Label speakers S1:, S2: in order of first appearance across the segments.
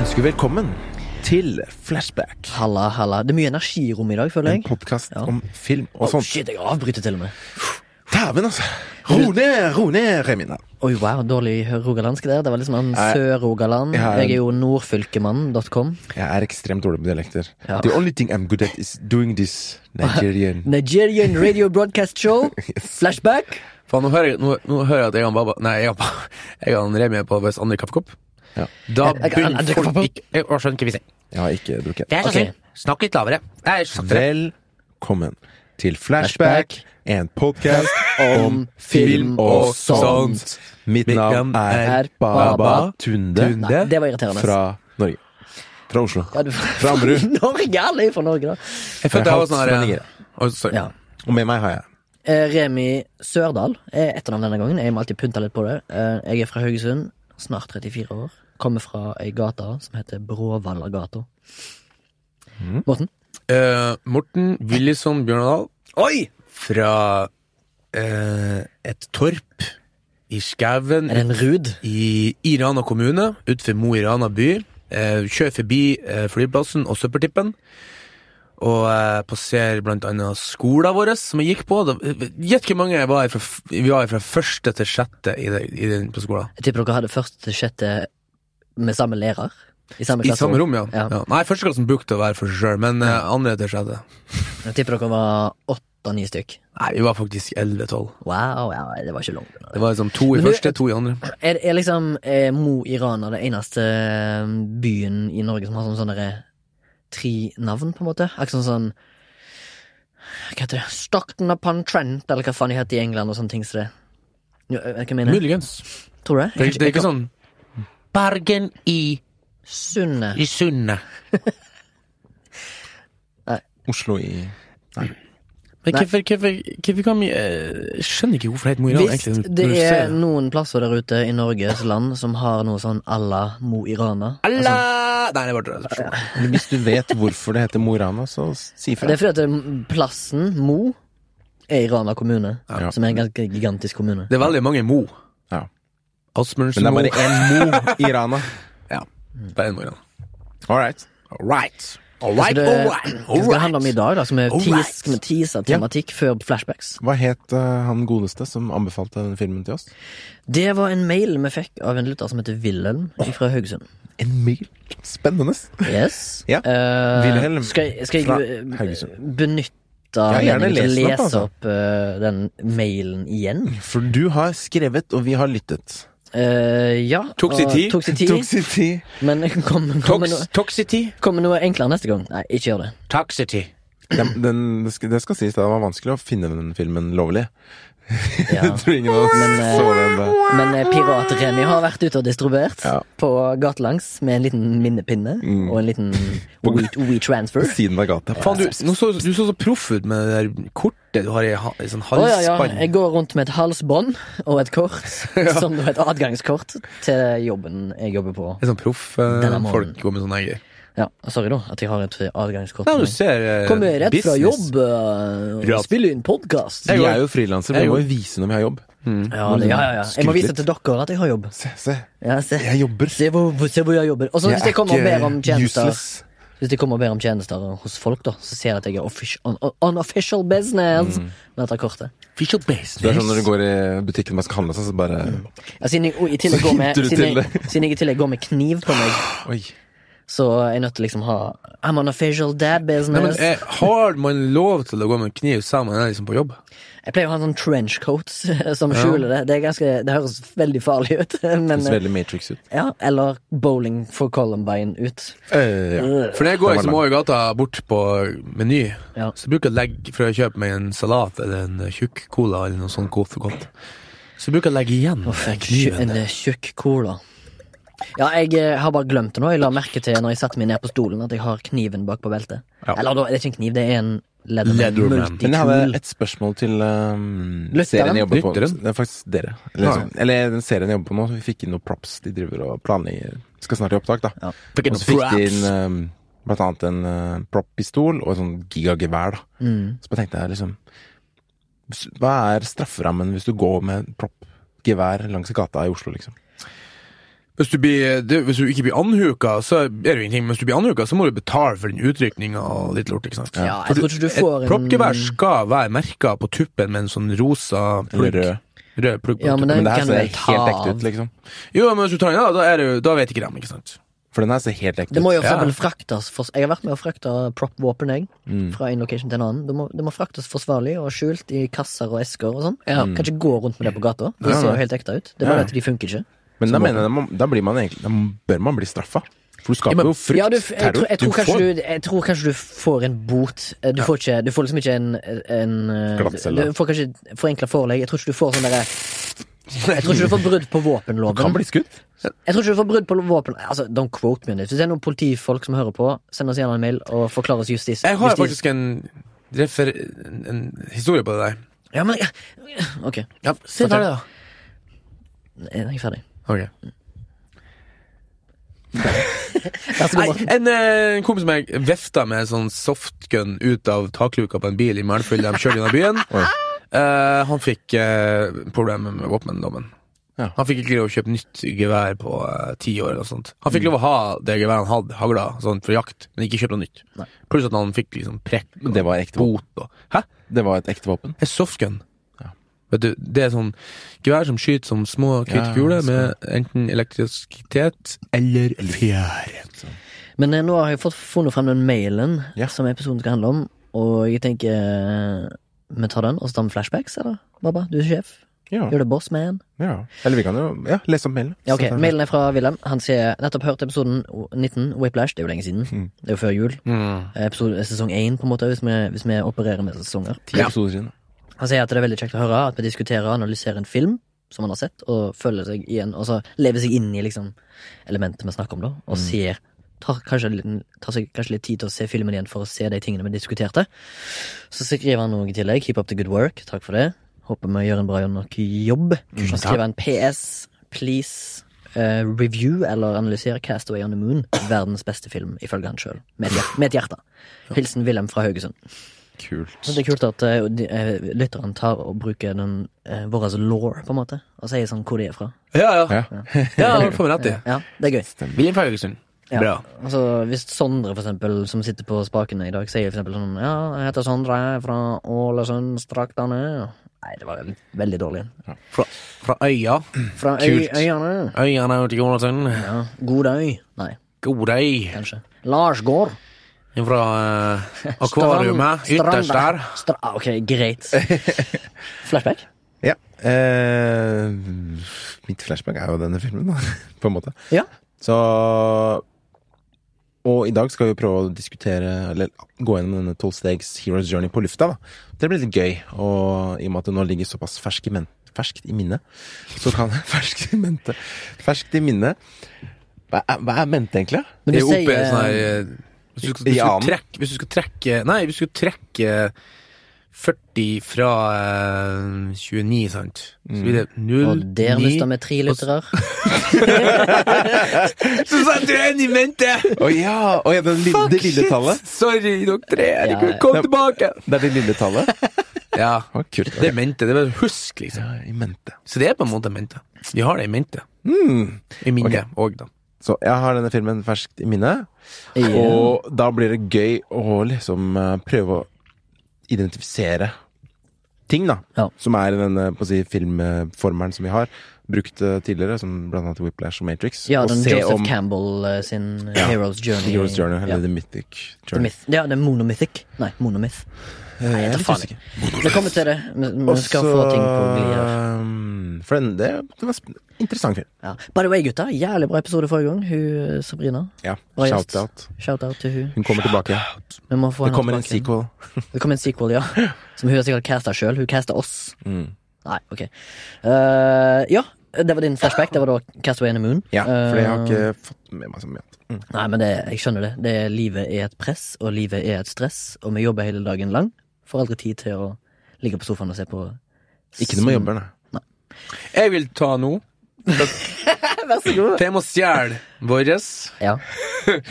S1: ønsker velkommen til Flashback.
S2: Halla, halla. Det er mye energi i rommet i dag, føler
S1: En
S2: jeg.
S1: podkast
S2: Ja.
S1: om film og
S2: Å,
S1: sånt.
S2: shit, jeg avbryter til og med.
S1: Dæven, altså! Ro ned, ro ned, Remina.
S2: Oi, wow, dårlig rogalandsk der. Det var liksom en
S1: Nei.
S2: Sør-Rogaland.
S1: Jeg har en-
S2: Jeg er jo nordfylkemann.com.
S1: Jeg er ekstremt dårlig på dialekter.
S2: Ja.
S1: The only thing I'm good at is doing this Nigerian
S2: Nigerian Radio Broadcast Show. Flashback.
S3: Faen, nå hører jeg, nå, nå hører jeg at jeg og Baba Nei, jeg og Baba- jeg og han Remi er på vår andre kaffekopp.
S1: Ja.
S3: Da
S2: Jeg- jeg-
S3: begynner
S2: jeg- jeg-
S3: folk ikke Jeg skjønner ikke hvising.
S1: Jeg har ikke drukket.
S3: Det
S2: er så Ok. synd.
S3: Snakk litt lavere.
S1: Velkommen til Flashback, en podkast om film og sånt. Mitt navn er Baba Tunde
S2: Nei, det var irriterende.
S1: fra Norge. Fra Oslo.
S2: Ja, du-
S1: Fra Ammerud.
S2: Norge, alle er fra Norge, da.
S3: Jeg følte jeg var sånn her
S1: Halvt spenninger.
S3: Oi, sorry.
S2: Ja.
S1: Og med meg har jeg
S2: Eh, Remi Sørdal er etternavn denne gangen. Jeg må alltid pynte litt på det. Eh, Jeg er fra Haugesund, snart 34 år. Kommer fra ei gate som heter Bråvallagata.
S1: Mm.
S2: Morten?
S3: Eh, Morten Willison Bjørnadal
S2: Oi!
S3: fra eh, et torp i skauen
S2: Er det en rud?
S3: i, i Rana kommune, utenfor Mo i Rana by. Eh, kjører forbi eh, flyplassen og søppeltippen. Og eh, passerer blant annet skolen vår, som jeg gikk på. Da- Gjett hvor mange jeg var fra, vi var fra første til sjette i, det- i den, på skolen.
S2: Jeg tipper dere hadde først til sjette med samme lærer. I samme
S3: I
S2: klasserom.
S3: samme rom, ja.
S2: Ja.
S3: ja. Nei, førsteklassen brukte å være for seg sjøl, men eh, andre til sjette
S2: Jeg tipper dere var åtte-ni stykk.
S3: Nei, vi var faktisk elleve-tolv.
S2: Wow, wow, det var ikke langt.
S3: Det var liksom to i
S2: Men du-
S3: første, to i andre.
S2: Er, er liksom er Mo i Rana det eneste eh, byen i Norge som har sånn sånne der, tre navn, på en måte? Akkurat sånn sånn Hva heter det? Stockton upon Trent, eller hva faen de heter i England, og sånne ting som det. Jo, eh, Hva mener jeg?
S3: Muligens.
S2: Tror du det?
S3: Det, er- det er ikke sånn Bergen i,
S2: Sunne.
S3: i sundet.
S1: Oslo i
S3: Men
S2: Nei.
S3: hvorfor, hvorfor, hvorfor kan vi eh, Skjønner ikke hvorfor det heter Mo i Rana.
S2: Hvis
S3: egentlig, når
S2: det
S3: du ser
S2: er noen plasser der ute i Norges land som har noe sånn à la Mo i Rana
S3: Alla! Nei, det var det.
S1: Men Hvis du vet hvorfor det heter Mo i Rana, så si
S2: Det
S1: fra.
S2: er fordi at eh, plassen Mo er i Rana kommune,
S1: Ja.
S2: som er en ganske gigantisk kommune.
S3: Det er veldig mange Mo.
S1: Ja. Men
S3: Asmundsen
S1: det er
S3: Mo.
S1: bare én Mo i Rana.
S3: Ja, det er en Mo i Rana.
S1: All right.
S3: Alright.
S2: Så
S3: Alright,
S2: det,
S3: alright.
S2: det skal handle om i dag, da, som er
S3: Alright.
S2: tease, med teaser tematikk før flashbacks.
S1: Hva het eh, han godeste som anbefalte den filmen til oss?
S2: Det var en mail vi fikk av en lytter som heter Wilhelm fra Haugesund.
S1: En mail. Spennende.
S2: Yes.
S1: Ja,
S2: Eh,
S1: Wilhelm
S2: skal, jeg- skal
S1: fra
S2: jeg eh,
S1: Haugesund.
S2: benytte
S1: gjerne
S2: anledningen til å
S1: les den opp,
S2: lese
S1: altså.
S2: opp eh, den mailen igjen?
S1: For du har skrevet, og vi har lyttet.
S2: Eh, ja.
S3: Tok
S2: og-
S3: sin tid.
S2: Tok sin tid.
S1: Toxity.
S2: Men kom, kom, med noe,
S3: Tox- Toxity.
S2: kom med noe enklere neste gang. Nei, ikke gjør det.
S3: Toxity.
S1: Den, den, det, skal, det skal sies, det var vanskelig å finne den filmen lovlig.
S2: Ja.
S1: Jeg tror ingen av oss
S2: Men, eh,
S1: så den. da.
S2: Men eh, Pirat-Remi har vært ute og distribuert
S1: Ja. Mm.
S2: på gatelangs med en liten minnepinne og en liten
S1: På
S2: WeTransfer.
S1: siden av gata.
S3: Faen, du, nå så, du så så proff ut med det der kortet du har i, ha- i sånn
S2: Å ja,
S3: halsspann.
S2: ja. Jeg går rundt med et halsbånd og et kort, som da er et adgangskort til jobben jeg jobber på.
S3: Det er sånn proff
S2: Denne
S3: eh,
S2: måneden.
S3: folk går med sånne greier.
S2: Ja, Sorry, da, at jeg har et adgangskort.
S3: Nei,
S2: på
S3: du
S2: meg.
S3: ser eh,
S2: Kommer jeg rett fra
S3: business.
S2: jobb eh, og
S3: Rart.
S2: spiller inn podkast.
S1: Vi er jo frilansere, vi
S3: Jeg
S1: må
S3: går-
S1: jo vise når vi har jobb.
S2: Mm. Ja, det- ja, ja, ja. Jeg må vise til dere at jeg har jobb.
S1: Se, se.
S2: Ja, se.
S1: Jeg jobber.
S2: Se hvor, hvor- se hvor jeg jobber. Og så hvis
S1: Jeg
S2: jeg
S1: er
S2: kommer og ber om
S1: ikke
S2: tjenester
S1: useless.
S2: Hvis de kommer og ber om tjenester hos folk, da så ser jeg at jeg er offici- on, on, unofficial business
S1: Mm.
S2: med dette kortet.
S3: Official
S1: Det er sånn
S3: business.
S1: når du går i butikken man skal handle, sånn, så bare
S2: Ja, siden, jeg, og i tillegg går med,
S1: hinter du
S2: siden,
S1: til
S2: jeg, siden jeg i tillegg går med kniv på meg,
S1: Oi.
S2: så er jeg nødt til å liksom ha I'm on official dad
S3: Nei, men,
S2: business.
S3: eh, har man lov til å gå med kniv selv om man er liksom på jobb?
S2: Jeg pleier å ha en sånn trenchcoat som skjuler det. Det, er ganske, det høres veldig farlig ut.
S1: Det
S2: Men, eh,
S1: ser veldig Matrix ut.
S2: ja, eller bowling for Columbine ut.
S1: Eh, ja.
S2: Øh,
S3: For når jeg går
S1: Det var
S3: liksom
S1: lang.
S3: over gata bort på Meny,
S2: Ja.
S3: så bruker jeg å legge for å kjøpe meg en salat eller en tjukk cola eller noe sånt godt for godt. Så bruker jeg å legge igjen
S2: En tju-
S3: kniven.
S2: En eh, tjukk cola. Ja, jeg eh, har bare glemt det nå. Jeg la merke til når jeg satte meg ned på stolen, at jeg har kniven bak på beltet.
S3: Ja.
S2: Eller da, det er ikke en kniv, det er en Leatherman.
S3: Leatherman.
S1: Men jeg hadde
S2: Multitool.
S1: et spørsmål til um,
S2: Lytteren?
S1: serien jeg jobber på.
S3: Lytteren? Ah,
S1: Det er faktisk dere. Eller,
S3: Ja.
S1: sånn. Eller den serien jeg jobber på nå. Vi fikk inn noen props. De driver og planlegger Skal snart i opptak, da.
S2: Ja.
S3: Fikk
S1: Og så fikk de inn um, blant annet en uh, prop-pistol og et sånn gigagevær, da.
S2: Mm.
S1: Så bare tenkte jeg liksom s- Hva er strafferammen hvis du går med prop-gevær langs gata i Oslo, liksom?
S3: Hvis du, blir, det, hvis du ikke blir anhuka, så er det jo ingenting. Men hvis du blir anhuka, så må du betale for den utrykninga og litt lort. ikke sant?
S2: Ja,
S3: For
S2: jeg tror ikke du får
S3: Et
S2: en
S3: proppgevær skal være merka på tuppen med en sånn rosa
S1: Eller
S3: plugg.
S1: rød.
S3: Rød plugg på
S2: Ja, men
S3: tuppen.
S2: den
S1: Men det her
S2: kan
S1: ser
S2: du vel
S1: helt
S2: ta
S1: ekte
S2: av.
S1: ut, liksom.
S3: Jo, men hvis du tar den av, da, er det, jo- da vet ikke dem, ikke sant?
S1: For den her ser helt ekte
S2: Det
S1: ut.
S2: må jo for
S3: Ja.
S2: eksempel fraktes fors- Jeg har vært med å frakte prop-våpen jeg,
S1: Mm.
S2: fra en location til en annen. Det må, det må fraktes forsvarlig og skjult i kasser og esker og sånn. Kan ikke gå rundt med det på gata. Det
S1: Ja,
S2: ser jo
S1: ja.
S2: helt ekte ut. Det er
S1: Ja.
S2: bare at de funker ikke.
S1: Men da mener jeg, da må- da blir man egentlig Da bør man bli straffa. For du
S3: Ja,
S1: skaper
S3: men-
S1: jo frykt,
S2: Ja, du, f- jeg,
S1: terror.
S2: tror, jeg, tror
S1: Du
S2: kanskje
S1: får-
S2: du, jeg tror kanskje du får en bot. Eh, Du, får, ikke, du får liksom ikke en, en eh,
S1: Glattcelle.
S2: Du får kanskje forenkla forelegg. Jeg tror ikke du får sånn derre Jeg tror ikke du får brudd på
S1: Du kan
S2: våpenloven.
S1: bli skutt.
S2: Jeg tror ikke du får brudd på våpen Altså, Don't quote me on this. Hvis det er noen politifolk som hører på, send oss gjerne en mail og forklar oss justis.
S3: Jeg har
S2: justis.
S3: faktisk en, refer en, en historie på det der.
S2: Ja, men Ok,
S3: Ja,
S2: si det,
S3: da.
S2: jeg er ikke ferdig.
S3: Ok.
S2: Vær så god,
S3: Nei,
S2: Morten.
S3: en, eh, en kompis som jeg vefta med en sånn softgun ut av takluka på en bil i Mælfyll da de kjørte gjennom byen.
S1: Oi.
S3: Eh, han fikk eh, problemer med våpendommen.
S1: Ja.
S3: Han fikk ikke lov å kjøpe nytt gevær på eh, ti år. eller noe sånt Han
S1: Mm.
S3: fikk lov å ha det geværet han hadde, hagla, sånn, for jakt, men ikke kjøpe noe nytt.
S2: Nei.
S3: Pluss at han fikk liksom prekk
S1: Men det var ekte våpen.
S3: bot. Og, hæ?
S1: Det var et ekte våpen.
S3: En softgun.
S1: Ja.
S3: Vet du, det er sånn gevær som skyter som små hvite
S1: Ja, sånn.
S3: kuler
S1: små.
S3: med enten elektrisitet eller fjær.
S2: Men eh, nå har jeg fått funnet frem den mailen
S1: Ja.
S2: som episoden skal handle om, og jeg tenker eh, vi tar den, og så tar vi flashbacks, eller? Baba, du er sjef.
S1: Ja.
S2: You're the boss man.
S1: ja. Eller vi kan jo ja, lese opp mailen.
S2: Ja, ok,
S1: Så tar vi-
S2: Mailen er fra Wilhelm. Han sier nettopp hørt episoden 19, Whiplash. Det er jo lenge siden.
S1: Mm.
S2: Det er jo før jul.
S3: Mm.
S2: Episode, sesong 1, på en måte, hvis vi, hvis vi opererer med sesonger.
S1: Ti
S3: Ja.
S1: episoder siden.
S2: Han sier at det er veldig kjekt å høre at vi diskuterer og analyserer en film som man har sett, og føler seg igjen, og så lever seg inn i liksom elementet vi snakker om, da, og ser tar kanskje, litt- tar seg kanskje litt tid til å se filmen igjen for å se de tingene vi diskuterte. Så skriver han noe i tillegg. Keep up the good work. Takk for det. Håper vi gjør en bra nok jobb. Så skriver han PS. Please. eh, review eller analysere Castaway on the Moon. Verdens beste film, ifølge han sjøl. Med, et hjer- med et hjerte. Hilsen Wilhelm fra Haugesund.
S1: Kult.
S2: Så det er kult at eh, de, eh, lytteren tar og bruker den uh, vår law, på en måte, og sier sånn hvor de er fra. Eh,
S3: Ja, ja.
S1: Ja.
S3: Ja, det får vi rett i.
S2: Ja, det er gøy.
S3: William Faugesund.
S2: Ja.
S3: Bra.
S2: Altså, hvis Sondre, for eksempel, som sitter på spakene i dag, sier for eksempel sånn Ja, jeg heter Sondre, jeg er fra Ålesundstraktene. Nei, det var en veldig dårlig.
S3: Fra, fra øya.
S2: Fra øy,
S3: Kult.
S2: øyene.
S3: Øyene er til Jonathan.
S2: Ja, Godøy. Nei,
S3: Godøy.
S2: kanskje. Lars Gård.
S3: Fra eh, akvariumet. Ytterst der.
S2: Stra ah, ok, greit. Flashback?
S1: Ja. Eh, mitt flashback er jo denne filmen, da. På en måte.
S2: Ja.
S1: Så Og i dag skal vi prøve å diskutere, eller gå gjennom denne 12 Stegs Heroes Journey på lufta. da Det blir litt gøy, og i og med at det nå ligger såpass fersk i men ferskt i minnet, så kan Ferskt i mente. Ferskt i minnet. Hva er, hva er mente, egentlig?
S2: Men du
S3: Det er oppe i
S2: sier-
S3: en sånn her eh, hvis du, skal,
S1: I
S3: hvis, du
S1: annen.
S3: trekke, hvis du skal trekke Nei, hvis du skal trekke 40 fra eh, 29, sant, så blir det 0,
S2: eh, Og der
S3: 9
S2: mista vi tre lyttere.
S3: Så sa du en i mente!
S1: Å ja! Å ja, det, lille, det lille tallet.
S3: Sorry, dere tre.
S2: Ja.
S3: Herregud, kom
S1: Nei.
S3: tilbake!
S1: Det er det lille tallet.
S3: Ja,
S1: Å, kult.
S3: det er mente. Det er bare husk, liksom.
S1: Ja, I mente.
S3: Så det er på en måte mente. Vi har det i mente.
S1: Mm.
S3: I minnet òg, da.
S1: Så jeg har denne filmen ferskt i minnet.
S2: Ja.
S1: Og da blir det gøy å liksom eh, prøve å identifisere ting, da.
S2: Ja.
S1: Som er i denne på å si, filmformelen som vi har brukt eh, tidligere, som blant annet Whiplash og Matrix.
S2: Ja,
S1: og
S2: den
S1: se
S2: Joseph
S1: om
S2: Campbell eh, sin eh,
S1: Ja.
S2: Heroes Journey.
S1: Heroes Journey,
S2: ja.
S1: eller The Mythic
S2: The
S1: Journey.
S2: Myth. Ja, det er Monomythic. Nei, Monomyth.
S1: Eh, jeg
S2: vet
S1: er litt
S2: faen
S1: usikker.
S2: Vi kommer til det. Vi, vi
S1: Og
S2: skal
S1: så,
S2: få ting på glid her.
S1: um, For den, det, det var en interessant film.
S2: Ja. By the way, gutta. Jævlig bra episode forrige gang. Hun eh, Sabrina.
S1: Ja,
S2: Bra gjest.
S1: Shout-out.
S2: Shout-out til hun.
S1: Hun kommer tilbake.
S2: Vi må få
S1: Det
S2: henne
S1: kommer en
S2: tilbake.
S1: sequel.
S2: Det kommer en sequel, ja. Som hun har sikkert casta sjøl. Hun casta oss.
S1: Mm.
S2: Nei, ok. Eh, ja, det var din flashback. Det var da Castaway in the Moon.
S1: Ja, for jeg har
S2: Eh,
S1: ikke fått med meg så mye. annet. Mm.
S2: Nei, men det, jeg skjønner det. det. Livet er et press, og livet er et stress, og vi jobber hele dagen lang. Får aldri tid til å ligge på sofaen og se på
S1: Ikke når man jobber, nei.
S3: Jeg vil ta nå
S2: Vær så god.
S3: Tema stjel våres.
S2: Ja.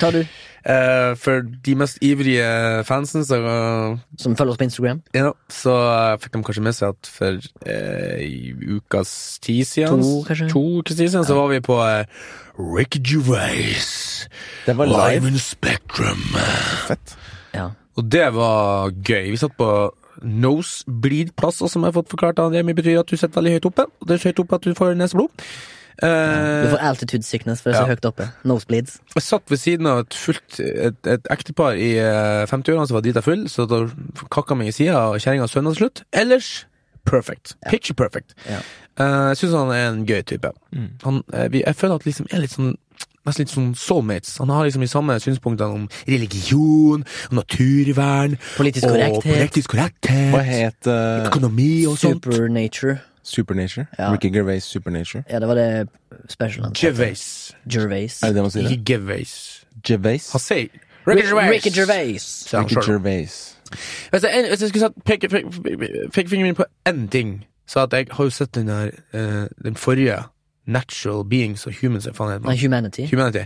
S2: Ta du,
S3: Eh, for de mest ivrige fansen, så eh,
S2: som følger oss på Instagram.
S3: Ja, så eh, fikk de kanskje med seg at for eh, i ukas tid siden
S2: To, kanskje?
S3: to ukers tid siden, så var vi på eh, Ricky Gervais
S1: Den var live.
S3: in Spectrum.
S1: Fett.
S2: Ja.
S3: Og det var gøy. Vi satt på nosebleed-plasser, som jeg har fått forklart av Remi, betyr at du sitter veldig høyt oppe. Og det er så høyt oppe at du får neseblod.
S2: Du
S3: Eh,
S2: får altitude sickness, for det er så
S3: Ja.
S2: høyt oppe. Nosebleeds.
S3: jeg satt ved siden av et fullt et, et ektepar i eh, 50-årene som var drita full, så da kakka meg i sida, og kjerringa sønna til slutt. Ellers perfect. Picture perfect.
S2: Ja.
S3: Eh, jeg syns han er en gøy type.
S1: Mm.
S3: Han, eh, vi, jeg føler at liksom er litt sånn Nesten litt sånn soulmates. Han har liksom de samme synspunktene om religion, om naturvern
S2: Politisk
S3: og
S2: korrekthet.
S3: politisk korrekthet.
S1: Hva het eh,
S3: Økonomi og sånt.
S2: Supernature.
S1: Supernature?
S2: Ja.
S1: Ricky Gervais Supernature?
S2: Ja, det var det specialen.
S3: Gervais.
S2: Gervais.
S1: Er det det man sier?
S3: Ikke
S1: det?
S3: Gervais.
S1: Gervais?
S3: Han sier
S2: Ricky Ricky Gervais.
S3: Sier han
S1: Ricky
S3: selv.
S1: Gervais.
S3: Hvis jeg, hvis Altså, jeg skulle satt peke, peke, peke, peke fingeren min på én ting, så at jeg har jo sett den der eh, Den forrige Natural Beings og Humans, hva faen heter
S2: Nei,
S3: den?
S2: Humanity.
S3: Humanity.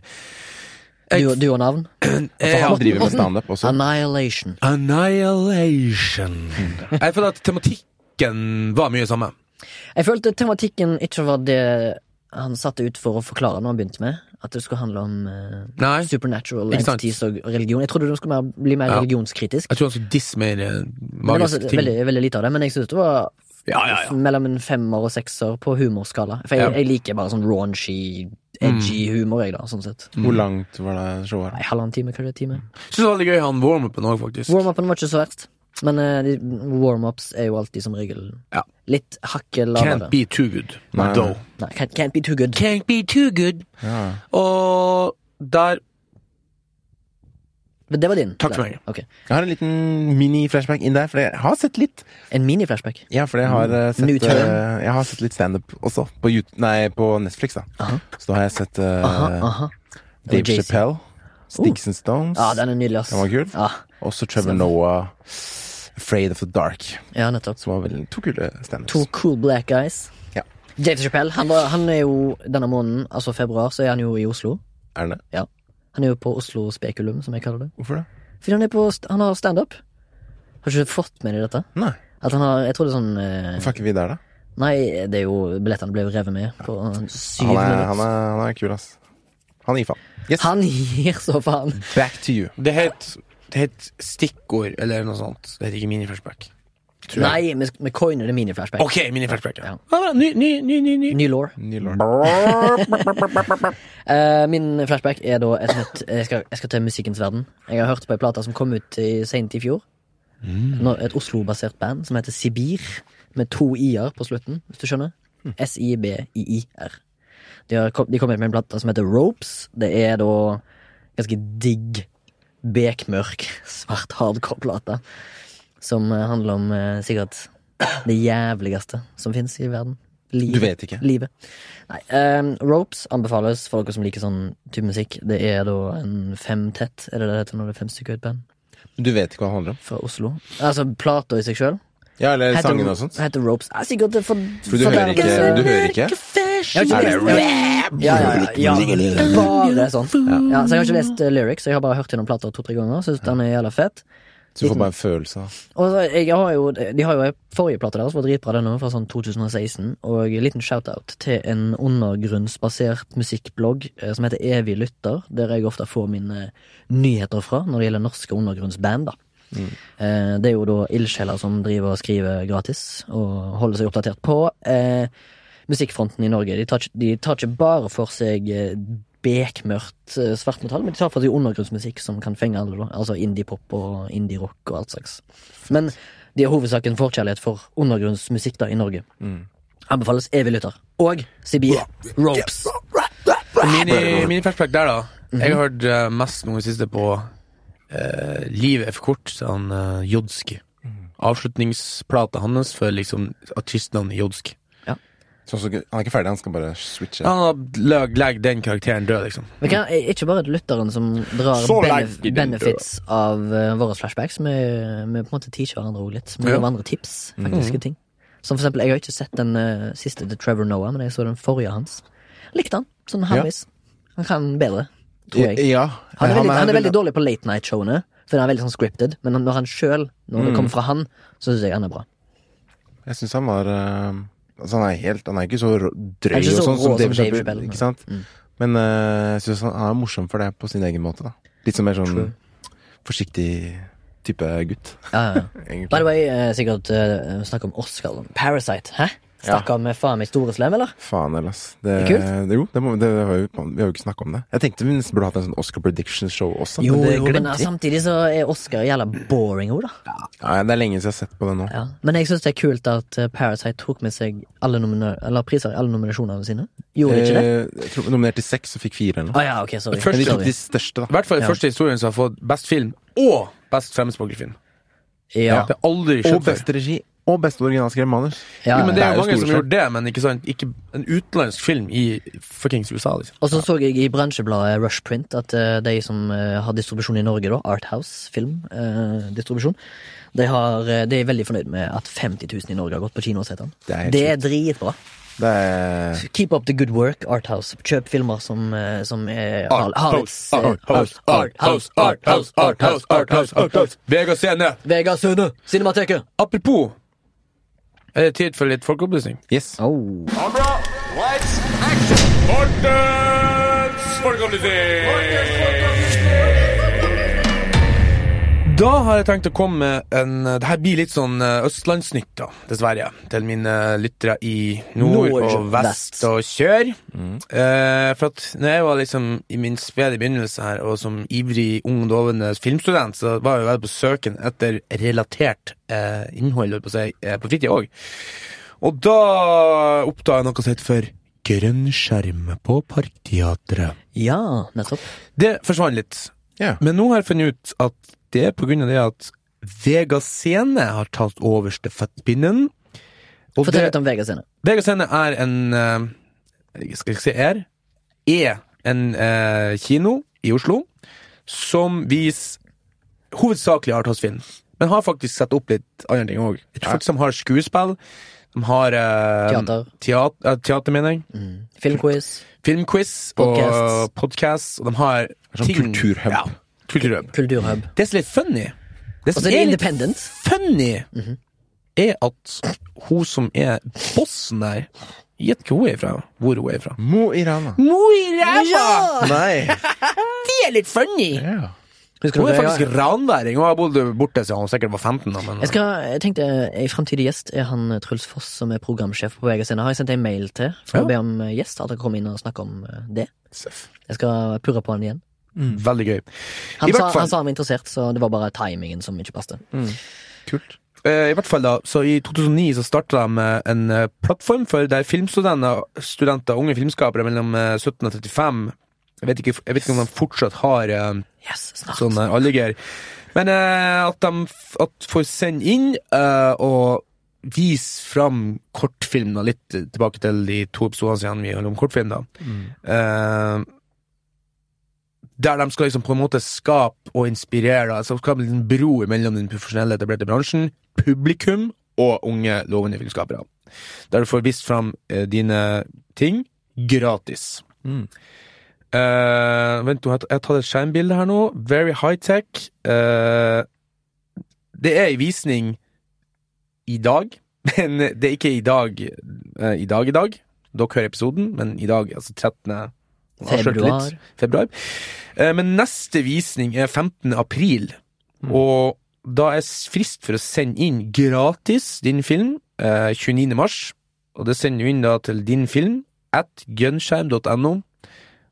S2: Du, du og navn?
S3: Eh,
S2: Altså,
S1: For
S3: ja.
S1: han driver med standup også.
S2: Annihilation.
S3: Annihilation.
S2: Mm.
S3: Jeg føler at tematikken var mye samme.
S2: Jeg følte tematikken ikke var det han satte ut for å forklare når han begynte med. At det skulle handle om eh,
S3: Nei.
S2: supernatural
S3: Ikke sant.
S2: entities og religion. Jeg trodde det skulle mer, bli mer
S3: Ja.
S2: religionskritisk.
S3: Jeg tror han skulle disse mer eh,
S2: Men det var
S3: magiske
S2: altså
S3: ting.
S2: veldig, veldig lite av det, men jeg synes det var
S3: Ja, ja, ja.
S2: mellom en femmer og sekser på humorskala. For jeg,
S3: Ja. Mm.
S2: jeg liker bare sånn raunchy, edgy humor, jeg, da, sånn sett.
S1: Hvor langt var det showet?
S2: Nei, halvannen time, kanskje? Time.
S3: Syns det var veldig gøy han warm-upen òg, faktisk.
S2: Warm-upen var ikke så verst, men eh, de- warm-ups er jo alltid som regel
S3: Ja.
S2: litt hakket
S3: Can't
S2: lavere.
S3: be too good.
S1: Nei.
S3: Though.
S2: Nei, can't, can't be too good.
S3: Can't be too good.
S1: Ja.
S3: Og der
S2: Men det var din.
S3: Takk for
S2: Der.
S3: meg.
S2: Ok.
S1: Jeg har en liten mini-flashback inn der, for jeg har sett litt.
S2: En mini-flashback.
S1: Ja, for jeg har, eh,
S2: New
S1: sett,
S2: turn.
S1: eh, jeg har sett litt standup også, på, Yout- nei, på Netflix. da
S2: Aha.
S1: Så da har jeg sett eh,
S2: Aha, aha.
S1: Dave
S2: Og Jay-Z. Oh.
S1: Chappelle, Sticks and Stones,
S2: Ja, den er nydelig, ass.
S1: Den var kul.
S2: Ja,
S1: også Trevor Noah, Afraid of the Dark.
S2: ja nettopp.
S1: Som var veldig to kule standups.
S2: To cool black guys.
S1: Ja.
S2: James Chappelle, han, var, han er jo denne måneden, altså februar, så er han jo i Oslo.
S1: Er det det?
S2: Han er jo på Oslo Spekulum, som jeg kaller det.
S1: Hvorfor det?
S2: Fordi han, er på, st- han har standup. Har ikke du fått med deg dette?
S1: Nei.
S2: At han har, jeg tror det er sånn eh,
S1: Hvorfor er ikke vi der, da?
S2: Nei, det er jo billettene ble jo revet med på eh, syv
S1: Han er,
S2: minutter.
S1: han er, han er kul, ass. Han gir faen. Yes,
S2: Han gir så faen.
S1: back to you.
S3: Det het, det het stikkord eller noe sånt. Det het ikke mini-flashback. Tror jeg.
S2: Nei, vi, vi coiner det mini-flashback.
S3: Ok, mini-flashback.
S2: Ja.
S3: Ja. Ja, bra. ny, ny, ny, ny, ny.
S2: Ny law.
S1: Ny lord.
S2: Eh, min flashback er da et nytt jeg skal, jeg skal til musikkens verden. Jeg har hørt på ei plate som kom ut i- sent i fjor.
S1: Mm.
S2: Nå- Et Oslo-basert band som heter Sibir, med to i-er på slutten, hvis du skjønner.
S1: Mm.
S2: S-i-b-i-i-r. De har kom, de kom ut med en plate som heter Ropes. Det er da ganske digg, bekmørk, svart hardcore-plate. Som eh, handler om eh, sikkert det jævligste som fins i verden. Livet.
S1: Du vet ikke.
S2: Livet. Nei, ehm, Ropes anbefales for dere som liker sånn type musikk. Det er da en femtett, er det det heter når det er fem stykker i et band?
S1: Du vet ikke hva det handler om?
S2: Fra Oslo. Altså plata i seg sjøl.
S1: Ja, eller sangene og sånt?
S2: Heter Ropes. Er sikkert det er for,
S1: For du hører ikke, du hører ikke?
S2: Jeg har
S1: Er
S2: ikke
S1: det
S2: lest ja, ja, ja, ja. Bare sånn. Ja, så jeg har ikke lest eh, lyrics, jeg har bare hørt gjennom plata to-tre ganger. Syns den er jævla fett.
S1: Så du får bare en følelse av
S2: Og så, jeg har jo, de har jo en forrige plate deres, var dritbra den òg, fra sånn 2016. Og en liten shout-out til en undergrunnsbasert musikkblogg eh, som heter Evig lytter, der jeg ofte får mine eh, nyheter fra når det gjelder norske undergrunnsband. da. Eh, Det er jo da ildsjeler som driver og skriver gratis, og holder seg oppdatert på eh, musikkfronten i Norge. De tar, ikke- de tar ikke bare for seg eh, bekmørkt eh, svartmetall, men de tar for seg undergrunnsmusikk som kan fenge alle, da. Altså indie-pop og indie-rock og alt slags. Men de har hovedsaken forkjærlighet for undergrunnsmusikk da i Norge. Anbefales evig lytter. Og Sibir Ropes. Mhm.
S3: Mini- Mini-flashback der, da. Jeg har hørt eh, mest noe i det siste på eh, Livet er for kort, sa han uh, Jodski.
S2: Mhm.
S3: Avslutningsplata hans for liksom artistnavnet Jodski.
S1: sånn som- Han er ikke ferdig, han skal bare switche.
S2: Ah,
S3: Han har lag- legger den karakteren død, liksom.
S2: Men kan, er ikke bare lytteren som drar
S3: Så
S2: bene-
S3: langt i den
S2: benefits av eh, våre flashbacks. Vi, vi på en måte teacher hverandre også litt. Vi
S3: Ja.
S2: gir hverandre tips, faktiske ting. Som for eksempel, jeg har ikke sett den eh, siste til Trevor Noah, men jeg så den forrige hans. Likte han, sånn halvvis. Han kan bedre, tror jeg.
S1: Ja.
S2: Han er veldig, han er veldig
S1: vel-
S2: dårlig på late night-showene, for han er veldig sånn scripted, men han- når han sjøl, når det kommer fra han, så syns jeg han er bra.
S1: Jeg syns han var eh, Altså, han er helt Han er ikke så rå- drøy
S2: Han er ikke så
S1: og sånn
S2: rå
S1: som Dave
S2: som Mm. Dave
S1: Chappelle,
S2: Chappelle, nei.
S1: ikke sant? Men eh, jeg syns han, han er morsom for det på sin egen måte, da. Litt sånn mer sånn
S2: True.
S1: forsiktig type gutt,
S2: Ja, ja, ja. By the
S1: egentlig.
S2: way, eh, sikkert eh, snakk om Oscar. da. Parasite, hæ?
S1: Ja.
S2: Snakka med faen meg store slem, eller?
S1: Faen heller, ass. Det,
S2: Det er
S1: det, jo, det må, det har jo, vi har jo ikke snakka om det. Jeg tenkte vi nesten burde hatt en sånn Oscar prediction-show også.
S2: Jo,
S1: men det
S2: jo, men
S1: glemte
S2: eh,
S1: vi.
S2: samtidig så er Oscar jævla boring òg, da.
S1: Nei, det er lenge siden jeg har sett på det nå.
S2: Ja. Men jeg syns det er kult at eh, Parasite tok med seg alle, nomina eller priser i alle nominasjonene sine. Gjorde det ikke det?
S1: Eh, jeg tror- nominert til seks og fikk fire eller
S2: Å
S1: noe.
S2: ja, ok, sorry.
S1: Men de tok de
S2: sorry.
S1: største,
S3: I
S1: da.
S3: hvert fall den første historien som har fått best film og best fremmedspråklig film.
S2: Ja.
S3: Det er aldri
S1: Og
S3: skjedd før.
S1: beste regi. Og beste originalskrevet manus.
S2: Ja,
S3: Jo, men det
S1: Det er
S3: er
S1: jo
S3: jo mange som
S1: store
S3: gjorde det, men ikke, sant, ikke en utenlandsk film i fuckings USA, liksom.
S2: Og så så jeg i bransjebladet Rushprint at eh, de som eh, har distribusjon i Norge, da, Arthouse film, eh, distribusjon, de, har, eh, de er veldig fornøyd med at 50 000 i Norge har gått på kino og sett den.
S1: Det er helt
S2: Det er dritbra.
S1: Det er
S2: Keep up the good work, Arthouse. Kjøp filmer som, eh, som er har- har litt-
S3: Arthouse, Arthouse, Arthouse, Arthouse, Arthouse, Arthouse, Arthouse. Vegard Sene.
S2: Vegard Sønne, Cinemateket!
S3: Apropos, er det tid for litt folkeopplysning?
S1: Yes.
S2: Oh.
S4: Kamera, lights, action! Mortens
S3: Da har jeg tenkt å komme med en Det her blir litt sånn eh, østlandsnytt, da, dessverre. Til mine lyttere i nord,
S2: Nord,
S3: og vest
S2: vest.
S3: og kjør. Eh, for at når jeg var liksom i min spede begynnelse her, og som ivrig ung, dovende filmstudent, så var jeg jo veldig på søken etter relatert eh, innhold holdt på, å si, eh, på fritida òg. Og da oppdaga jeg noe som heter for grønnskjerm på Parkteatret.
S2: Ja, nettopp.
S3: Det forsvant litt.
S1: Ja.
S3: Men nå har jeg funnet ut at det er på grunn av det at Vega Scene har tatt over stafettpinnen. Og
S2: Fortell
S3: det,
S2: litt om Vegard Sønne.
S3: Vega Scene er en eh, Skal jeg si er? Er en eh, kino i Oslo som viser hovedsakelig Arthouse-film. Men har faktisk satt opp litt andre ting òg. Jeg tror faktisk de har skuespill. De har eh,
S2: Teater.
S3: teat- eh, teater, mener jeg.
S2: Filmquiz,
S3: Filmquiz og
S2: Podcasts.
S3: podkast. Og de har
S1: Sånn kulturhub.
S3: Ja, kulturhub.
S2: kulturhub.
S3: Det som er litt funny Det
S2: Og så
S3: som
S2: er det
S3: er litt
S2: Independent. Mhm.
S3: funny, er at hun som er bossen der Gjett hvor hun er fra. Hvor hun er fra.
S1: Mo i Rana.
S3: Mo i ræva!
S1: Nei!
S3: Det er litt funny!
S1: Ja.
S2: Husker
S3: Hun er
S2: dere-
S3: faktisk ranværing. Hun har bodd borte siden hun sikkert var 15. Da, men
S2: Jeg, skal, jeg tenkte eh, En fremtidig gjest er han eh, Truls Foss, som er programsjef på VG Scene. Har jeg sendt en mail til for
S3: Ja.
S2: å be om eh, gjest? At han kommer inn og snakker om eh, det.
S1: Seff.
S2: Jeg skal purre på han igjen.
S3: veldig gøy. I
S2: Han sa,
S3: hvert fall-
S2: han sa han var interessert, så det var bare timingen som ikke passet.
S1: Kult.
S3: Eh, I hvert fall da, så i 2009 så starta de eh, en eh, plattform for der filmstudenter, studenter, unge filmskapere mellom eh, 17 og 35 Jeg vet ikke, jeg vet ikke om de fortsatt har eh,
S2: Yes, snart.
S3: Sånn er alle greier. Men eh, at de f- at får sende inn eh, og vise fram kortfilm, da, litt tilbake til de to episodene siden vi holdt om kortfilm, da. Eh, der de skal liksom på en måte skape og inspirere. da. Altså skape en bro mellom den profesjonelle etablerte bransjen, publikum og unge lovende filmskapere. Der du får vist fram eh, dine ting gratis. Eh, vent, nå, jeg har tatt- jeg har tatt et skjermbilde her nå. Very high-tech. Eh, det er ei visning i dag, men det er ikke i dag eh, i dag i dag. Dere hører episoden, men i dag, altså 13. jeg har avslørt
S2: Februar.
S3: litt. Februar. Eh, men neste visning er 15. april, og da er s- frist for å sende inn gratis din film eh, 29. mars. Og det sender du inn da til din film at gunskjerm.no.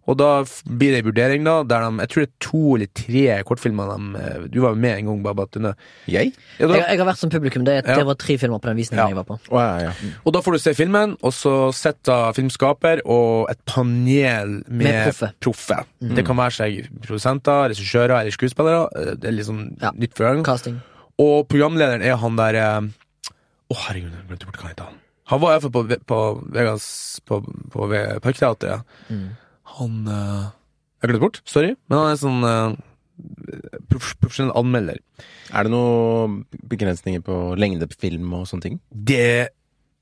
S3: Og da f- blir det en vurdering, da, der de Jeg tror det er to eller tre kortfilmer de eh, Du var jo med en gang, Babat. Tune.
S1: Jeg?
S3: Ja,
S2: Jeg,
S3: da,
S2: jeg har vært som publikum. Det,
S3: Ja.
S2: det var tre filmer på den visningen
S3: Ja.
S2: jeg var på.
S1: Å ja, Mm. ja.
S3: og da får du se filmen, og så sitter filmskaper og et panel med,
S2: Med proffe. Mm.
S3: proffe. Det kan være seg produsenter, regissører eller skuespillere. eh, Det er liksom
S2: Ja.
S3: nytt for øynene.
S2: Casting.
S3: Og programlederen er han der eh, Å, herregud, jeg glemte bort hva han heter. han. Han var iallfall på, Ve- på Vegas På, på Ve- Parkteatret. Han eh, Jeg glemte bort, sorry, men han er sånn eh, prof, profesjonell anmelder.
S1: Er det noen begrensninger på lengde på film og sånne ting?
S3: Det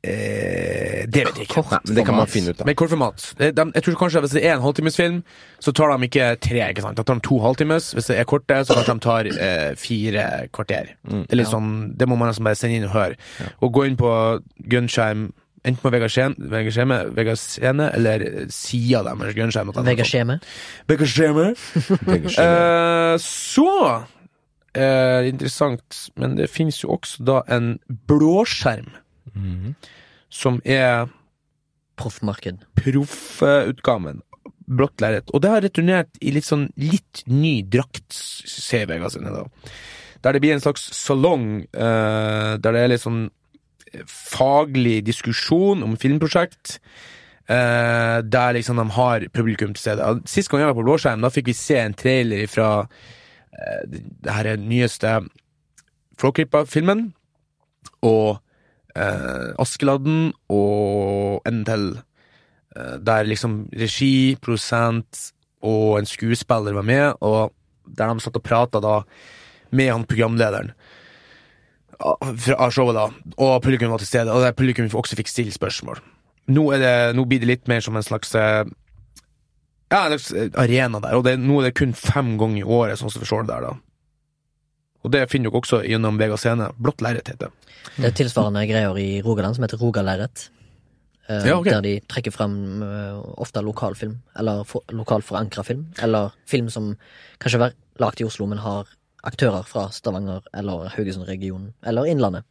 S3: Eh, det vet jeg ikke.
S1: Nei, men det kan man finne ut av.
S3: Men kortformat. De, jeg tror kanskje Hvis det er en halvtimesfilm, så tar de ikke tre. ikke sant? Da tar de to halvtimes. Hvis det er korte, så kanskje de tar eh, fire kvarter.
S1: Mm.
S3: Det er litt sånn, det må man nesten bare sende inn og høre. Og gå inn på Gunsheim, enten på Vegard Skien- Vegard Skjeme Vegard Skjene, eller sida deres Gunsheim. at de har
S2: Vegard
S3: fått-
S2: Skjeme.
S3: Vegard Skjeme. Eh, så eh, Interessant, men det finnes jo også da en blåskjerm,
S1: Mm.
S3: som er
S2: Proffmarked.
S3: proffutgaven. Blått lerret. Og det har returnert i litt sånn litt ny drakt, ser Vegard sine, da. Der det blir en slags salong, eh, der det er litt sånn faglig diskusjon om filmprosjekt. eh, der liksom de har publikum til stede. Og Sist gang jeg var på Blåskjerm, da fikk vi se en trailer fra det det her er den nyeste Flåklypa-filmen. Og eh, Askeladden og en til. Eh, der liksom regi, produsent og en skuespiller var med, og der de satt og prata da med han programlederen ah, fra av showet, da. Og publikum var til stede, og der publikum også fikk stille spørsmål. Nå, er det, nå blir det litt mer som en slags eh, ja, en slags eh, arena der, og det, nå er det kun fem ganger i året, sånn som vi ser det der, da. Og det finner dere også gjennom Vega Scene. Blått lerret heter det.
S2: Det er tilsvarende greier i Rogaland som heter Rogalerret. eh,
S3: Ja, ok.
S2: Der de trekker frem eh, ofte lokalfilm, eller for, lokalforankra film. Eller film som kanskje er lagd i Oslo, men har aktører fra Stavanger eller Haugesund-regionen. Eller Innlandet.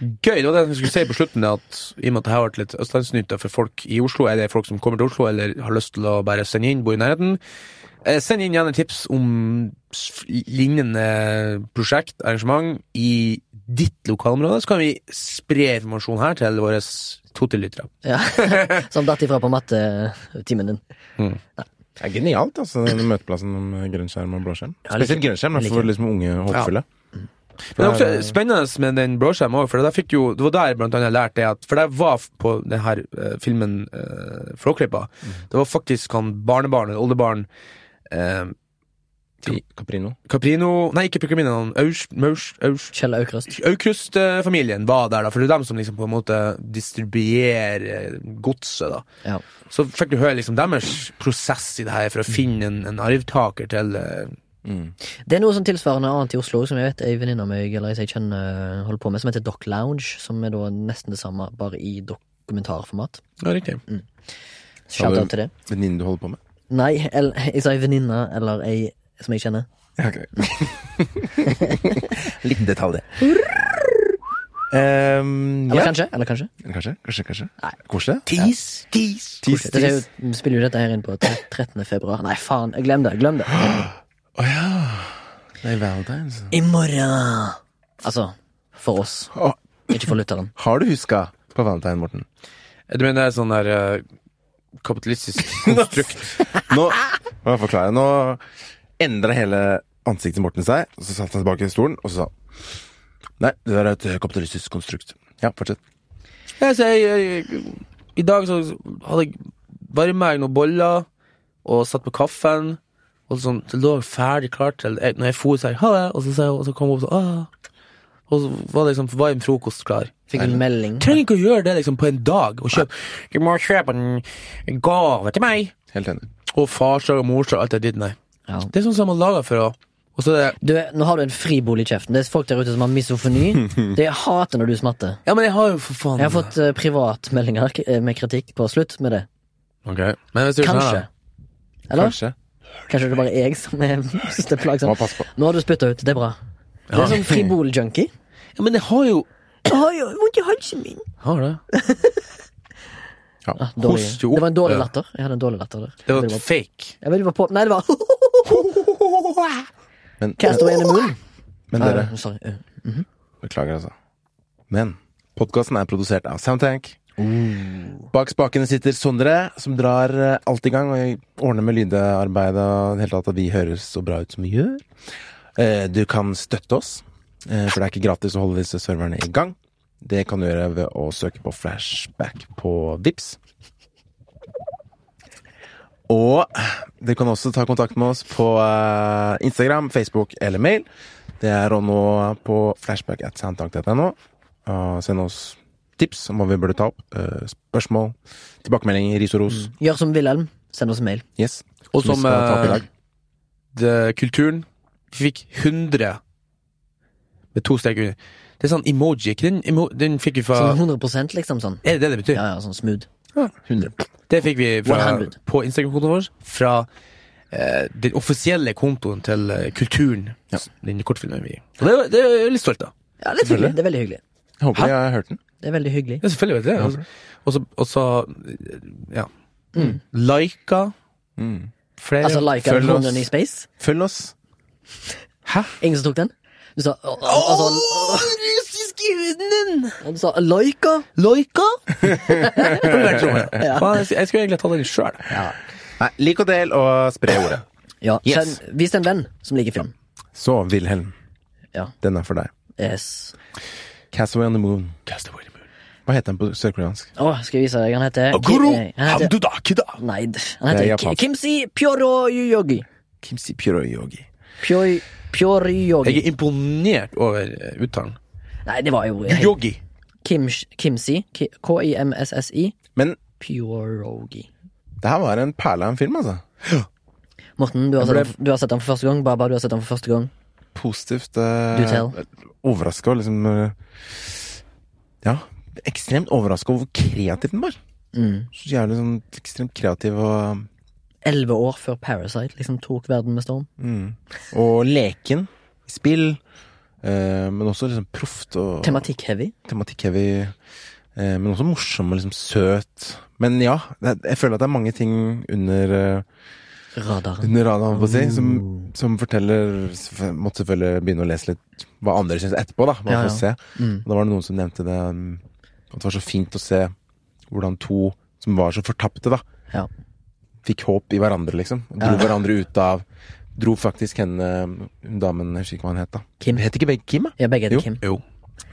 S3: Gøy, det var det jeg skulle si på slutten, det at i og med at dette har vært litt østlandsnytt da, for folk i Oslo, er det folk som kommer til Oslo eller har lyst til å bare sende inn, bor i nærheten, eh, send inn gjerne tips om s- lignende prosjekt, arrangement, i ditt lokalområde, så kan vi spre informasjon her til våre totilyttere.
S2: Ja. som datt ifra på mattetimen din.
S1: Det er genialt, altså, den møteplassen om grønnskjerm og blåskjerm.
S2: Ja, like-
S1: Spesielt grønnskjerm, da,
S2: like-
S1: for liksom unge og håpefulle.
S3: Men det
S1: eh,
S3: er også spennende med den blåskjermen også, for der fikk jo, det var der jeg blant annet jeg lærte det at For der var f- på denne filmen uh, Flåklypa. Det var faktisk han barnebarn, eller oldebarn eh,
S1: Ti- Caprino.
S3: Caprino Nei, ikke Caprino, han Aurs- Maurs- Aurs-
S2: Kjell Aukrust.
S3: Aukrust-familien var der, da, for det er dem som liksom på en måte distribuerer eh, godset. da.
S2: Ja.
S3: Så fikk du høre liksom deres prosess i det her for å finne en, en arvtaker til eh,
S2: Det er noe sånn tilsvarende annet i Oslo som jeg vet ei venninne av meg eller jeg kjenner holder på med, som heter Doc Lounge, som er da nesten det samme, bare i dokumentarformat.
S3: Ja, riktig.
S2: Shout
S1: Ja, det-
S2: out til det.
S1: Venninnen du holder på med?
S2: Nei, el- jeg sa ei venninne eller ei som jeg kjenner.
S1: Ja, ok. Liten detalj, det. Ehm,
S2: Eller
S1: ja.
S2: kanskje. eller kanskje
S1: Kanskje, kanskje, kanskje. Koselig?
S3: Tis, tis.
S1: Tis,
S2: Det er
S1: tis.
S2: jo, vi spiller jo dette her inn på tre- 13. februar. Nei, faen. jeg Glem det. glem det
S1: Å ja. Det er valentines.
S2: I morgen! Altså, for oss.
S1: Å,
S2: Ikke for lytteren.
S1: har du huska på valentine, Morten?
S3: Du mener det er sånn der eh, kapitalistisk konstrukt?
S1: Nå må jeg forklare. Nå endra hele ansiktet til Morten seg. og Så satte han tilbake i stolen og så sa han, Nei, det der er et kapitalistisk konstrukt. Ja, fortsett.
S3: Jeg sier altså, jeg- jeg- I dag så hadde jeg varma meg noen boller og satt på kaffen. Og sånn, det lå ferdig klart til jeg, Når jeg for, så jeg ha det, og så, sa jeg, og så kom hun sånn «Ah». Og så var det liksom varm frokost klar.
S2: Fikk en melding.
S3: Trenger ikke å gjøre det liksom på en dag. Og kjøpe Du må kjøpe en en gave til meg.
S1: Helt enig.
S3: Og farsdag og morsdag og alt det ditt. Nei.
S2: Ja.
S3: Det er sånn som man lager for å Og så er det
S2: Du, nå har du en fribol i kjeften. Det er folk der ute som har misofoni. Det jeg hater når du smatter.
S3: Ja, men jeg har jo for faen
S2: Jeg har fått eh, privatmeldinger k- eh, med kritikk på slutt med det.
S3: Ok. Men hvis du
S2: Kanskje. Eller? Kanskje,
S1: Kanskje.
S2: det er bare jeg som er, synes det er
S1: Må
S2: plagsomt.
S1: passe på.
S2: Nå har du spytta ut. Det er bra. Det
S3: Ja.
S2: er sånn fribol-junkie.
S3: Ja, men jeg har jo
S2: Vondt i halsen min.
S3: Har det.
S2: Ah, dårlig. Det
S3: Host jo opp,
S2: var en dårlig
S3: ja.
S2: latter. Jeg hadde en dårlig latter der.
S3: Det
S2: Jeg
S3: var
S2: ville bare-
S3: et fake.
S2: Jeg ville bare på Nei, det var
S1: Men,
S2: Cast away in the moon.
S1: men dere,
S2: Ah, sorry. Eh,
S1: beklager, altså. Men podkasten er produsert av Soundtank. Bak spakene sitter Sondre, som drar eh, alt i gang og ordner med lydearbeidet og i det hele tatt at vi høres så bra ut som vi gjør. Eh, Du kan støtte oss, eh, for det er ikke gratis å holde disse serverne i gang. Det kan du gjøre ved å søke på flashback på Vips. Og dere kan også ta kontakt med oss på eh, Instagram, Facebook eller mail. Det er å nå på flashback at soundtank.no. Og Eh, send oss tips om hva vi burde ta opp. eh, spørsmål, tilbakemeldinger, ris og ros.
S2: Gjør som Wilhelm. Send oss en mail.
S1: Yes.
S3: Og
S1: Som vi
S3: som
S1: skal ta opp i
S3: eh,
S1: dag.
S3: det- kulturen Vi fikk 100 med to strek under. Det er sånn emoji. ikke Den, emo, den fikk vi fra
S2: Sånn 100 liksom sånn.
S3: Er det det det betyr?
S2: Ja, ja, sånn smooth.
S1: 100.
S3: Det fikk vi fra,
S2: 100.
S3: på Instagram-kontoen vår fra eh, den offisielle kontoen til eh, Kulturen.
S1: Ja.
S3: Den kortfilmen vi Og det, det er jeg litt stolt av.
S2: Ja, litt hyggelig. Det er veldig hyggelig.
S1: Jeg håper
S3: Hæ?
S1: jeg har hørt den.
S2: Det er veldig hyggelig.
S3: Ja, selvfølgelig vet jeg det. altså. Og så- Og så ja. Lika
S1: Mm.
S3: flere.
S2: Altså, like
S1: følg oss.
S2: London i space.
S1: Følg oss.
S3: Hæ?
S2: Ingen som tok den? Du sa al- altså,
S3: russiske hunden!
S2: Du sa Laika.
S3: Loika? Jeg skulle egentlig ta den sjøl.
S1: Nei, lik og del, og spre ordet.
S2: Ja,
S1: Yes.
S2: send, vis til en venn som liker film.
S1: Så, Wilhelm,
S2: Ja.
S1: den er for deg.
S2: Yes.
S1: Castaway on the Moon. Hva heter den på sørkoreansk?
S2: Å, skal jeg vise deg? Han heter Ki- eh, han heter, Nei, d- han
S1: Det er
S2: heter
S1: japansk.
S2: Ki- Kimsi Pyoroyogi.
S1: Kimsi Pyroyogi.
S2: Pyoi-
S3: Jeg
S2: Pyoroyogi.
S3: er imponert over eh, uttalen.
S2: Nei, det var jo helt-
S3: Yogi.
S2: Kim, Kimsi. Ki- K-i-m-s-s-i.
S1: Men
S2: Pyorogi.
S1: det her var en perle av en film, altså.
S2: Morten, du har,
S1: Jeg ble-
S2: sett den, du har sett den for første gang. Baba, du har sett den for første gang.
S1: Positivt.
S2: Du tell.
S1: Eh, overraska og liksom eh, Ja, ekstremt overraska over hvor kreativ den var.
S2: Mm.
S1: Så jævlig sånn ekstremt kreativ og
S2: Elleve år før Parasite liksom tok verden med storm.
S1: mm, Og leken. Spill. eh, men også liksom proft og
S2: Tematikk-heavy.
S1: tematikk-heavy, eh, men også morsom og liksom søt. Men ja, det, jeg føler at det er mange ting under, eh,
S2: Radaren.
S1: under radaren, holdt på å si, som, som forteller selvfø- Måtte selvfølgelig begynne å lese litt hva andre syns etterpå, da. Bare
S2: Ja,
S1: for å se.
S2: Mm.
S1: Og da var det noen som nevnte det, mm, at det var så fint å se hvordan to som var så fortapte, da,
S2: Ja.
S1: fikk håp i hverandre, liksom. Og dro
S2: Ja.
S1: hverandre ut av Dro faktisk henne hun damen, jeg husker ikke hva hun het, da.
S2: Kim.
S1: Heter ikke begge Kim, da?
S2: Ja, begge heter
S1: Jo.
S2: Kim.
S3: Jo.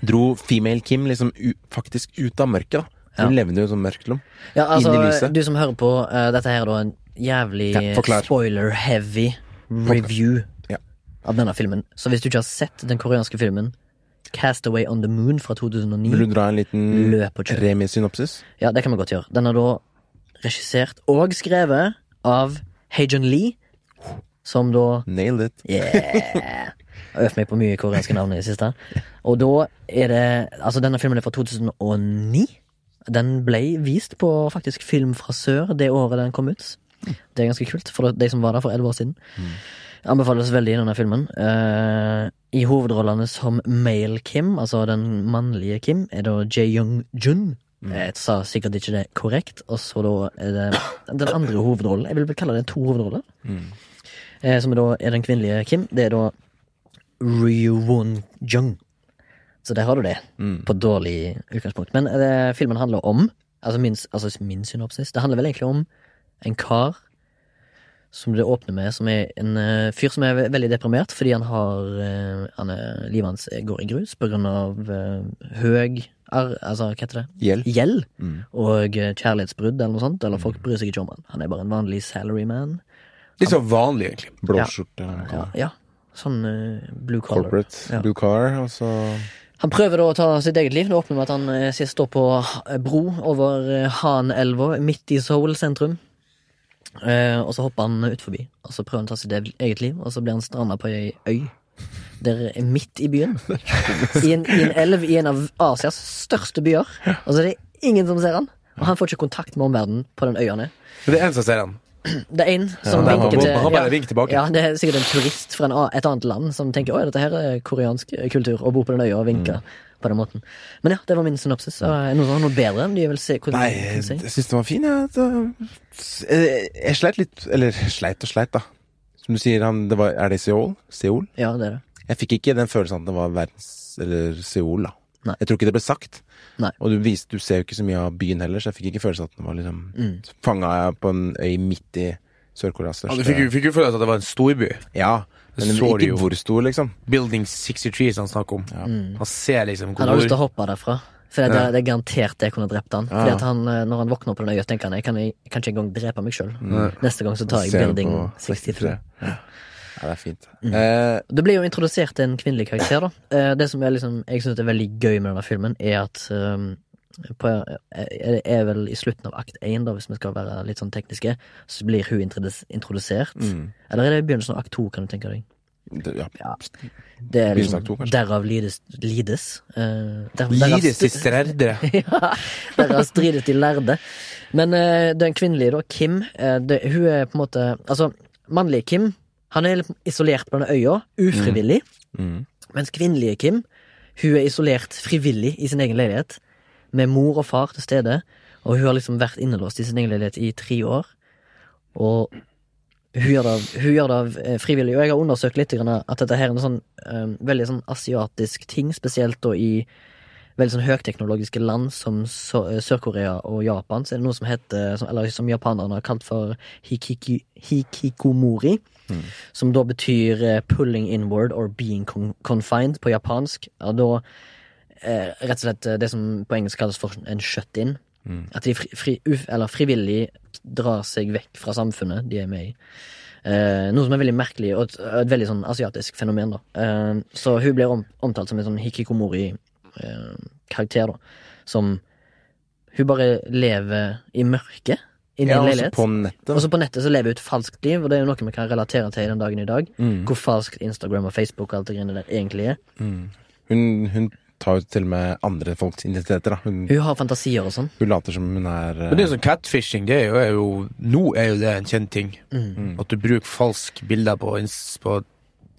S1: dro female Kim liksom u faktisk ut av mørket. da
S2: Ja.
S1: Hun levde jo som mørkt lom.
S2: Ja, altså,
S1: Inn i lyset.
S2: Du som hører på, eh, dette her er da en jævlig
S1: Ja, forklar.
S2: spoiler-heavy review
S1: Ja.
S2: av denne filmen. Så hvis du ikke har sett den koreanske filmen Castaway on the Moon fra 2009
S1: Vil du dra en liten
S2: Løp og kjør.
S1: remisynopsis?
S2: Ja, det kan vi godt gjøre. Den er da regissert og skrevet av Heijun Lee, som da
S1: Nailed it.
S2: Yeah. Jeg har øvd meg på mye koreanske navn i det siste. Og da er det Altså, denne filmen er fra 2009. Den ble vist på faktisk Film fra sør det året den kom ut. Det er ganske kult for de som var der for elleve år siden. Anbefales veldig denne filmen. Eh, I hovedrollene som Male Kim, altså den mannlige Kim, er da Jae Young Jun. Jeg sa sikkert ikke det korrekt. Og så da er det den andre hovedrollen. Jeg vil vel kalle det to hovedroller. Eh, som da er den kvinnelige Kim. Det er da Ryuwon Jung. Så der har du det, på dårlig utgangspunkt. Men eh, filmen handler om altså min, altså min synopsis. Det handler vel egentlig om en kar som det åpner med, som er en eh, fyr som er ve- veldig deprimert fordi han har eh, han er, Livet hans går i grus på grunn av eh, høy ar, Altså, hva heter det?
S1: Gjeld. Mm.
S2: gjeld og eh, kjærlighetsbrudd eller noe sånt. Eller folk bryr seg ikke om han. Han er bare en vanlig salaryman.
S3: Litt så vanlig, egentlig.
S1: Blå
S2: Ja.
S1: skjorte.
S2: Ja, ja. Sånn eh, blue collar.
S1: Corporate.
S2: Ja.
S1: Blue car. altså. Og så
S2: Han prøver da å ta sitt eget liv. Det åpner med at han eh, sist står på eh, bro over eh, Hanelva, midt i Seoul sentrum. Eh, og så hopper han ut forbi, og så prøver han å ta sitt ev- eget liv, og så blir han stranda på ei øy. Der er midt i byen. I en, I en elv i en av Asias største byer. Og så er det ingen som ser han. Og han får ikke kontakt med omverdenen på den øya han er.
S3: Men det er en som ser den.
S2: Det er en som
S1: Ja, han
S2: vinker
S1: bare-
S2: til
S3: han bare
S2: ja.
S3: vinker tilbake.
S2: Ja, det er sikkert en turist fra en, a- et annet land som tenker at dette her er koreansk eh, kultur, og bor på den øya og vinker
S1: Mm.
S2: på den måten. Men ja, det var min synopsis. Og er det noen som har noe bedre? De vil se hvordan
S1: Nei,
S2: de sier.
S1: jeg syns den var fin, jeg. Ja. Jeg, jeg sleit litt Eller sleit og sleit, da. Som du sier, han, det var, er det i Seoul? Seoul?
S2: Ja, det er det.
S1: Jeg fikk ikke den følelsen at det var verdens Eller Seoul, da.
S2: Nei.
S1: Jeg tror ikke det ble sagt.
S2: Nei.
S1: Og du, vis- du ser jo ikke så mye av byen heller, så jeg fikk ikke følelsen at den var liksom
S2: Mm.
S1: fanga på en øy midt i Sør-Koreas
S3: Ja,
S1: største
S3: du fikk jo fikk jo følelsen at det var en storby.
S1: Ja, men
S3: Så
S1: ikke
S3: det jo.
S1: hvor stor, liksom.
S3: Building 63 som han snakker om. Han ser liksom
S2: Mm. Han har lyst til
S3: hvor
S2: å hoppe derfra. For det, det er garantert det kunne drept han. Fordi
S1: Ja.
S2: at han, eh, Når han våkner på den øya, tenker han jeg kan, jeg kan ikke engang drepe meg
S3: Mm.
S2: sjøl. Neste gang så tar jeg
S1: Mm. Ser du
S2: Building
S1: på
S2: 63.
S1: Ja, Ja, det er fint. Eh,
S2: Det blir jo introdusert en kvinnelig karakter, da. Eh, Det som er liksom, jeg syns er veldig gøy med denne filmen, er at eh, på, er er vel i slutten av akt 1, da, hvis vi skal være litt sånn tekniske, så blir hun introdus- introdusert.
S1: Mm.
S2: Eller er det i begynnelsen av akt 2, kan du tenke deg?
S1: Det- Ja.
S2: Ja. Det er
S1: Begynnelsen av
S2: liksom,
S1: akt 2, kanskje?
S2: derav lides. lides eh, der, derav
S3: Lides
S2: stu-
S3: i strerdre.
S2: ja, derav strides de lærde. Men eh, den kvinnelige, da, Kim, eh, det, hun er på en måte Altså, mannlige Kim, han er litt isolert på denne øya, ufrivillig.
S1: Mm.
S2: Mens kvinnelige Kim Hun er isolert frivillig i sin egen leilighet Med mor og far til stede Og hun har liksom vært innelåst i sin egen leilighet i tre år Og hun gjør det, av- hun gjør det av, eh, frivillig Og jeg har undersøkt litt grann at dette her er en sånn eh, Veldig sånn asiatisk ting Spesielt da i veldig sånn høyteknologiske land Som så, eh, Sør-Korea og Japan Så er det noe som heter som, Eller som japanerne har kalt for hikiki, Hikikomori som da betyr eh, 'pulling inward' or 'being con confined' på japansk. Ja, da eh, rett og slett eh, det som på engelsk kalles for en shut-in. At de fri, fri, uf, eller frivillig drar seg vekk fra samfunnet de er med i. Eh, noe som er veldig merkelig, og et, et veldig sånn asiatisk fenomen. da eh, Så hun blir om, omtalt som en sånn hikikomori-karakter, da. Som Hun bare lever i mørket inni
S1: Ja,
S2: en
S1: også
S2: leilighet.
S1: på nettet.
S2: Og så på nettet så lever vi et falskt liv, og det er jo noe vi kan relatere til den dagen i dag.
S1: Mm.
S2: Hvor falskt Instagram og Facebook og alt det greiene der egentlig er.
S1: mm. Hun, hun tar jo til og med andre folks identiteter. Da. Hun,
S2: Hun har fantasier og sånn.
S1: hun later som hun er
S3: Men
S1: eh,
S3: det er jo sånn catfishing. Det er jo, er jo, nå er jo det en kjent ting. At du bruker falsk bilder på, ins- på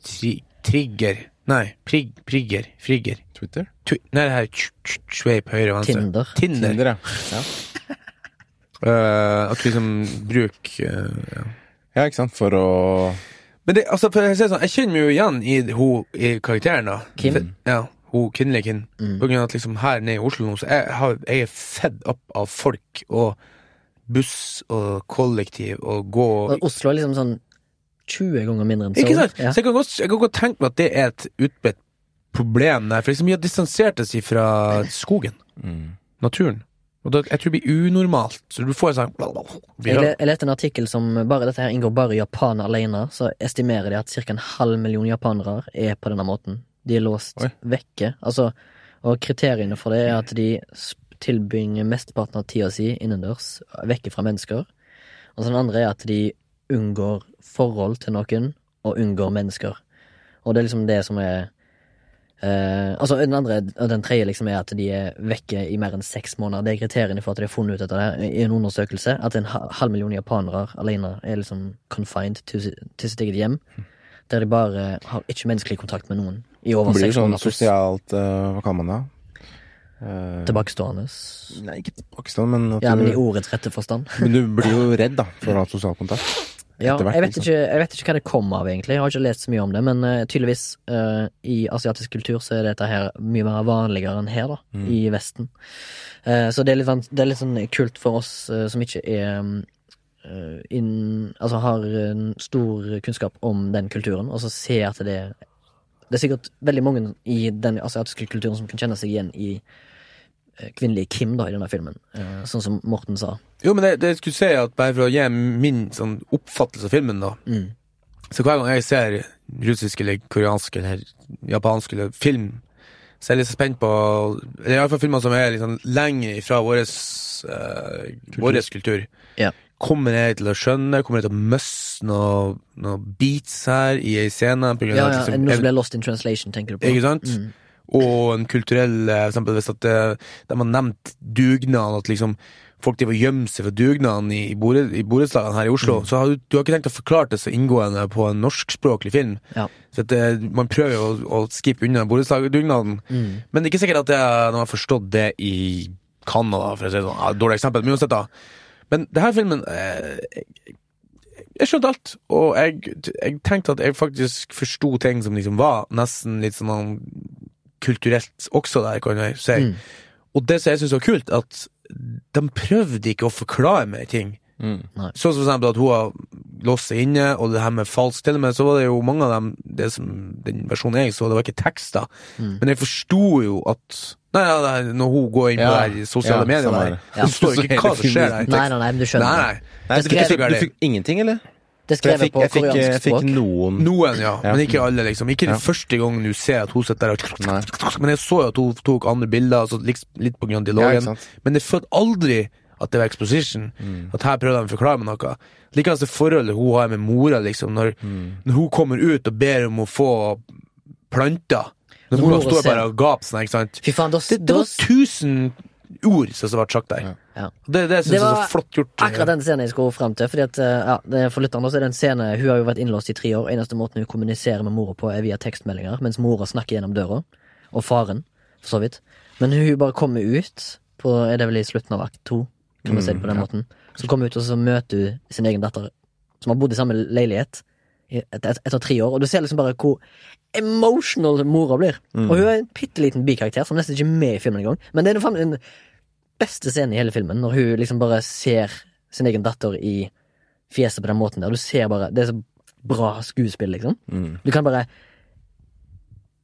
S3: tri, trigger Nei, prig, prigger. Frigger.
S1: eh, Twitter.
S3: Twi nei, det her tj- tj- sveip høyre venstre.
S2: Tinder.
S3: Altså, Tinder.
S1: Tinder, ja. ja.
S3: Eh, at du liksom bruker eh, ja.
S1: Ja, ikke sant. For å
S3: Men det, altså, for å si det sånn, jeg kjenner meg jo igjen i hun i karakteren, da.
S2: Kim? Mm.
S3: For, ja, hun kvinnelige Kim. På grunn av at liksom her nede i Oslo nå, så jeg, har, jeg er fedd opp av folk og buss og kollektiv og gå
S2: Og Oslo er liksom sånn 20 ganger mindre enn
S3: Ikke sant?
S2: Ja.
S3: Så jeg kan, godt, jeg kan godt tenke meg at det er et utbredt problem der. For liksom, vi har distansert oss fra skogen. Naturen. Og da, jeg tror det blir unormalt. Så du får en sånn
S2: Jeg, le- jeg leste en artikkel som bare dette her inngår bare i Japan alene. Så estimerer de at ca. en halv million japanere er på denne måten. De er låst
S1: Oi.
S2: vekke. Altså, og kriteriene for det er at de s- tilbringer mesteparten av tida si innendørs, vekke fra mennesker. Og så den andre er at de unngår forhold til noen, og unngår mennesker. Og det er liksom det som er eh, altså Den andre og den tredje liksom er at de er vekke i mer enn seks måneder. Det er kriteriene for at de har funnet ut dette her i en undersøkelse. At en ha- halv million japanere alene er liksom confined til, si- til sitt eget hjem. Der de bare har ikke menneskelig kontakt med noen i over
S1: Hun blir
S2: seks
S1: jo sånn
S2: måneder. pluss.
S1: sosialt eh, Hva kaller man det? Eh,
S2: Tilbakestående.
S1: Nei, ikke tilbakestående, men at
S2: Ja, men i
S1: du,
S2: ordets rette forstand.
S1: men du blir jo redd da for å ha sosial kontakt.
S2: Ja,
S1: Etter hvert,
S2: jeg, vet
S1: liksom.
S2: ikke, jeg vet ikke hva det kom av, egentlig. Jeg har ikke lest så mye om det, men eh, tydeligvis eh, i asiatisk kultur så er dette her mye mer vanligere enn her, da,
S1: Mm.
S2: i Vesten. Eh, så det er, litt, vans- det er litt sånn kult for oss eh, som ikke er mm, eh, inn, Altså har en stor kunnskap om den kulturen, og så se at det er Det er sikkert veldig mange i den asiatiske kulturen som kan kjenne seg igjen i eh, kvinnelige Kim, da, i denne filmen, eh, sånn som Morten sa.
S3: Jo, men det, det jeg skulle si at bare for å gi min sånn, oppfattelse av filmen, da.
S2: Mm.
S3: Så hver gang jeg ser russisk eller koreansk eller japansk eller film, så er jeg litt så spent på Eller iallfall filmer som er litt sånn lenger ifra vår kultur. kultur.
S2: Ja.
S3: Kommer jeg til å skjønne? Kommer jeg til å miste noe, noe beats her i ei scene? På grunn
S2: Ja,
S3: av
S1: altså,
S2: ja,
S3: at liksom-
S2: noe som ble lost in translation, tenker du på.
S3: Ikke sant?
S2: Mm.
S3: og en kulturell eh, For eksempel hvis at eh, de har nevnt dugnad, at liksom folk driver og gjemmer seg for dugnaden i, i bore- i borettslagene her i Oslo,
S2: Mm.
S3: så har du, du har ikke tenkt å forklare det så inngående på en norskspråklig film.
S2: Ja.
S3: Så at, eh, man prøver jo å, å skippe unna borettslagdugnaden,
S2: Mm.
S3: men det er ikke sikkert at jeg, de har forstått det i Canada, for å si det sånn. Ja, dårlig eksempel, men uansett, da. Men det her filmen eh, jeg skjønte alt, og jeg, jeg tenkte at jeg faktisk forsto ting som liksom var nesten litt sånn kulturelt også der, kan jeg si.
S2: Mm.
S3: Og det som jeg syns var kult, at de prøvde ikke å forklare meg ting.
S2: Nei.
S3: Sånn som for eksempel at hun har låst seg inne, og det her med falsk Til og med så var det jo mange av dem det som, Den versjonen jeg så, det var ikke tekster.
S2: Mm.
S3: Men jeg forsto jo at Nei, ja, det er når hun går inn på
S1: Ja.
S3: det her sosiale
S1: Ja,
S3: medier
S1: samme
S3: der,
S1: her.
S2: Ja.
S3: så står det
S1: Så
S3: ikke hva
S1: hele
S3: som skjer der.
S1: filmen-
S2: Nei, nei, nei, men du skjønner.
S3: Nei, nei.
S1: Nei,
S2: Det
S1: du,
S2: skrev-
S1: fikk, du fikk ingenting, eller?
S2: Det
S1: For
S2: skrev
S1: jeg
S2: jeg
S1: fikk,
S2: på
S1: jeg fikk, eh, jeg
S2: koreansk
S1: fikk
S2: språk.
S1: noen
S3: Noen, ja.
S1: Ja.
S3: Men ikke alle, liksom. Ikke
S1: Ja.
S3: den første gangen du ser at hun sitter der og
S1: Nei.
S3: Men jeg så jo at hun tok andre bilder, altså, liks- litt på grunn av
S1: Ja,
S3: dialogen.
S1: ikke sant. Mm.
S3: men jeg følte aldri at det var exposition. At her prøvde de å forklare meg noe. Likevel det forholdet hun har med mora, liksom, når,
S1: Mm.
S3: når hun kommer ut og ber om å få planter.
S2: Når
S3: Når mora
S2: mora
S3: står
S2: ser-
S3: bare og gaper sånn, ikke sant.
S2: Fy faen, da,
S3: Det, det
S2: da
S3: var tusen ord som ble sagt der.
S2: Ja.
S3: Det,
S2: Det
S3: det syns jeg er
S2: var
S3: så flott gjort.
S2: Akkurat den scenen jeg skulle frem til. Fordi at, eh, ja, det- For lytterne så er det en scene Hun har jo vært innlåst i tre år. Eneste måten hun kommuniserer med mora på, er via tekstmeldinger. Mens mora snakker gjennom døra. Og faren, for så vidt. Men hun bare kommer ut, på, er det vel i slutten av akt to, kan man si det på den måten. Så kommer hun ut, og så møter hun sin egen datter, som har bodd i samme leilighet i- et- et- etter tre år. Og du ser liksom bare hvor emotional mora blir. Og hun er en bitte liten bikarakter som nesten ikke er med i filmen engang. Men det er den, den beste scenen i hele filmen, når hun liksom bare ser sin egen datter i fjeset på den måten der. Du ser bare Det er så bra skuespill, liksom.
S1: Mm.
S2: Du kan bare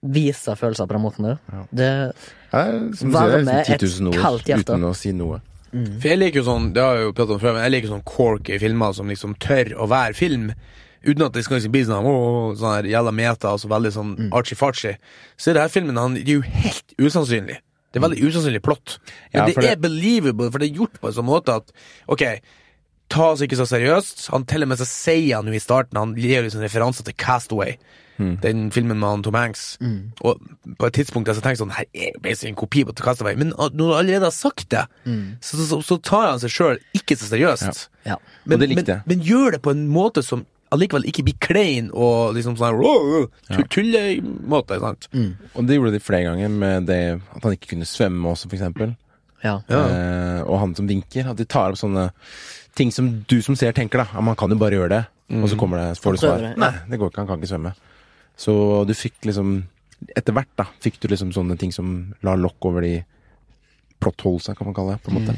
S2: vise følelser på den måten der. Det
S1: Ja, som du
S2: Varme,
S1: sier, det er 10 000
S2: et kaldt
S1: ord
S2: hjerte.
S1: uten å si noe.
S3: For jeg liker jo sånn, det har jeg jo pratet om før, men jeg liker sånn corky filmer som liksom tør å være film, uten at det skal liksom bli sånn, åh, åh, sånn her jævla meta, altså veldig sånn
S1: Mm.
S3: artsy-fartsy. Så er det her filmen, han det er jo helt usannsynlig. Det er veldig usannsynlig plott. Men
S1: Mm. Ja,
S3: det,
S1: for det-
S3: er believable, for det er gjort på en sånn måte at, ok, ta oss ikke så seriøst, han til og med så sier han jo i starten, han gir liksom referanser til Castaway, den filmen med han Tom Hanks. Og på et tidspunkt der så tenkte jeg sånn Her er jo basically en kopi på Castaway. Men ah, når du allerede har sagt det, så, så, så tar han seg sjøl ikke så seriøst.
S2: Ja.
S1: Og det likte jeg.
S3: Men, men gjør det på en måte som allikevel ikke blir klein og liksom sånn her, «Åh, åh», tu- tullemåte. Sant?
S1: Og det gjorde de flere ganger med det at han ikke kunne svømme også, for eksempel.
S2: Ja.
S3: Ja.
S1: Eh, og han som vinker. At de tar opp sånne ting som du som ser tenker, da. Ja, man kan jo bare gjøre det. Og så kommer det, får du
S2: Mm. Han prøver
S1: svar.
S2: det, ja.
S1: Nei, det går ikke, han kan ikke svømme. Så du fikk liksom Etter hvert da, fikk du liksom sånne ting som la lokk over de plottholesa, kan man kalle det. på en måte.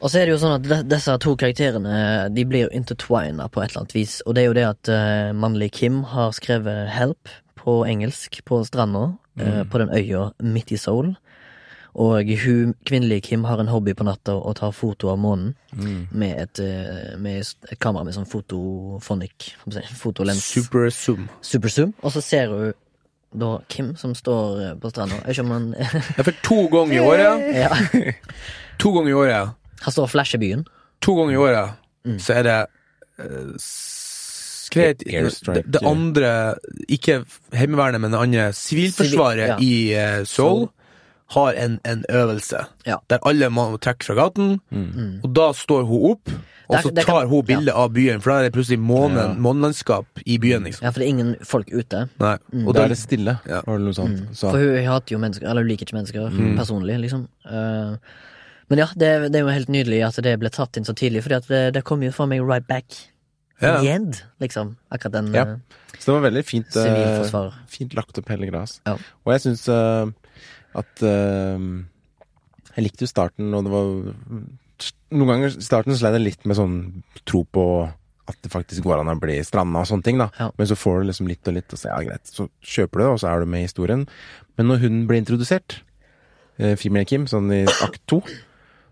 S2: Og så er det jo sånn at de, disse to karakterene De blir jo intertwina på et eller annet vis. Og det er jo det at uh, mannlig Kim har skrevet 'Help' på engelsk på stranda. eh, på den øya midt i Seoul. Og hun kvinnelige Kim har en hobby på natta og tar foto av månen med, et, eh, med et kamera med sånn fotofonic fotolens.
S3: Super zoom.
S2: Superzoom. Og så ser hun da Kim som står eh, på stranda. Jeg vet ikke om han
S3: Ja, for to ganger i året
S2: ja.
S3: To ganger i året
S2: Han står og flasher byen.
S3: To ganger i året
S2: Mm.
S3: så er det eh, skred,
S1: Airstrike,
S3: det, det
S1: ja.
S3: andre, ikke Heimevernet, men det andre sivilforsvaret i eh, Seoul, har en, en øvelse
S2: Ja. Mm.
S3: der alle må trekke fra gaten, og da står hun opp, og
S2: Der-
S3: så
S2: der kan-
S3: tar hun bilde av byen, for da er det plutselig månen, månelandskap i byen, liksom.
S2: Ja, for det er ingen folk ute.
S3: Nei.
S2: Mm.
S3: Og
S1: Da
S3: da,
S1: er det stille,
S3: Ja.
S1: var det noe sånt. Så, Mm.
S2: For hun hater jo mennesker, eller hun liker ikke mennesker personlig, liksom. Eh, men ja, det, er- det er jo helt nydelig at det ble tatt inn så tidlig, for det, det kom jo for meg right back.
S3: Ja.
S2: The end, liksom. Akkurat den
S1: Ja.
S2: eh,
S1: så det var veldig fint. eh,
S2: sivilforsvar.
S1: Fint lagt opp hele gras.
S2: Ja.
S1: Og jeg syns at eh, Jeg likte jo starten, og det var Noen ganger i starten så sleit jeg litt med sånn tro på at det faktisk går an å bli stranda og sånne ting, da.
S2: Ja.
S1: Men så får du liksom litt og litt, og så ja, greit, så kjøper du det, og så er du med i historien. Men når hun ble introdusert, eh, Female Kim, sånn i akt to,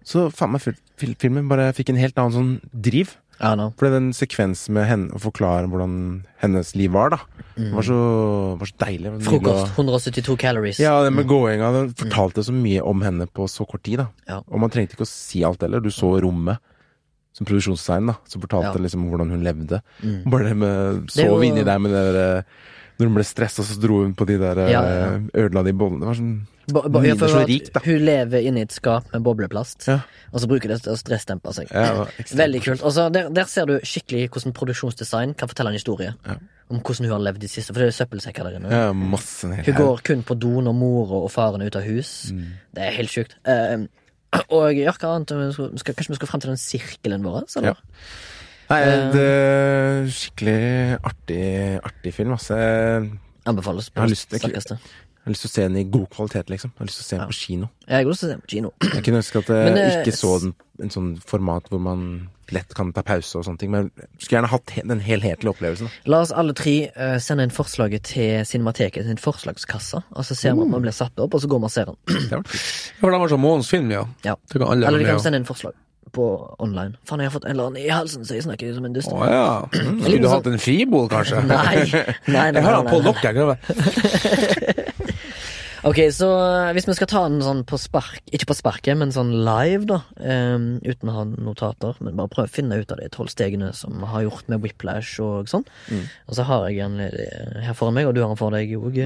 S1: så faen meg fil- fil- filmen bare fikk en helt annen sånn driv.
S2: Ja, no.
S1: For det er den sekvensen med henne å forklare hvordan hennes liv var, da. Det var så, var så deilig. og nydelig
S2: Mm. Frokost. Mm.
S1: og-
S2: 172 calories.
S1: Ja, det med gåinga. Den fortalte så mye om henne på så kort tid, da.
S2: Ja.
S1: Og man trengte ikke å si alt heller. Du så rommet som produksjonstegn, da. Som fortalte
S2: Ja. Mm.
S1: liksom hvordan hun levde. Bare det med
S2: Det er jo-
S1: Sov inni der med det der, eh, Når hun ble stressa, så dro hun på de der eh,
S2: Ja, ja, ja.
S1: Ødela de bollene. Det var sånn
S2: Ba- ba-
S1: Mine
S2: for
S1: så
S2: at
S1: rik, da.
S2: Hun lever inni et skap med bobleplast,
S1: Ja.
S2: og så bruker det til å stressdempe seg.
S1: Ja, ekstremt.
S2: Veldig kult. Og så der, der ser du skikkelig hvordan produksjonsdesign kan fortelle en historie. Om hvordan hun har levd de siste, for det er søppelsekker der inne.
S1: ja, masse ned.
S2: Hun går kun på do når mora og faren er ute av hus. Det er helt sjukt. Eh, og ja, hva annet? Vi skal- Skal, kanskje vi skal frem til den sirkelen vår? Eller?
S1: Ja. Nei,
S2: Eh.
S1: det er skikkelig artig, artig film, altså. Jeg
S2: Anbefales på
S1: har
S2: det
S1: lyst til-
S2: sterkeste.
S1: har lyst til å se den i god kvalitet, liksom. Jeg har lyst til å se den på kino.
S2: Jeg har også lyst til å se den på kino.
S1: Jeg kunne ønske at jeg
S2: Men, eh,
S1: ikke så den, en sånn format hvor man lett kan ta pause og sånne ting, men jeg skulle gjerne hatt he- den helhetlige opplevelsen. da.
S2: La oss alle tre eh, sende inn forslaget til Cinemateket sin forslagskasse, og så ser vi om man blir satt opp, og så går vi og ser den.
S1: Det var kult.
S3: for det var sånn månens film, ja.
S2: Ja.
S3: Det kan alle
S2: Mm. Eller de
S3: være
S2: kan
S3: med, ja.
S2: sende inn forslag. på online. Faen, jeg har fått en eller annen i halsen, så jeg snakker jo som en dust.
S3: Å ja. Skulle du hatt en fribol, kanskje?
S2: Nei, nei, nei,
S3: Jeg har
S2: nei,
S3: han
S2: nei,
S3: Pål
S2: nei.
S3: Lock, jeg. kan jeg-
S2: Ok, så eh, hvis vi skal ta den sånn på spark Ikke på sparket, men sånn live, da. em, uten å ha notater, men bare prøve å finne ut av de tolv stegene som vi har gjort med whiplash og sånn.
S3: Mm.
S2: Og så har jeg en ledig eh, her foran meg, og du har den for deg òg.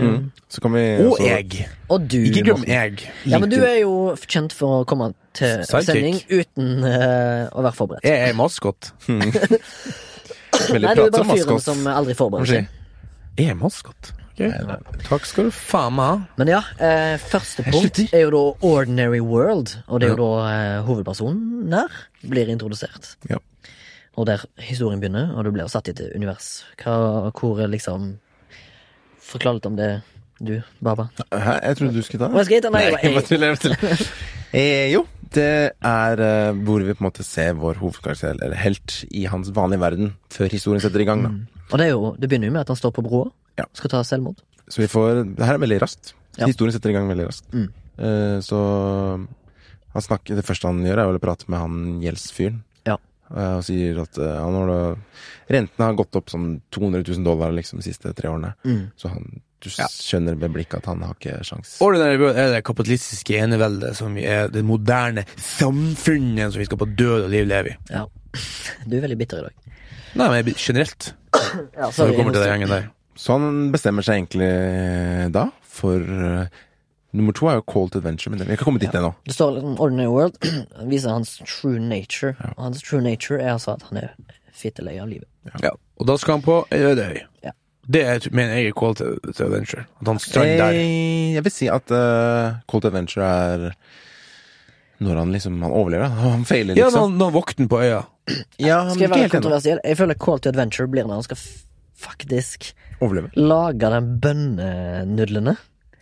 S1: Så kan vi
S3: Og
S1: også-
S3: egg.
S2: Og du.
S3: Mm. Ikke glem
S2: Morten.
S3: egg.
S2: Ja, men du er jo kjent for å komme til
S3: Sidekick.
S2: sending uten eh, å være forberedt.
S3: Jeg er maskot.
S1: Veldig
S2: Nei, du er
S1: pratsom
S2: bare fyren
S1: maskot.
S2: som aldri forbereder
S1: Kanskje.
S2: seg.
S3: Jeg er maskot. Ok. Takk skal du faen meg ha.
S2: Men ja, eh, første punkt
S1: slutter.
S2: er jo da Ordinary World, og det er jo da eh, hovedpersonen der blir introdusert.
S1: Ja.
S2: Og der historien begynner, og du blir satt i et univers. Hva, hvor er liksom Forklar litt om det, du, Baba.
S1: Hæ, jeg trodde du skulle ta
S2: Hva skal jeg ta? Nei, jeg-
S1: bare tuller, jeg bare tuller. Eh, jo, det er eh, hvor vi på en måte ser vår hovedkarakter, eller helt, i hans vanlige verden før historien setter i gang. da.
S2: Og det, er jo, det begynner jo med at han står på broa,
S1: Ja.
S2: skal ta selvmord.
S1: Så vi får Det her er veldig raskt.
S2: Ja.
S1: Historien setter i gang veldig raskt.
S2: Mm.
S1: Eh, så han snakker, det første han gjør, er vel å prate med han gjeldsfyren.
S2: Ja.
S1: Eh, og sier at eh, han har da rentene har gått opp sånn 200 000 dollar liksom, de siste tre årene.
S2: Mm.
S1: Så han, du skjønner ved blikket at han har ikke sjans.
S3: Ordinary World er det kapitalistiske eneveldet som vi er det moderne samfunnet som vi skal på død og liv leve i.
S2: Ja. Du er veldig bitter i dag.
S3: Nei, men generelt,
S2: Ja,
S3: når det kommer til den gjengen der.
S1: Så han bestemmer seg egentlig eh, da for eh, Nummer to er jo Call to Adventure, men det- vi har ikke kommet dit ennå.
S2: Det står liksom Ordinary World viser hans true nature. Og hans true nature er altså at han er fittelei av livet.
S3: Ja. Og da skal han på eh, ei øde øy.
S2: Ja.
S3: Det er, mener jeg er call to, to adventure. At han
S2: Eh,
S3: strander der.
S1: Jeg, jeg vil si at eh, Call to Adventure er når han liksom han overlever. da. Han feiler,
S3: Ja,
S1: liksom.
S3: når når vokten på øya.
S1: Ja, men
S2: Skal jeg
S1: ikke helt
S2: være
S1: ennå.
S2: kontroversiell? Jeg føler Call to Adventure blir når han skal f- faktisk
S1: Overleve.
S2: lage de bønnenudlene.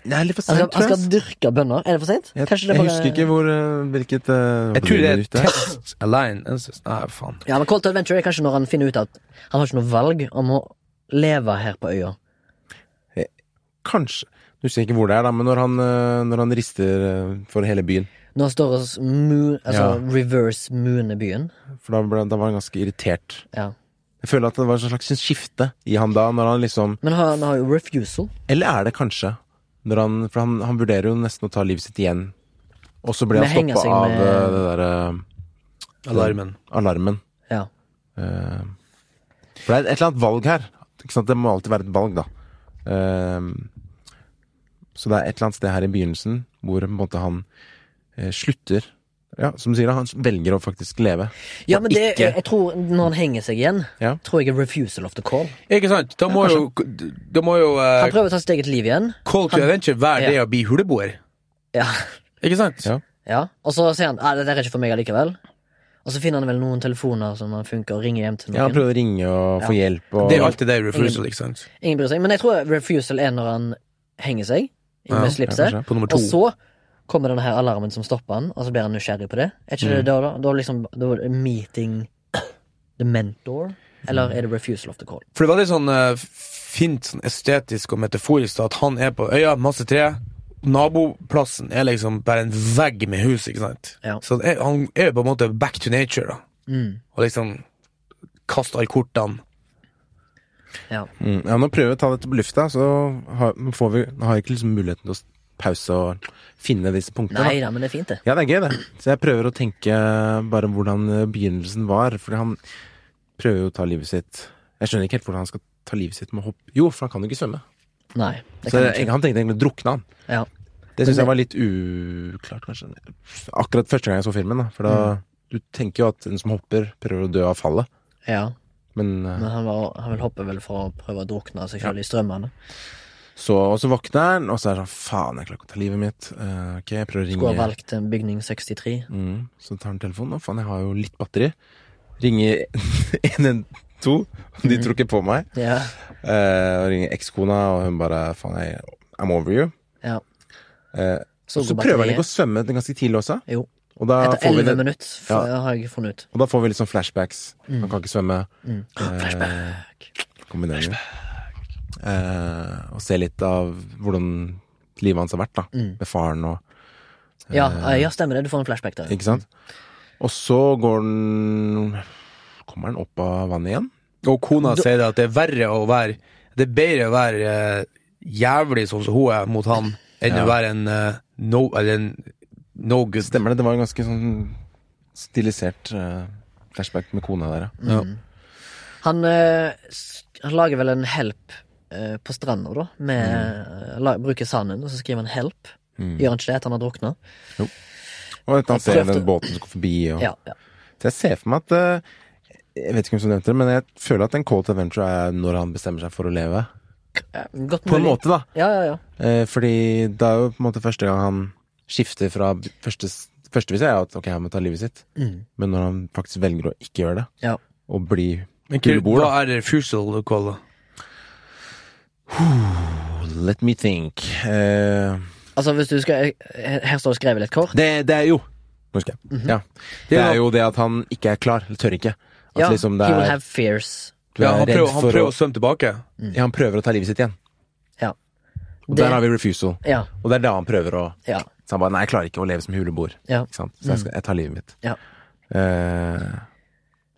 S1: Det er litt for
S2: Altså, Han
S1: sent,
S2: skal, han
S1: tror
S2: skal
S1: jeg.
S2: dyrke bønner. Er det for seint?
S1: Jeg, jeg husker ikke hvor, eh, hvilket eh,
S3: Jeg tror det er
S1: minutt det er.
S3: Test Alliance Nei, faen.
S2: Ja, men Call to Adventure er kanskje når han finner ut at han har ikke noe valg om å leve her på øya.
S1: Kanskje. Du husker ikke hvor det er, da, men når han, eh, når han rister eh, for hele byen.
S2: Når han står og s- moon, altså
S1: Ja.
S2: reverse mooner byen.
S1: For da, ble, da var han ganske irritert.
S2: Ja.
S1: Jeg føler at det var et slags skifte i han da, når han liksom
S2: Men han har jo refusal.
S1: Eller er det kanskje når han, For han, han vurderer jo nesten å ta livet sitt igjen. Og så ble
S2: Men
S1: han
S2: henger
S1: stoppa
S2: seg
S1: av
S2: med-
S1: eh, det derre
S3: Alarmen.
S1: alarmen.
S2: Ja.
S1: Eh, For det er et eller annet valg her. Ikke sant? Det må alltid være et valg, da. Eh, Så det er et eller annet sted her i begynnelsen hvor på en måte han eh, slutter Ja, som du sier, da, han velger å faktisk leve.
S2: Ja,
S1: Og
S2: men det,
S1: ikke-
S2: jeg tror Når han henger seg igjen,
S1: Ja.
S2: tror jeg er refusal of the call.
S3: Ikke sant? Da må jo, da må jo eh,
S2: Han prøver å ta sitt eget liv igjen.
S3: Call to
S2: han-
S3: adventure være
S2: Ja.
S3: det å bli huleboer.
S2: Ja,
S3: Ikke sant?
S1: Ja.
S2: ja. Og så sier han at det der er ikke for meg allikevel. Og så finner han vel noen telefoner som han funker, og ringer hjem til
S1: Ja, han
S2: noen.
S1: prøver å ringe og få hjelp og
S3: Det er alltid det refusal, ikke sant?
S2: Ingen bryr seg. Men jeg tror refusal er når han henger seg.
S3: Ja,
S2: Med slipset.
S1: kanskje.
S3: På nummer to.
S2: Og så kommer denne her alarmen som stopper han, og så blir han nysgjerrig på det. Er ikke det da, da? Da liksom da er det meeting the mentor? Eller er det refusal of the call?
S3: For det var litt sånn eh, fint sånn estetisk og metaforisk da, at han er på øya, masse tre. Naboplassen er liksom bare en vegg med hus, ikke sant?
S2: Ja.
S3: Så han er- han er jo på en måte back to nature, da.
S2: Mm.
S3: Og liksom kaster alle kortene.
S2: Ja.
S1: Mm, ja, nå prøver vi å ta dette på lufta, så har, får vi, har jeg ikke liksom muligheten til å s- pause og finne disse punktene. da.
S2: Nei da, men det er fint, det.
S1: Ja, det er gøy, det. Så jeg prøver å tenke bare hvordan eh, begynnelsen var, for han prøver jo å ta livet sitt Jeg skjønner ikke helt hvordan han skal ta livet sitt med å hoppe Jo, for han kan jo ikke svømme.
S2: Nei. Det
S1: Så
S2: kan
S1: jeg,
S2: jeg ikke.
S1: han tenkte egentlig å drukne, han.
S2: Ja.
S1: Det
S2: Men
S1: syns
S2: det-
S1: jeg var litt uklart, kanskje. Akkurat første gang jeg så filmen, da. For da
S2: Mm.
S1: Du tenker jo at en som hopper, prøver å dø av fallet,
S2: ja.
S1: men eh,
S2: Men han, var, han vil hoppe vel for å prøve å drukne seg selv i strømmene.
S1: så, og så våkner han, og så er det sånn Faen, jeg klarer ikke å ta livet mitt. Eh, ok, jeg prøver å
S2: Skulle
S1: ringe
S2: ha valgt en bygning 63.
S1: Mm, så tar han telefonen. Å, faen, jeg har jo litt batteri. Ringer 112, og de tror ikke på meg.
S2: Ja.
S1: Eh, og ringer ekskona, og hun bare Faen, jeg, I'm over you.
S2: ja.
S1: Eh,
S2: Så
S1: og så
S2: går
S1: prøver han
S2: batteriet.
S1: ikke å svømme den ganske tidlig også.
S2: Jo.
S1: Og da,
S2: Etter
S1: får vi
S2: 11
S1: det,
S2: minutter f-
S1: Ja.
S2: har jeg funnet ut.
S1: og da får vi litt sånn flashbacks. Han kan ikke svømme. Eh,
S2: Mm. Flashback.
S1: Kombinerer. Eh, og ser litt av hvordan livet hans har vært, da.
S2: Mm.
S1: Med faren og
S2: eh, Ja, eh, ja, stemmer det. Du får en flashback der.
S1: Ikke sant? Og så går den Kommer den opp av vannet igjen?
S3: Og kona sier det at det er verre å være Det er bedre å være eh, jævlig sånn som hun er mot han, enn å være en eh, no Eller en no good.
S1: Stemmer det. Det var en ganske sånn stilisert eh, flashback med kona der, ja.
S3: Ja.
S2: Han, eh, sk- han lager vel en help eh, på stranda, da. Med,
S1: Mm.
S2: eh, la, bruker sanden, og så skriver han help. Gjør han ikke det etter han har drukna?
S1: Og at han ser
S2: prøvde-
S1: den båten som går forbi. Og.
S2: Ja, ja.
S1: Så jeg ser for meg at eh, Jeg vet ikke hvem som nevnte det, men jeg føler at en call to adventure er når han bestemmer seg for å leve.
S2: Eh, Godt
S1: På en
S2: mulig.
S1: måte, da.
S2: Ja, ja, ja.
S1: Eh, fordi det er jo på en måte første gang han skifter fra første, Førstevis er jo at ok, han må ta livet sitt. Men når han faktisk velger å ikke gjøre det,
S2: ja.
S1: og bli
S3: Hva
S1: kullebord, da
S3: er refusal call, da?
S1: Let me think. Eh,
S2: Altså, hvis du skal Her her står det skrevet litt kort.
S1: det, det er jo Nå husker jeg.
S2: Mhm.
S1: ja. Det
S3: Ja.
S1: er jo det at han ikke er klar. Eller tør ikke. At
S2: Ja,
S1: liksom det
S2: he will
S1: er,
S2: have fears.
S1: du er
S3: Ja, han
S1: redd
S3: prøver, han
S1: for
S3: prøver
S1: å
S3: å svømme tilbake.
S1: ja, Han prøver å ta livet sitt igjen.
S2: Ja.
S1: Og
S2: Det-
S1: der har vi refusal.
S2: Ja,
S1: Og det er da han prøver å
S2: ja,
S1: Så han bare Nei, jeg klarer ikke å leve som huleboer.
S2: ja.
S1: Ikke sant? Så jeg, skal, jeg tar livet mitt.
S2: Mm. Ja.
S1: Eh,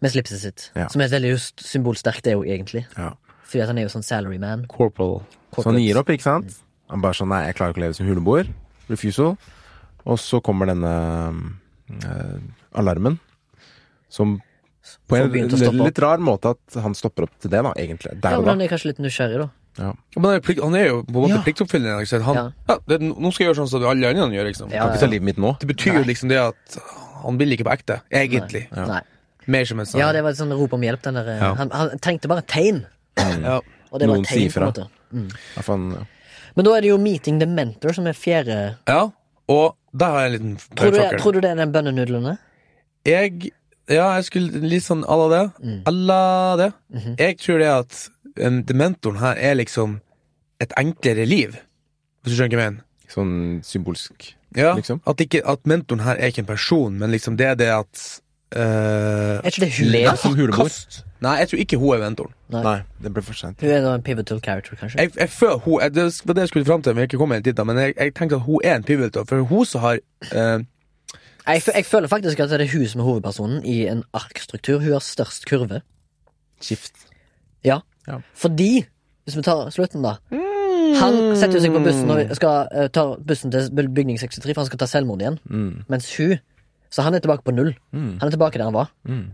S2: Med slipset sitt.
S1: Ja.
S2: Som er et veldig just symbolsterkt, det er jo egentlig.
S1: ja.
S2: Fordi at han er jo sånn salaryman.
S3: Corporal.
S1: Så han gir opp, ikke sant? Han bare sånn, nei, jeg klarer ikke å leve som huleboer. Refusal. Og så kommer denne eh, alarmen, som på
S2: Som
S1: en
S2: begynte å stoppe
S1: litt rar måte at han stopper opp til det, da, egentlig.
S2: Ja,
S1: Der og
S2: men han
S1: da.
S2: er kanskje litt nysgjerrig, da.
S3: Men han er, plikt, han er jo på en måte
S1: Ja.
S3: pliktoppfyllende. ikke sant? Han,
S2: Ja.
S3: ja. det, nå skal jeg gjøre sånn som alle andre gjør. liksom.
S1: Kan ikke sånn ta livet mitt nå.
S3: Det betyr jo liksom det at han vil ikke på ekte, egentlig.
S2: Nei.
S3: Mer som en sånn
S2: Ja, det var et sånn rop om hjelp. Den der,
S3: Ja.
S2: han, han trengte bare et tegn.
S3: Ja.
S2: Og det var
S1: Noen
S2: et tegn,
S1: sier
S2: på
S1: fra.
S2: en måte.
S1: Ja, faen, ja.
S2: Men da er det jo Meeting the Mentor som er fjerde
S3: ja. Og der har jeg en liten
S2: Tror du,
S3: tracker.
S2: tror du det er den bønnenudlene?
S3: Jeg Ja, jeg skulle litt sånn à la det.
S2: Mm.
S3: À la det.
S2: Mhm.
S3: Jeg tror det at um, dementoren her er liksom et enklere liv, hvis du skjønner hva jeg mener.
S1: Sånn symbolsk.
S3: Ja,
S1: Liksom.
S3: at, ikke, at mentoren her er ikke en person, men liksom det er det at eh,
S2: Er ikke det hun er?
S1: som huleboer.
S3: Kast. Nei, jeg tror ikke hun er mentoren.
S1: Nei, det ble for seint.
S2: Hun er da en pivotal character, kanskje.
S3: Jeg, jeg føler hun, jeg, Det var det jeg skulle fram til, men jeg ikke kom helt dit da, men jeg, jeg tenker at hun er en pivot, da, for hun som har eh,
S2: Jeg, fø- jeg føler faktisk at det er hun som er hovedpersonen i en arkstruktur. Hun har størst kurve.
S1: Skift.
S2: Ja.
S1: Ja.
S2: Fordi, hvis vi tar slutten, da Han setter jo seg på bussen og skal eh, ta bussen til bygning 63, for han skal ta selvmord igjen.
S1: Mm.
S2: Mens hun Så han er tilbake på null. Han er tilbake der han var.
S1: Mm.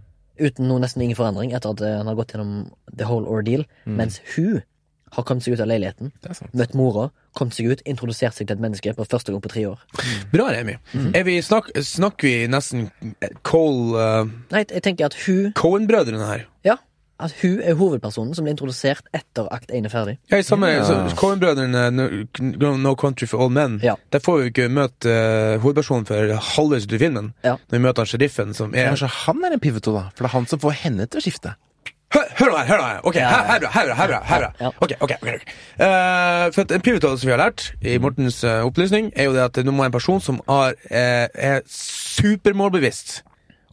S2: Uten noe, nesten ingen forandring etter at eh, han har gått gjennom the whole ordeal. Mens hun har kommet seg ut av leiligheten,
S1: Mm. Det er sant.
S2: møtt mora, kommet seg ut, introdusert seg til et menneske for første gang på tre år.
S3: Bra, Remi. Er vi, snak, snakker vi nesten Cole eh,
S2: Nei, jeg tenker at hun
S3: Cohen-brødrene her?
S2: Ja, at hun er hovedpersonen som blir introdusert etter akt 1 er ferdig.
S3: Ja, i samme
S1: Ja.
S3: så Coen-brødrene, no, no Country for All Men.
S2: Ja.
S3: Der får vi jo ikke møte eh, hovedpersonen for halvveis ut i filmen.
S2: Ja.
S3: Når vi møter han sheriffen, som er
S1: Kanskje han er en pivotal, da? For det er han som får henne til å skifte.
S3: Hør hør nå her! hør nå her Ok, her, her, bra, her, bra, her, bra, her,
S2: Ja.
S3: bra. Ok, ok, ok, ok. Eh, For at En pivotal som vi har lært
S2: Mm.
S3: i Mortens eh, opplysning, er jo det at det nå må en person som har, eh, er supermålbevisst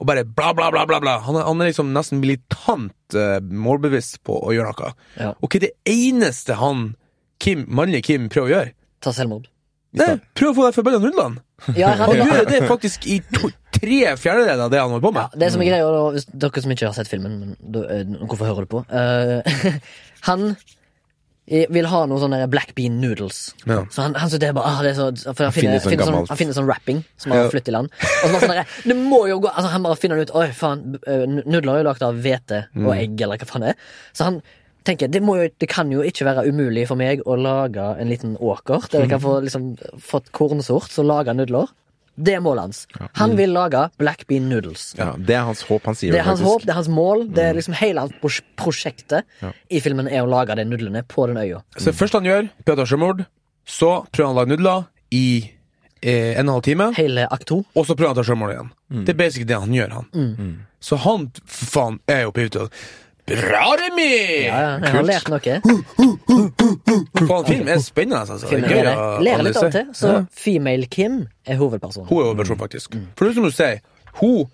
S3: og bare bla, bla, bla, bla, bla. Han er, han er liksom nesten militant eh, målbevisst på å gjøre noe.
S2: Ja.
S3: Og hva er det eneste han, Kim, mannlige Kim, prøver å gjøre?
S2: Ta selvmord.
S3: Nei, prøv å få deg forbanna hundene!
S2: Ja,
S3: Han
S2: han,
S3: gjør jo det faktisk i to, tre fjerdedeler av det han holder på
S2: ja,
S3: med.
S2: det som er greia, da, hvis dere som ikke har sett filmen, men da, eh, hvorfor hører du på? Eh, han eh, vil ha noen sånne black bean noodles.
S3: Ja.
S2: Så han, han synes det er bare ah, det er så, For han finner,
S1: finner sånn
S2: finner, sånn,
S1: gammelt.
S2: han finner sånn wrapping som han har flyttet i land. Og så bare sånn der, det må jo gå altså, Han bare finner ut Oi, faen, eh, nudler er jo lagd av hvete og egg, eller hva faen det er. Så han tenker det, må jo, det kan jo ikke være umulig for meg å lage en liten åker der jeg kan få liksom, fått kornsort, så lager jeg nudler. Det er målet hans. Han vil lage black bean noodles.
S1: Ja, det er hans håp. Han sier
S2: Det er hans
S1: faktisk.
S2: håp, det er hans mål, det
S1: Mm.
S2: er liksom hele hans pros- prosjektet i filmen er å lage de nudlene på den øya.
S3: Så det første han gjør, Peter sjømord. Så prøver han å lage nudler i eh, en og en halv time,
S2: Hele akt to.
S3: og så prøver han å ta sjømord igjen. Det er basically det han gjør, han.
S2: Mm.
S3: Så han for faen er jo pivotal. Bra, Remi!
S2: Ja, ja, jeg har lært noe.
S3: Faen, film er spennende, altså.
S2: Filmen
S3: Det er
S2: er det.
S3: gøy å
S2: Lærer litt av og
S3: analysere.
S2: til. Så Mm. Female Kim er hovedpersonen.
S3: Hun er hovedpersonen, faktisk. For det er som du sier, hun,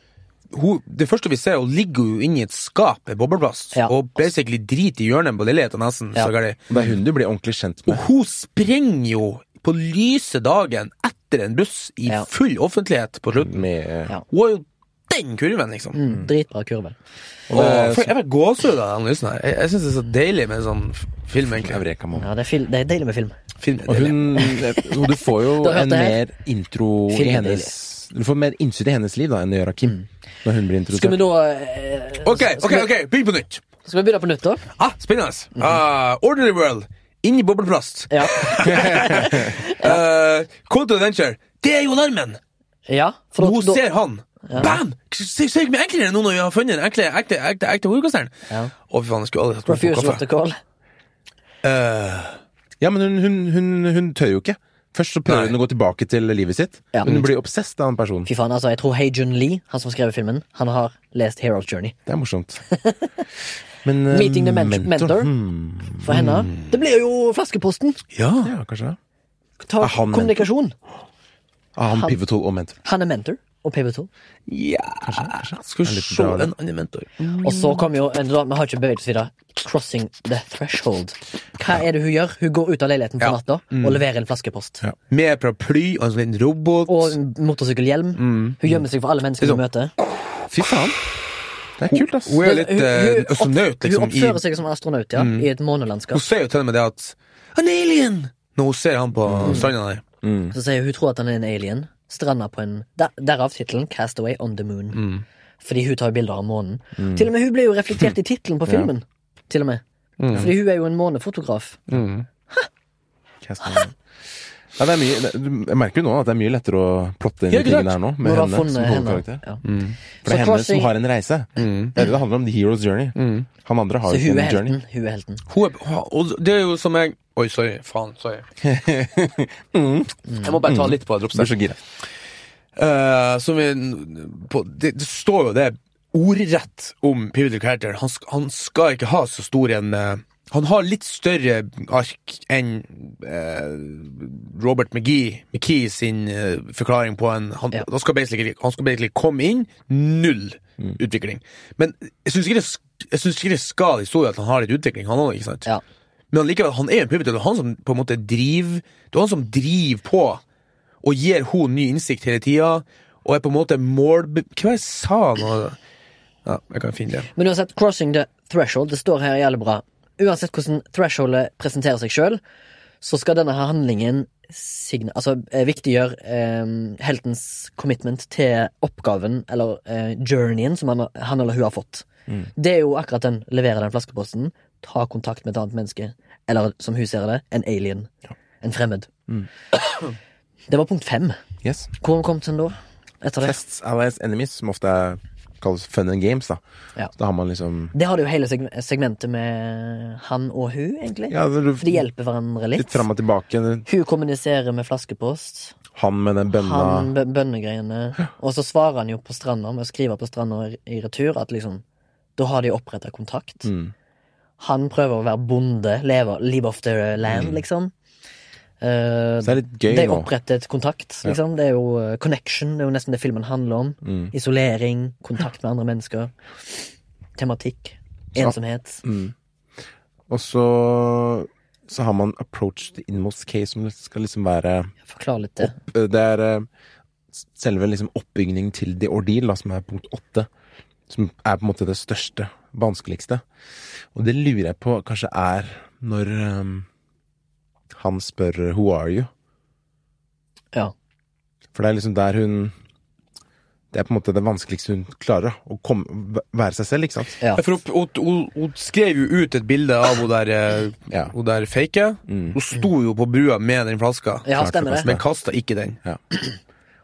S3: hun Det første vi ser, hun ligger jo inni et skap med bobleplast
S2: Ja.
S3: og basically driter i hjørnet på leiligheten nesten.
S2: Ja.
S3: så gærlig.
S1: Og Det er hun du blir ordentlig kjent
S3: Og
S1: med.
S3: hun sprenger jo på lyse dagen etter en buss i
S2: Ja.
S1: Oh.
S3: full offentlighet på slutten.
S1: med eh,
S2: Ja.
S3: Hun er jo den kurven, liksom.
S2: Mm, dritbra kurve.
S1: Og det
S3: Åh,
S1: er
S3: fuck, jeg fikk gåsehud av den analysen her. Jeg, jeg syns det er så deilig med sånn f- film, egentlig.
S1: Eureka Mom.
S2: Ja, det er, fil det er deilig med film.
S3: Film er
S1: Og
S3: deilig.
S1: hun og Du får jo
S2: Da hørte
S1: en
S2: jeg.
S1: mer intro i
S2: Filmen
S1: hennes Du får mer innsyn i hennes liv da enn det gjør av Kim. Når hun blir
S2: Skal vi
S1: introdusert.
S2: da eh,
S3: OK, ok, ok, begynn på nytt.
S2: Skal vi begynne på nytt, da?
S3: Ah, spennende. Ah, Ordinary World. Inni bobleplast.
S2: Mhm. Ja.
S3: Uh, Cold Adventure. Det er jo alarmen!
S2: ja for
S3: Hun
S2: da, da,
S3: ser han. Bam! Se se hvor mye enklere nå når vi har funnet den ekle, ekte, ekte, ekte hovedkasteren. Å,
S2: Ja.
S3: fy faen, jeg skulle aldri hatt meg på
S2: Refusal of the
S3: kaffe.
S2: call.
S1: Ja, men hun, hun, hun, hun tør jo ikke. Først så prøver
S3: Nei.
S1: hun å gå tilbake til livet sitt,
S2: Ja.
S1: men hun blir obsesst av den personen.
S2: Fy faen, altså, jeg tror Hei Jun Lee, han som skrev filmen, han har lest Hero's Journey.
S1: Det er morsomt. Men eh,
S2: Mm. Meeting the men- mentor.
S1: hmm.
S2: For henne Det blir jo flaskeposten!
S3: Ja.
S1: Ja, kanskje det.
S2: Ta
S1: Er han mentor?
S2: kommunikasjon.
S1: Ah, han
S2: Han-
S1: pivotal og mentor.
S2: Han er mentor og pivotal.
S3: ja. Skal
S1: Det er
S3: vi
S1: litt
S3: se
S1: bra, det.
S3: en annen mentor.
S2: Og så kom jo en, da, Vi har ikke beveget oss videre. Crossing the threshold. Hva er det hun gjør? Hun går ut av leiligheten på
S3: Ja. Mm.
S2: natta og leverer en flaskepost.
S1: Ja.
S3: Med paraply og en sånn liten robot.
S2: Og en motorsykkelhjelm.
S3: Mm.
S2: Hun gjemmer seg for alle mennesker hun møter.
S1: Fy faen. Det er kult, ass.
S3: Hun Liksom, er jo litt
S2: Hun-
S3: eh,
S2: hun- hun opp-
S3: astronaut,
S2: Hun
S3: liksom. I, Mm.
S2: oppfører seg som en astronaut, ja. I et månelandskap.
S3: hun sier jo til og med det at An alien! Når hun ser han på stranda der.
S2: Så sier hun tror at han er en alien. Stranda på en der, Derav tittelen 'Castaway on the Moon'.
S3: Mm.
S2: Fordi hun tar jo bilder av månen. Til og med hun ble jo reflektert i tittelen på filmen. Til og med
S3: Mm.
S2: Fordi hun er jo en månefotograf.
S1: Castaway. Ja, det er mye, det, du- jeg merker jo nå at det er mye lettere å plotte inn
S3: Ja,
S1: de
S3: ikke sant?
S1: tingene her nå, med
S2: Når du har
S1: henne som
S2: funnet henne.
S1: hovedkarakter. Mm.
S2: Ja.
S1: For det
S2: Så
S1: er henne
S2: crossing-
S1: som har en reise. Det er det det handler om. The Hero's Journey. Han andre har
S2: Så
S1: jo ikke
S2: hun er
S1: en journey.
S2: helten. Hun er helten.
S3: Hun er, ha- og det er jo som jeg Oi, sorry. Faen, sorry. Jeg må bare ta litt på
S1: Du blir så
S3: dropset.
S1: gira.
S3: Eh, som vi, på, det, det står jo det ordrett om pivotal character. Han, sk- han skal ikke ha så stor en eh, Han har litt større ark enn eh, Robert McGee, McKee sin eh, forklaring på en han,
S2: Ja.
S3: han, skal basically, han skal basically komme inn, null
S2: Mm.
S3: utvikling. Men jeg syns ikke det sk- jeg synes ikke det skal historie at han har litt utvikling, han òg.
S2: Ja.
S3: Men allikevel, han er jo en pivot. Det er han som på en måte driver Det er han som driver på og gir hun ny innsikt hele tida. Og er på en måte mål... Hva var det jeg sa nå? Ja, jeg kan finne det.
S2: Men uansett, crossing the threshold, det står her jævlig bra. Uansett hvordan thresholdet presenterer seg sjøl, så skal denne her handlingen signa... Altså eh, viktiggjøre eh, heltens commitment til oppgaven, eller eh, journeyen, som han, han eller hun har fått.
S1: Mm.
S2: Det er jo akkurat den levere den flaskeposten, ta kontakt med et annet menneske, eller som hun ser det, en alien. En fremmed.
S1: Mm.
S2: Det var punkt fem.
S1: Yes.
S2: Hvor kom den da? Etter det?
S1: Tests, allies, enemies, som ofte er, kalles fun and games, da.
S2: Ja.
S1: Da har man liksom
S2: Det har du jo hele seg- segmentet med han og hun, egentlig.
S1: ja, du,
S2: For de hjelper hverandre litt.
S1: Litt fram og tilbake.
S2: Hun kommuniserer med flaskepost.
S1: Han med den bønna.
S2: Han bø- bønnegreiene. Og så svarer han jo på stranda med å skrive på stranda i- i retur at liksom Da har de oppretta kontakt.
S1: Mm.
S2: Han prøver å være bonde. Leve, live off the land, liksom. Eh,
S1: Mm. Så det er litt gøy
S2: de
S1: nå.
S2: opprettet kontakt, liksom. Det er jo eh, connection. Det er jo nesten det filmen handler om.
S1: Mm.
S2: Isolering, kontakt med andre mennesker. Tematikk. Ensomhet.
S1: Og så så har man approach the inmost case, som skal liksom være
S2: Forklar litt det.
S1: Det er eh, selve liksom oppbygningen til the ordeal, da, som er punkt åtte. Som er på en måte det største, vanskeligste. Og det lurer jeg på kanskje er når eh, han spør 'Who are you?'
S2: Ja.
S1: For det er liksom der hun Det er på en måte det vanskeligste hun klarer. da, Å komme, væ- være seg selv, ikke sant?
S2: Ja.
S3: Ja, For hun, hun, hun, hun skrev jo ut et bilde av hun der, eh,
S1: Ja.
S3: hun der fake.
S1: Mm.
S3: Hun sto jo på brua med den flaska,
S2: Ja,
S1: Klart det
S2: stemmer det.
S1: koster.
S3: men kasta ikke den.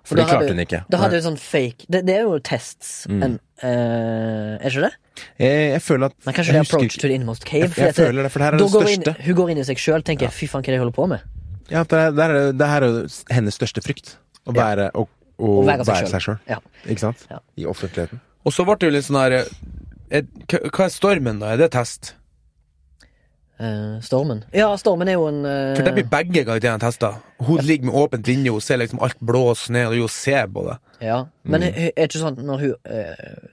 S1: For det
S2: da hadde-
S1: klarte hun ikke. Mm.
S2: Da hadde du sånn fake Det, det er jo tests. En, eh, er ikke det?
S1: Jeg, Eh, jeg føler at
S2: Men kanskje det
S1: jeg
S2: er
S1: husker
S2: approach
S1: ikke-
S2: to the inmost cave.
S1: Jeg,
S2: fordi
S1: jeg
S2: at det-
S1: føler det, for det her er
S2: da
S1: det
S2: går hun
S1: største.
S2: inn, hun går inn i seg sjøl tenker 'fy faen, hva er det jeg holder på med'?
S1: Ja, for det, her- det, her er- det her er jo s- hennes største frykt. Å være, å, å
S2: Å
S1: være,
S2: være seg selv.
S1: seg sjøl.
S2: Ja.
S1: Ikke sant?
S2: Ja.
S1: I offentligheten.
S3: Og så ble det jo litt sånn her eh, er, hva- Hva er stormen, da? Er det test?
S2: Eh, stormen. Ja, stormen er jo en eh,
S3: For der blir begge karakterene testa. Hun ligger med åpent vindu, hun ser liksom alt blåse ned, og hun ser på det.
S2: ja. Men hun- hun- er det ikke sånn at når hun eh,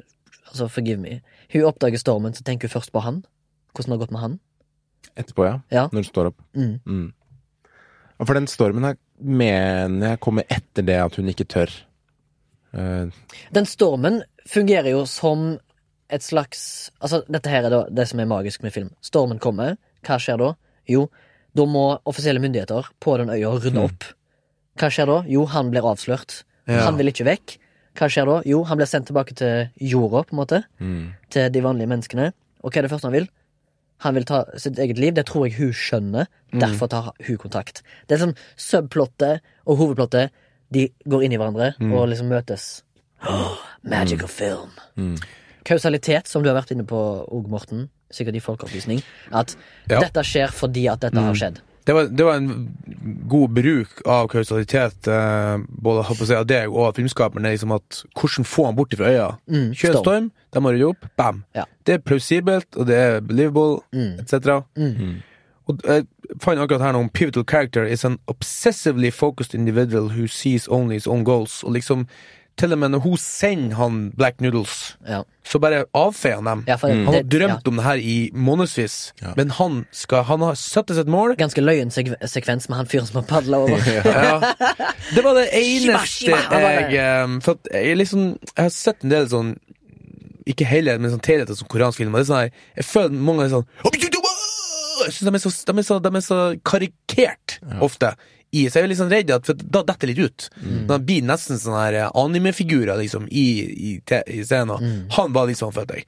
S2: Altså, forgive me. Hun oppdager stormen, så tenker hun først på han. Hvordan det har gått med han.
S1: Etterpå, ja.
S2: Ja.
S1: Når hun står opp.
S2: Mm.
S1: Og For den stormen her mener jeg kommer etter det at hun ikke tør. Eh,
S2: Den stormen fungerer jo som et slags Altså, dette her er da det som er magisk med film. Stormen kommer. Hva skjer da? Jo, da må offisielle myndigheter på den øya rydde opp. Hva skjer da? Jo, han blir avslørt.
S3: Ja.
S2: Han vil ikke vekk. Hva skjer da? Jo, han blir sendt tilbake til jorda, på en måte.
S1: Mm.
S2: Til de vanlige menneskene. Og hva er det første han vil? Han vil ta sitt eget liv. Det tror jeg hun skjønner. Derfor tar hun kontakt. Det er sånn subplottet og hovedplottet De går inn i hverandre og liksom møtes. Magic of film.
S1: Mm.
S2: Kausalitet, som du har vært inne på, Og Morten. Sikkert i folkeopplysning. At
S3: Ja. Mm.
S2: dette skjer fordi at dette har skjedd.
S3: Det var, det var en god bruk av kausalitet, eh, både håper jeg, å si, av deg og av filmskaperen. Det er liksom at Hvordan få han bort fra øya?
S2: Mm,
S3: Kjør en
S2: storm.
S3: storm, de har ryddet opp, bam.
S2: Ja.
S3: Det er plausibelt, og det er believable,
S2: Mm.
S3: etc.
S2: Mm.
S3: Og jeg fant akkurat her noe om pivotal character is an obsessively focused individual who sees only his own goals. Og liksom, til og med når hun sender han black noodles,
S2: Ja.
S3: så bare avfeier han dem.
S2: Ja, for
S3: Han har
S2: det-
S3: drømt om det her i månedsvis,
S1: Ja.
S3: men han, skal, han har satt seg et mål.
S2: ja, Ganske løyen sek sekvens med han fyren som har padla over.
S3: Ja. Det var det
S2: Shiva,
S3: eneste
S2: shiva, han var
S3: jeg eh, For at jeg liksom Jeg har sett en del sånn Ikke hele, men sånn teorieter som koreansk film. og Det er sånn her, jeg føler mange er sånn Jeg synes de er så, de er så, de er så karikert ofte. I, så jeg er litt sånn redd at for da detter det litt ut. De blir nesten sånne her eh, animefigurer liksom, i, i, te- i scenen. Han var liksom for deg.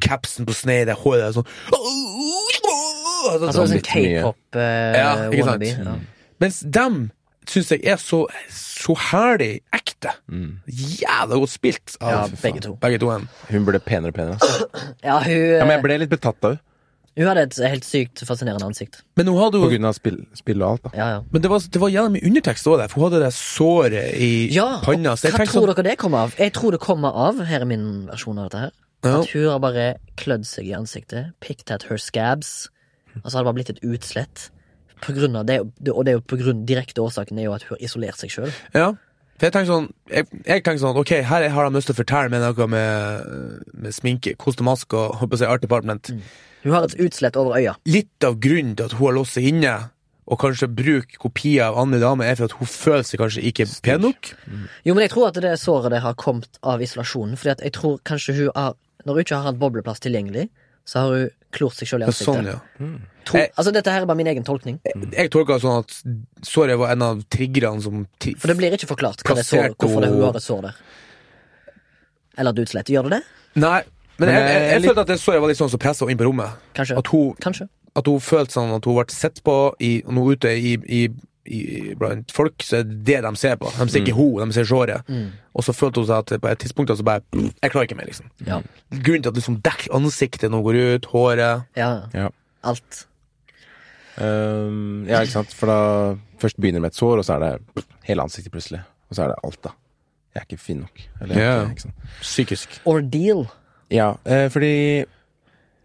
S3: Capsen på snedet, det håret er sånn
S2: Altså
S1: sånn
S2: sånn eh,
S1: litt mye.
S3: Ja, ikke sant? Mm.
S2: K-pop-wannabe.
S3: Mens dem syns jeg er så, så herlig ekte.
S1: Mm.
S3: Jævla godt spilt av
S2: Ja,
S3: fy faen,
S2: begge to.
S3: begge to. en.
S1: Hun ble penere og penere. Altså.
S2: Ja, hun, eh,
S1: Ja, men jeg ble litt betatt av henne.
S2: hun hadde et helt sykt fascinerende ansikt.
S3: Men, hun hadde
S1: På
S3: jo,
S1: grunn av spill, spill og alt, da.
S2: Ja, ja.
S3: men det var, det var jævlig mye undertekst òg der, for hun hadde det såret i
S2: Ja,
S3: panna. Så jeg
S2: Hva
S3: tenkte
S2: tror
S3: sånn
S2: dere det kommer av? Jeg tror det kommer av, her er min versjon av dette her,
S3: Ja.
S2: at hun har bare klødd seg i ansiktet, picked at her scabs, og så har det bare blitt et utslett. På grunn av det, og det er jo på grunn, direkte årsaken er jo at hun har isolert seg sjøl.
S3: Ja. For jeg tenkte sånn, jeg, jeg tenkte sånn Ok, her har de lyst til å fortelle meg noe med, med sminke, koste maske og holdt på å si art department.
S2: Mm. Hun har et utslett over øya.
S3: Litt av grunnen til at hun har låst seg inne, og kanskje bruker kopier av andre damer, er for at hun føler seg kanskje ikke pen nok.
S2: Jo, men jeg tror at det såret det har kommet av isolasjonen, fordi at jeg tror kanskje hun har Når hun ikke har hatt bobleplass tilgjengelig, så har hun klort seg sjøl i
S3: Ja,
S2: ansiktet.
S3: sånn, ja.
S2: Tro,
S3: Jeg-
S2: altså, dette her er bare min egen tolkning,
S3: Jeg tolka det sånn at såret var en av triggerne som tri-
S2: for det blir ikke forklart hva det såret,
S3: Plassert
S2: hvorfor det hun
S3: og-
S2: har et sår der. Eller et utslett. Gjør det det?
S3: Nei,
S1: Men
S3: men jeg, jeg, jeg
S1: litt-
S3: følte at det såret var litt sånn som pressa inn på rommet.
S2: Kanskje.
S3: At hun,
S2: Kanskje.
S3: at hun følte sånn at hun ble sett på i, og nå ute i, i, i blant folk, så er det det de ser på. De ser ikke
S1: Mm.
S3: henne, de ser såret. Og så følte hun seg at på et tidspunkt så bare Jeg klarer ikke mer, liksom.
S2: Ja.
S3: Grunnen til at liksom dekker ansiktet når hun går ut, håret
S2: ja.
S1: Ja.
S2: Alt.
S1: Ehm, ja, ikke sant. For da først begynner det med et sår, og så er det hele ansiktet plutselig. Og så er det alt, da. Jeg er ikke fin nok. Eller, jeg er
S3: Ja.
S1: ikke- ikke sant?
S3: Psykisk.
S2: Ordeal.
S1: Ja, eh, fordi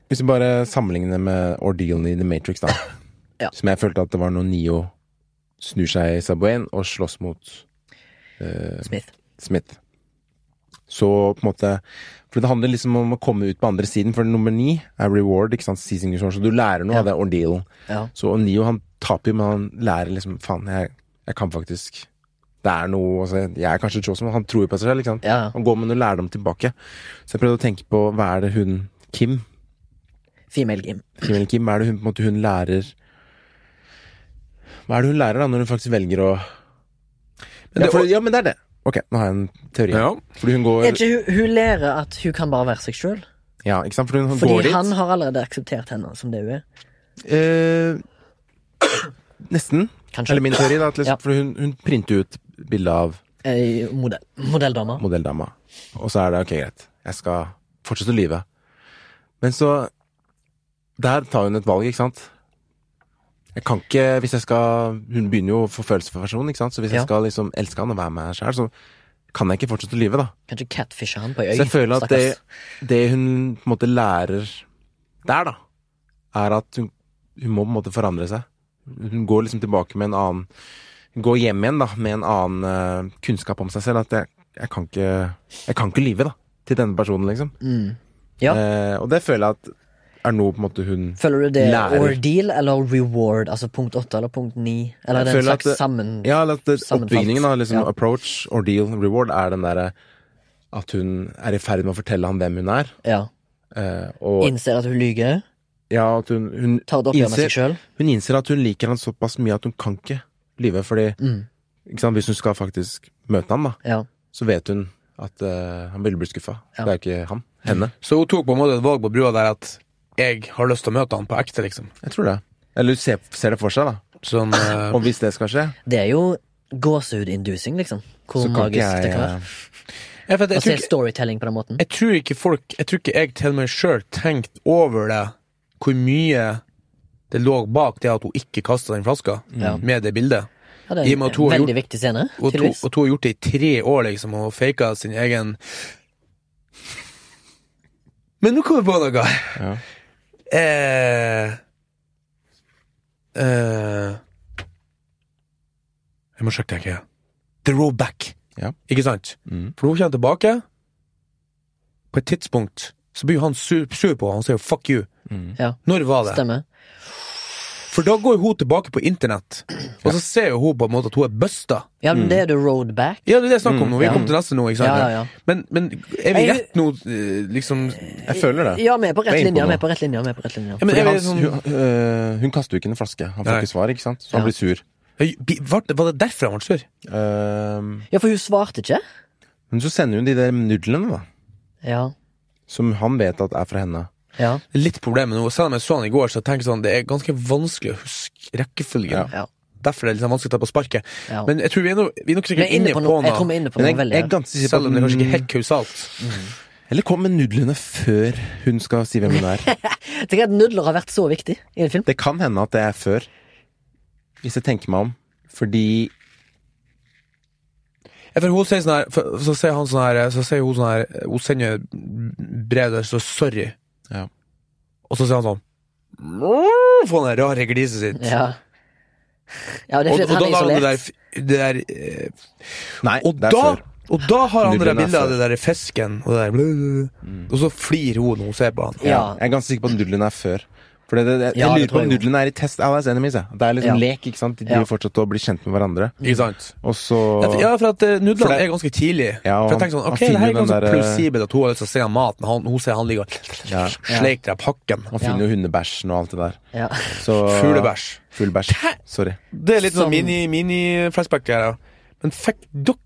S1: Hvis vi bare sammenligner med ordealen i The Matrix, da.
S2: Ja.
S1: Som jeg følte at det var når Neo snur seg i Subwayen og slåss mot eh,
S2: Smith.
S1: Smith. Så på en måte For det handler liksom om å komme ut på andre siden, for nummer ni er reward, ikke sant, seizing resource, så du lærer noe
S2: Ja.
S1: av det ordealen.
S2: Ja.
S1: Så og Neo han taper jo, men han lærer liksom Faen, jeg, jeg kan faktisk Det er noe altså, Jeg er kanskje Chosen, men han tror jo på seg selv. ikke sant?
S2: Ja.
S1: Han går med noe lærdom tilbake. Så jeg prøvde å tenke på hva er det hun Kim
S2: Female gym.
S1: Kim eller Kim, hva er det hun på en måte hun lærer Hva er det hun lærer da, når hun faktisk velger å
S3: Men
S1: ja,
S3: det-
S1: for, ja, men det er det. Ok, nå har jeg en teori.
S3: Ja.
S1: Fordi hun
S2: Er
S1: går
S2: ikke hun, hun lærer at hun kan bare være seg sjøl?
S1: Ja, ikke sant? Fordi hun går
S2: Fordi
S1: dit.
S2: han har allerede akseptert henne som det hun er.
S1: Eh, nesten.
S2: Kanskje.
S1: Eller min teori, da. At liksom,
S2: Ja.
S1: For hun, hun printer ut bilde av
S2: Eh, modell. Modelldama.
S1: modelldama. Og så er det ok, greit, jeg skal fortsette å lyve. Men så Der tar hun et valg, ikke sant? Jeg kan ikke, hvis jeg skal Hun begynner jo å få følelser for personen, ikke sant? Så hvis
S2: Ja.
S1: jeg skal liksom elske han og være med sjæl, så kan jeg ikke fortsette å lyve, da.
S2: Kanskje catfishe han på ei
S1: Så
S2: øy.
S1: jeg føler at det,
S2: Stakkars.
S1: det hun på en måte lærer der, da, er at hun, hun må på en måte forandre seg. Hun går liksom tilbake med en annen Hun går hjem igjen da, med en annen eh, kunnskap om seg selv. At jeg, jeg kan ikke Jeg kan ikke lyve, da, til denne personen, liksom.
S2: mm. Ja.
S1: Eh, og det føler jeg at er noe på en måte hun
S2: Føler du det er
S1: Lærer.
S2: ordeal eller reward? Altså punkt åtte eller punkt ni? Eller er
S1: Jeg
S2: det en
S1: føler at
S2: slags
S1: det-
S2: sammen...
S1: Ja, eller at det-
S2: Sammenfalt.
S1: oppbygningen, da. Liksom
S2: Ja.
S1: approach, ordeal, reward, er den derre At hun er i ferd med å fortelle ham hvem hun er.
S2: Ja.
S1: eh, og
S2: Innser at hun lyver.
S1: ja, at hun, hun,
S2: Tar det oppgjør med
S1: Innser-
S2: seg sjøl.
S1: hun innser at hun liker han såpass mye at hun kan ikke lyve. Fordi
S2: Mm.
S1: ikke sant, hvis hun skal faktisk møte ham, da,
S2: Ja.
S1: så vet hun at eh, han ville bli skuffa.
S2: Ja.
S1: Det er ikke ham. Henne.
S3: Så hun tok på en måte et valg på brua der at jeg har lyst til å møte han på ekte, liksom.
S1: Jeg tror det. Eller hun ser, ser det for seg, da.
S3: Sånn, eh,
S1: Og hvis det skal skje,
S2: Det er jo gåsehudinducing, liksom. Hvor
S1: så kan
S2: magisk
S1: ikke jeg
S2: det kan være.
S1: eh,
S3: jeg, vet,
S2: Å
S3: jeg,
S2: se
S3: tror ikke,
S2: storytelling på den måten.
S3: jeg tror ikke folk Jeg tror ikke jeg til meg sjøl tenkte over det, hvor mye det lå bak det at hun ikke kasta den flaska,
S2: Ja.
S3: med det bildet.
S2: Ja, det er
S3: I og
S2: en
S3: med at hun har
S2: veldig viktig scene.
S3: Og to,
S2: tydeligvis.
S3: og to har gjort det i tre år, liksom, og faka sin egen Men nå kom jeg på noe!
S1: Ja.
S3: Eh, eh, jeg må sjekke, tenker jeg. The road back.
S1: Ja.
S3: Ikke sant?
S1: Mm.
S3: For hun kommer tilbake. På et tidspunkt så blir han sur, sur på henne. Han sier 'fuck you'.
S1: Mm.
S3: Når var det?
S2: Stemmer.
S3: For da går hun tilbake på internett, og så ser jo hun på en måte at hun er busta.
S2: Ja,
S1: Mm.
S2: men det er the road back.
S3: Ja, det er det jeg snakker om nå. Vi
S2: ja.
S3: kommer til neste nå. ikke sant?
S2: Ja, ja, ja.
S3: Men, men er vi
S2: Jeg-
S3: rett nå, eh, liksom ja,
S1: Jeg føler det.
S2: Ja, vi er på
S1: Jeg
S2: rett
S1: er inne
S2: linje.
S1: på
S2: Vi
S1: noe.
S2: er på rett linje. Vi er på rett linje.
S3: men
S1: Fordi
S3: er vi
S1: han,
S3: sånn,
S1: hun, øh, hun kaster jo ikke en flaske. Han får
S3: Nei.
S1: ikke svar, ikke sant? så han
S2: Ja.
S1: blir sur.
S3: Bi- var, det, var det derfor han ble sur?
S1: Ehm,
S2: Ja, for hun svarte ikke.
S1: men så sender hun de der nudlene, da.
S2: Ja.
S1: Som han vet at er fra henne.
S2: Ja.
S3: Litt problemet nå. Selv om jeg så han i går, så tenker jeg sånn, det er ganske vanskelig å huske rekkefølgen.
S2: Ja.
S3: Derfor er det liksom vanskelig å ta på sparket.
S2: ja.
S3: Men jeg tror vi er, no, vi er nok
S2: Vi
S3: sikkert
S2: er inne på noe. Jeg tror vi er inne
S1: Men
S2: på noe
S1: jeg, jeg
S2: veldig.
S1: er ganske sikker på
S3: Selv om det kanskje ikke er helt
S1: at
S3: kausalt.
S1: Eller kom med nudlene før hun skal si hvem hun er.
S2: Tenk at nudler har vært så viktig i en film.
S1: Det kan hende at det er før. Hvis jeg tenker meg om. Fordi
S3: Ja, For hun sier sånn her, for, så sier han sånn her, så sier hun sånn her, hun sender brev der, så sorry.
S1: Ja.
S3: Og så sier han sånn, "Mrrr", får han det rare gliset sitt.
S2: Ja. ja, det er
S3: Og,
S2: fordi
S3: og
S2: at
S3: da
S2: han er
S3: la han det der,
S2: isolert.
S3: f- det der eh,
S1: Nei,
S3: Og
S1: det er
S3: da,
S1: før.
S3: og da har han det der
S1: Nudlene er
S3: bildet av
S1: før. Mm.
S3: den der fisken, og det der Og så flirer hun når hun ser på han.
S2: Ja.
S1: Jeg er ganske sikker på at nudlene er før. For det, det, jeg,
S2: Ja,
S1: jeg lurer på
S2: det tror
S1: om
S2: jeg
S1: nudlene er i Test Allies Enemies. jeg. Det er liksom
S2: Ja.
S1: lek, ikke sant. De
S2: Ja.
S1: driver fortsatt og blir kjent med hverandre.
S3: Ikke sant?
S1: Og så
S3: Ja, for- Ja, for at eh,
S1: For
S3: nudlene
S1: det-
S3: er ganske tidlig.
S1: Ja, og han-
S3: for jeg tenker sånn,
S1: han
S3: ok, det her
S1: finner
S3: er
S1: jo den
S3: ganske
S1: der, eh,
S3: plausibelt at hun har lyst til å se han maten. Han, hun ser han ligger og
S1: Ja.
S3: sleiker av pakken.
S1: Man finner jo hundebæsjen og alt det der.
S2: Ja.
S1: Så
S3: Fuglebæsj.
S1: Full bæsj.
S3: Hæ?
S1: Sorry.
S3: Det er litt sånn
S2: Sånn.
S3: mini-flashback her. da. Men fikk dere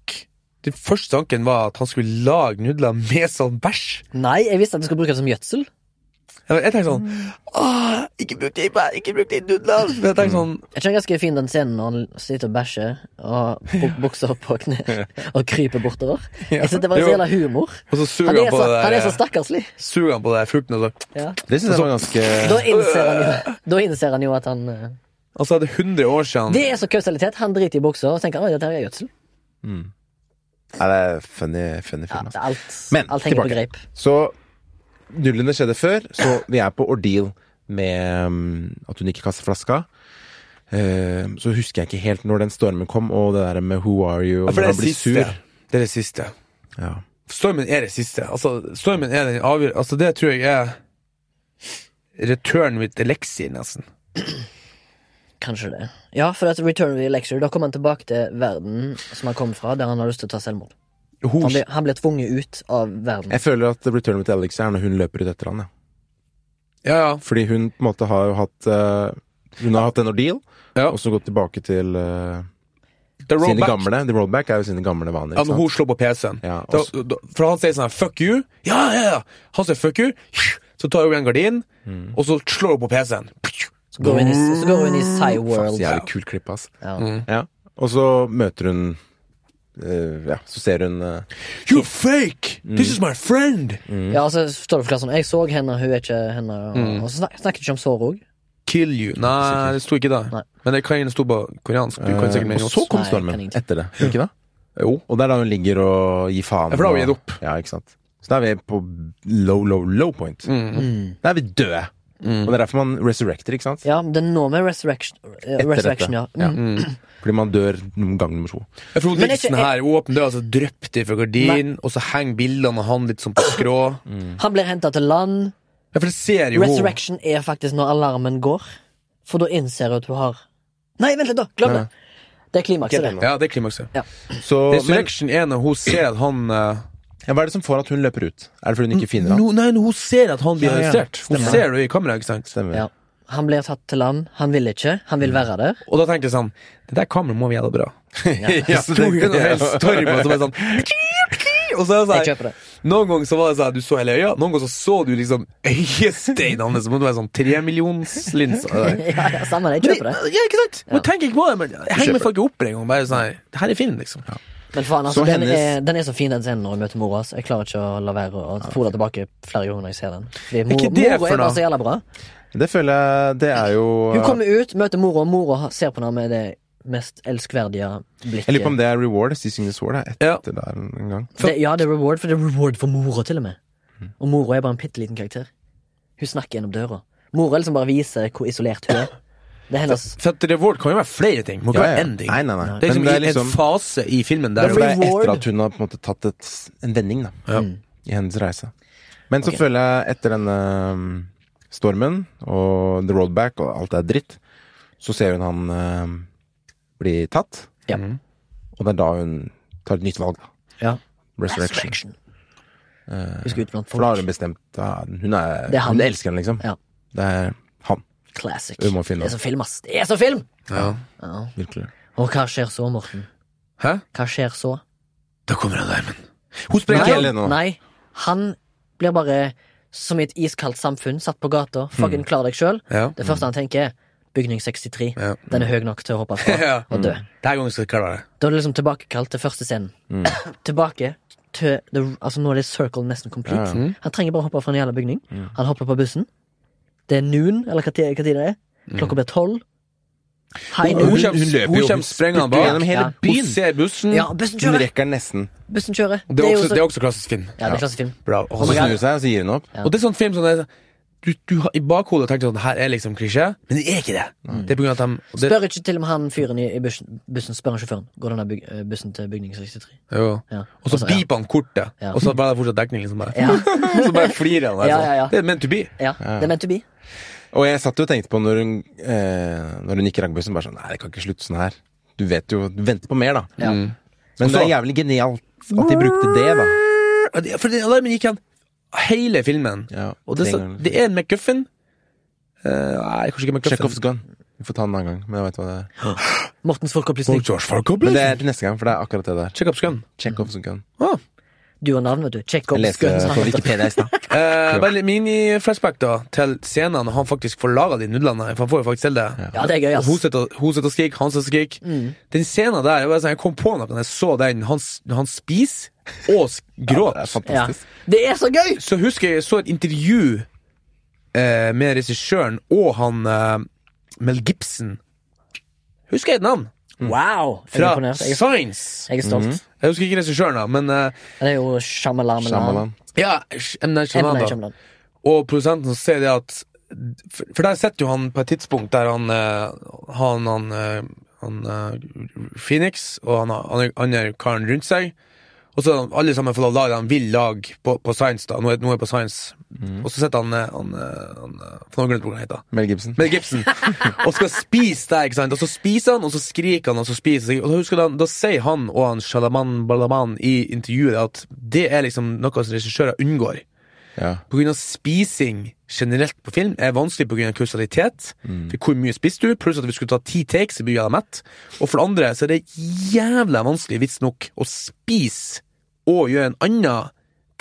S3: Den første tanken var at han skulle lage nudler med sånn bæsj.
S2: Nei, jeg visste at jeg skulle bruke det som gjødsel.
S3: Jeg jeg tenkte sånn
S2: Mm.
S3: Åh, ikke bruk det i bæ- ikke bruk det i nudler! Men jeg
S1: Mm.
S3: tenkte sånn
S2: Jeg kjenner ganske fin den scenen når han sitter og bæsjer og bu- bukser opp på kne og kryper bortover. Jeg synes det var en så
S3: Jo.
S2: jævla humor.
S3: Og så suger
S2: Han
S3: han
S2: er
S3: på
S2: så,
S3: det der eh,
S2: han er så stakkarslig.
S3: Suger han på det der frukten og så
S2: Ja.
S1: Det syns jeg var ganske
S2: Da innser han jo, da innser han jo at han eh,
S3: Altså, det er 100 år siden
S2: Det er så kausalitet. Han driter i buksa og tenker at dette her er gjødsel.
S1: Nei, det er funny, funny
S2: Ja,
S1: film.
S2: det
S1: Altså.
S2: er alt,
S1: Men,
S2: alt henger på
S1: tilbake.
S2: greip.
S1: Så nullene skjedde før, så vi er på ordeal med um, at hun ikke kaster flaska. Ehm, så husker jeg ikke helt når den stormen kom, og det der med 'who are you' og
S3: For
S1: når
S3: det er
S1: han blir
S3: det siste.
S1: sur.
S3: Det er det siste.
S1: Ja.
S3: Stormen er det siste. Altså, stormen er den avgjør... Altså, det tror jeg er Return with elixir, nesten.
S2: Kanskje det. Ja, for at Return of the Lecture, da kom han tilbake til verden som han kom fra, der han har lyst til å ta selvmord.
S3: Hun,
S2: Han blir, han blir tvunget ut av verden.
S1: Jeg føler at Return with Alex er når hun løper ut etter han, ja.
S3: ja, ja.
S1: Fordi hun på en måte har jo hatt eh, Hun har hatt en ordeal,
S3: Ja.
S1: og så gått tilbake til eh,
S3: The
S1: sine
S3: rollback.
S1: gamle. The roadback er jo sine gamle vaner.
S3: Ja,
S1: Ikke
S3: når
S1: sant?
S3: hun slår på PC-en.
S1: Ja, og
S3: Da-
S1: s-
S3: da- for han sier sånn her, 'fuck you'. Ja, ja, ja. Han sier 'fuck you', så tar hun en gardin,
S1: Mm.
S3: og så slår hun på PC-en.
S2: Så går hun inn i, så går hun i Psyworld.
S1: Så jævlig kult klipp, ass.
S2: Ja.
S1: Ja. Og så møter hun eh, Ja, så ser hun eh,
S3: You're fake! This
S1: Mm.
S3: is my friend!
S2: ja, og så står det forklart sånn Jeg så henne, hun er ikke henne. Og, og så snak, snakket de ikke om sår òg.
S3: Kill you. Nei, det sto ikke det.
S2: Nei.
S3: Men det kan stå på koreansk. Du kan sikkert
S1: eh,
S3: mene
S1: Og så
S3: oss.
S1: kom
S2: Nei, kan
S1: stormen
S2: ikke.
S1: etter det. Ikke da? Jo. Og det er da hun ligger og gir faen.
S3: Ja, for da har vi
S1: og-
S3: gitt opp.
S1: Ja, ikke sant. Så da er vi på low, low, low point. Da er vi døde. Og det er derfor man resurrecter, ikke sant?
S2: Mm. Ja, men det er nå med Resurrection. eh,
S1: Etter
S2: resurrection ja. Mm.
S1: dette. Ja. Fordi man dør noen gang nummer to.
S3: Jeg tror
S2: Men er
S3: Nixon
S2: ikke-
S3: her åpner døra, så drypper de fra gardinen, og så henger bildene av han litt sånn på skrå.
S2: Mm. Han blir henta til land.
S3: Ja, for det ser jo
S2: Resurrection er faktisk når alarmen går. For da innser hun at hun har Nei, vent litt, da! Glem det! Det er klimakset, det.
S3: Ja, det er klimakset.
S1: Så, men,
S3: Resurrection er når hun ser at han eh,
S1: Ja, hva er det som får at hun løper ut? Er det fordi hun ikke finner ham?
S3: Nå- nei, hun ser at han blir
S1: Ja, ja.
S3: arrestert. Hun
S1: Stemmer.
S3: ser det i kameraet, ikke sant?
S1: Stemmer.
S2: Ja. Han blir tatt til land. Han vil ikke. Han
S1: Mm.
S2: vil være der.
S3: Og da tenkte jeg sånn Det der kameraet må vi gjøre bra.
S1: Ja, så
S3: så tok
S1: tenkte
S3: hun en
S1: jeg.
S3: hel storm, og så var det sånn Og så er det
S2: Jeg
S3: sånn
S2: kjøper det.
S3: Noen ganger så var det sånn at du så hele øya, noen ganger så så du liksom øyesteinene hans. Det sånn måtte være sånn tremillionslinser.
S2: Ja, ja, samme det. Jeg kjøper det.
S3: Ja, ikke sant?
S2: Ja.
S3: Nå tenker jeg ikke på det, men jeg
S1: kjøper
S3: henger meg folk opp en gang. Bare sånn her, Det her er film, liksom.
S2: Men faen, altså,
S1: Så
S2: den,
S1: hennes-
S2: er, den er så fin, den scenen når hun møter mora. ass. Jeg klarer ikke å la være å spole tilbake flere ganger når jeg ser den. Fordi mor,
S3: ikke det
S2: mora
S3: for
S2: er bare
S3: noe?
S2: så jævla bra.
S1: Det føler jeg Det er jo
S2: Hun kommer ut, møter mora, og mora ser på henne med det mest elskverdige blikket.
S1: Jeg lurer på om det er reward. Seizing the sword er
S3: Ja.
S1: etter der en gang.
S2: det, ja, det er reward, for det er reward for mora, til og med.
S1: Mm.
S2: Og mora er bare en bitte liten karakter. Hun snakker gjennom døra. Mora liksom bare viser hvor isolert hun er. Det er hennes
S3: For at reward kan jo være flere ting. Må ikke
S1: Ja, ja.
S3: være én ting.
S1: Nei, nei, nei.
S3: Det er liksom,
S1: Men det er
S3: en
S1: liksom-
S3: fase i filmen
S1: Det
S3: der
S1: er, det er
S2: Reward.
S1: etter at hun har på en måte tatt et, en vending da,
S3: Ja.
S1: i hennes reise. Men så
S2: Mm. Ok.
S1: føler jeg etter denne um, stormen og the roadback og alt det er dritt, så ser hun han um, bli tatt.
S2: Ja.
S1: Og det er da hun tar et nytt valg. da.
S2: ja.
S1: Resurrection.
S2: Resurrection. Hun skal ut blant
S1: Eh, For da har
S2: folk.
S1: hun bestemt da, hun, er,
S2: Det er han.
S1: hun elsker han, liksom.
S2: Ja.
S1: Det er han.
S2: Classic.
S1: Hun må finne
S2: Det er så film, ass. Det er så film!
S3: Ja.
S2: Ja.
S1: Virkelig.
S2: Og hva skjer så, Morten?
S3: Hæ?
S2: Hva skjer så?
S3: Da kommer alarmen. Hun
S1: Ikke
S3: sprenger.
S1: heller nå.
S2: Nei, han blir bare som i et iskaldt samfunn, satt på gata.
S1: Hmm.
S2: Fucking klar deg sjøl.
S3: Ja.
S2: Det første han tenker, er bygning 63.
S3: Ja.
S2: Den er høy nok til å hoppe fra
S3: Ja.
S2: og
S1: Hmm.
S2: dø.
S3: Denne gangen skal jeg klare det.
S2: Da er det liksom tilbakekalt til første scenen. Tilbake til the, Altså Nå er det circle nesten complete.
S1: Ja, Hmm.
S2: Han trenger bare å hoppe fra en jævla bygning. Han hopper på bussen. Det er noon, eller hva tid, hva tid det er.
S1: Hmm.
S2: Klokka blir tolv. High
S3: Hun,
S1: Hun-
S2: noon.
S1: hun
S3: kommer-
S1: løper jo,
S3: hun
S1: hun
S3: kommer sprengende
S1: spurter
S3: bak.
S1: gjennom hele
S2: Ja.
S1: byen.
S3: Hun ser bussen.
S2: Ja, bussen
S1: Hun
S2: kjører!
S1: rekker den nesten.
S2: Bussen kjører.
S3: Det, er også,
S2: så-
S3: det er også klassisk film.
S2: Ja, det er klassefilm.
S3: Bra.
S1: Og
S3: Og,
S1: så
S3: sånn-
S2: my
S1: snur
S2: God.
S1: hun seg, og så gir hun opp.
S2: Ja.
S3: og det er sånn film som det, du, du har i bakhodet tenkt sånn Her er liksom klisjé, men det er ikke det. Det er på grunn av at de og det,
S2: Spør ikke til og med han fyren i, i bussen, bussen spør han sjåføren Går denne byg, eh, bussen til bygning 63.
S3: jo.
S2: Ja.
S3: Og så
S2: Altså, ja.
S3: beeper han kortet,
S2: Ja.
S3: og så bare det er fortsatt dekning. liksom bare
S2: Ja.
S3: Så bare flirer han. Altså.
S2: Ja, ja, ja.
S3: Det er meant to be.
S2: Ja, det er meant to be.
S1: Og jeg satt jo og tenkte på når hun, eh, når hun gikk i raggbussen, bare sånn Nei, det kan ikke slutte sånn her. Du vet jo Du venter på mer, da.
S2: Ja.
S1: Men
S3: Og så-
S1: det er jævlig genialt at de brukte det, da.
S3: Og det- For den alarmen gikk igjen hele filmen.
S1: Ja,
S3: Og det, er
S1: tre
S3: så,
S1: ganger.
S3: det er en McGuffin. Eh, nei, kanskje ikke McGuffin.
S1: Chekhovs gun. Vi får ta den en annen gang, men jeg vet hva det er.
S2: Mortens folkeopplysning.
S1: Men det er til neste gang, for det er akkurat det der.
S3: Check up gun.
S1: Chekhovs gun.
S3: Ah.
S2: Du har navn, vet du. Check up.
S1: Jeg leste
S2: skuffen.
S1: på Wikipedia i stad.
S3: Eh, bare litt mini-flashback da til scenen når han faktisk får laga de nudlene. For han får jo faktisk til det.
S2: Ja, det er gøy, ass. Mm.
S3: Og Hun sitter og- hun sitter og skriker, han sitter og skriker. Den scenen der, jeg, bare, sånn, jeg kom på den da jeg så den. Han, s- han spiser og s-
S1: Det er
S3: gråter.
S2: Ja.
S1: fantastisk.
S2: Det er så gøy!
S3: så husker jeg jeg så et intervju eh, med regissøren og han eh, Mel Gibson. Husker jeg et navn?
S2: Wow! Jeg er
S3: Fra
S2: imponert. Jeg er,
S3: Science.
S2: jeg er stolt.
S3: Jeg husker ikke regissøren, da, men eh,
S2: Det er jo Shamalam.
S1: Shyamalan.
S3: ja, M. Night Shyamalan, da. Og produsenten sier det at For for der sitter jo han på et tidspunkt der han eh, Han, han, eh, han eh, Phoenix og han han- han andre karen rundt seg. Og så har han- alle sammen får lov å lage det han vil lage på, på Science. da Nå er, nå er det på Science Og så sitter han, eh, han, eh, han eh, For noen grunn til hva han heter.
S1: Mel Gibson.
S3: Mel Gibson. og skal spise det, ikke sant. Og så spiser han, og så skriker han, og så spiser han. Og da, husker jeg da, da sier han og han Shalaman Balaman i intervjuet at det er liksom noe som regissører unngår.
S1: Ja.
S3: På grunn av spising generelt på film er vanskelig på grunn av kausalitet.
S2: Mm.
S3: For hvor mye spiste du? Pluss at vi skulle ta ti takes, så blir jeg mett. Og for det andre så er det jævla vanskelig, visstnok, å spise og gjøre en annen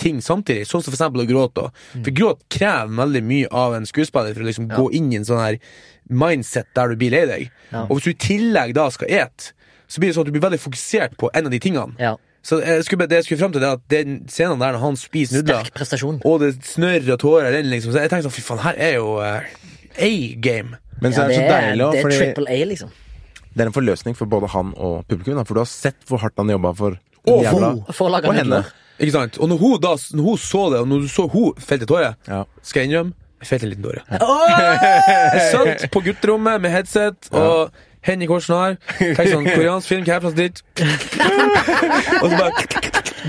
S3: ting samtidig, sånn som for eksempel å gråte. da.
S2: Mm.
S3: For gråt krever veldig mye av en skuespiller for å liksom gå inn i en sånn her mindset der du blir lei deg.
S2: Ja.
S3: Og hvis du i tillegg da skal et, så blir det sånn at du blir veldig fokusert på en av de tingene.
S2: Ja.
S3: Så jeg skulle, bare- det jeg skulle frem til, det er at den scenen der når han spiser nudler
S2: Sterk prestasjon.
S3: og det snørr og tårer renner, liksom. Så jeg tenkte sånn, fy faen, her er jo eh, A-game.
S1: Men så
S2: Ja,
S1: er det så deilig
S2: det
S1: også,
S2: er
S1: fordi
S2: triple A, liksom.
S1: det er en forløsning for både han og publikum. Da, for du har sett hvor hardt han jobba for
S3: Og
S1: jævla
S3: hun.
S2: For å lage
S1: Og henne.
S2: nudler.
S3: Ikke sant? Og når hun, da, når hun så det, og når du så hun felte tårer,
S1: Ja.
S3: skal jeg innrømme, jeg felte en liten tåre. Jeg satt på gutterommet med headset og hendene i korsen her. Tenkte sånn, koreansk film, hva er det for noe dritt? Og så bare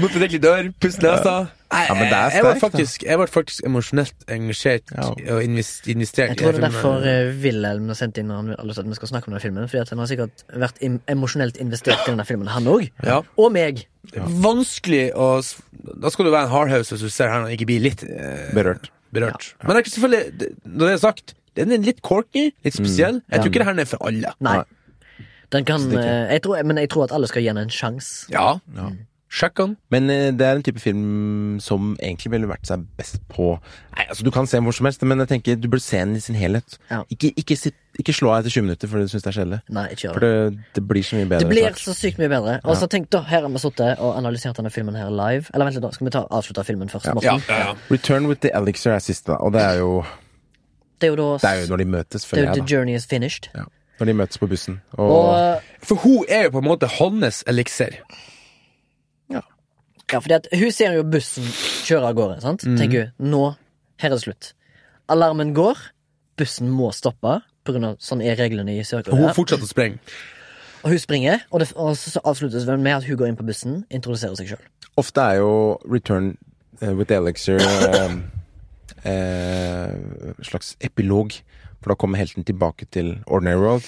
S3: måtte drikke litt dør, puste nesa. Nei,
S1: Ja, men det er
S3: jeg, var
S1: sterkt, da.
S3: faktisk, jeg ble faktisk emosjonelt engasjert
S1: Ja.
S3: og invest, investert
S2: Jeg tror det er
S3: den filmen.
S2: derfor eh, Wilhelm har sendt inn når han vil- alle sa at vi skal snakke om denne filmen. Fordi at han har sikkert vært im emosjonelt investert i denne filmen, han òg.
S3: Ja.
S2: Og meg.
S3: Vanskelig å s- da skal du være en hardhouse hvis du ser her når han ikke blir litt eh,
S1: Berørt.
S3: berørt. Men det er ikke selvfølgelig, det- når det er sagt, den er litt corky, litt spesiell. Jeg tror ikke det her er for alle.
S2: Nei. Den kan,
S1: Stikker.
S2: eh, jeg tror, men jeg tror at alle skal gi den en sjanse.
S3: Ja. Sjekk den.
S1: Men eh, det er en type film som egentlig ville vært seg best på Nei, altså Du kan se den hvor som helst, men jeg tenker du burde se den i sin helhet.
S2: Ja.
S1: Ikke, ikke, sitt, ikke slå av etter 20 minutter fordi du syns det er kjedelig.
S2: Nei, ikke gjør
S1: For
S2: det.
S1: det, det blir så mye bedre.
S2: Det blir
S1: snart.
S2: så sykt mye bedre. Og så tenk da, Her har vi sittet og analysert denne filmen her live. Eller vent litt, da skal vi ta avslutte filmen først?
S3: Ja,
S2: Morten?
S3: ja, ja.
S1: Return with the Elixir er siste, da. Og det er jo,
S2: Det er jo da
S1: det er jo når de møtes,
S2: det er jo
S1: føler
S2: The
S1: jeg.
S2: Journey is finished.
S1: da ja. Når de møtes på bussen. Og,
S2: Og,
S3: For hun er jo på en måte hans eliksir.
S2: ja, fordi at Hun ser jo bussen kjøre av gårde. sant?
S1: Mhm.
S2: Tenker hun, nå, her er det slutt. Alarmen går, bussen må stoppe. På grunn av, sånn er reglene i
S3: Og hun
S2: Sør-Korea.
S3: fortsetter å sprenge.
S2: Og hun springer, og, det, og så så avsluttes det med at hun går inn på bussen, introduserer seg sjøl.
S1: ofte er jo Return eh, with the Elixir eh, eh, slags epilog. For da kommer helten tilbake til Ordinary World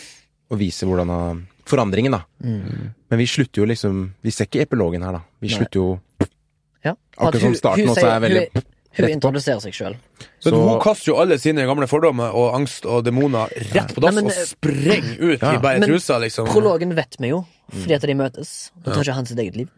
S1: og viser hvordan han Forandringen, da. Men vi slutter jo liksom Vi ser ikke epilogen her, da. Vi
S2: Mm. Nei.
S1: slutter jo
S2: Ja.
S1: Akkurat
S2: At hun-
S1: som starten
S2: hun
S1: også
S2: sier-
S1: er veldig
S2: Hun, hun
S1: rett på.
S2: introduserer seg sjøl.
S3: Men
S1: Så-
S3: hun kaster jo alle sine gamle fordommer og angst og demoner rett på dass
S2: Nei, men,
S3: og
S2: eh,
S3: sprenger ut
S1: Ja.
S3: i bare
S2: Men
S3: trusa, liksom.
S2: Prologen vet vi jo, fordi at de møtes. Da tar ikke han sitt eget liv.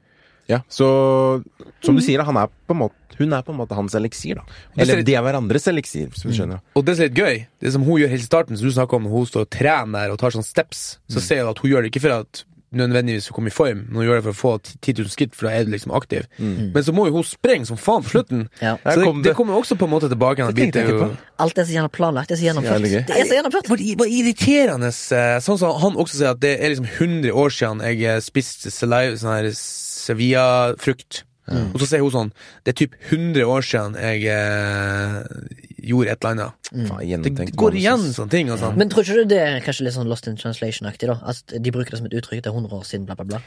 S1: Ja, så som du sier, da, han er på en måte, hun er på en måte hans eliksir, da.
S3: Det ser-
S1: Eller de er hverandres eliksir, hvis du skjønner.
S3: Og det som er litt gøy, det som hun gjør helt i starten, som du snakker om, hun står og trener der og tar sånne steps,
S1: Mm.
S3: så ser jeg at hun gjør det ikke for at nødvendigvis hun kommer i form, men hun gjør det for å få 10 000 skritt, for da er du liksom aktiv. Men så må jo hun sprenge som faen på slutten.
S2: Ja.
S1: Mm. Der
S3: Så det,
S1: kom det.
S3: det kommer jo også på en måte tilbake igjen. og
S1: Det tenkte jeg
S3: biter
S1: ikke
S3: jo-
S1: på.
S2: Alt er så gjerne planlagt. Det er så gjennomført.
S1: Jævlig gøy.
S2: Det er så gjennomført.
S3: var, var irriterende. eh, Sånn som han også sier at det er liksom 100 år siden jeg eh, spiste selai- sånn her Sevilla-frukt. Og så sier hun sånn Det er typ 100 år siden jeg eh, gjorde et eller annet.
S2: Mm.
S1: Faen,
S3: Det
S1: gjennomtenkt
S3: går
S1: manus,
S3: igjen
S1: ass.
S3: sånne ting. Og sånn.
S2: Men tror ikke du det er kanskje litt sånn Lost in Translation-aktig? da At de bruker det som et uttrykk. Det er 100 år siden, bla, bla, bla.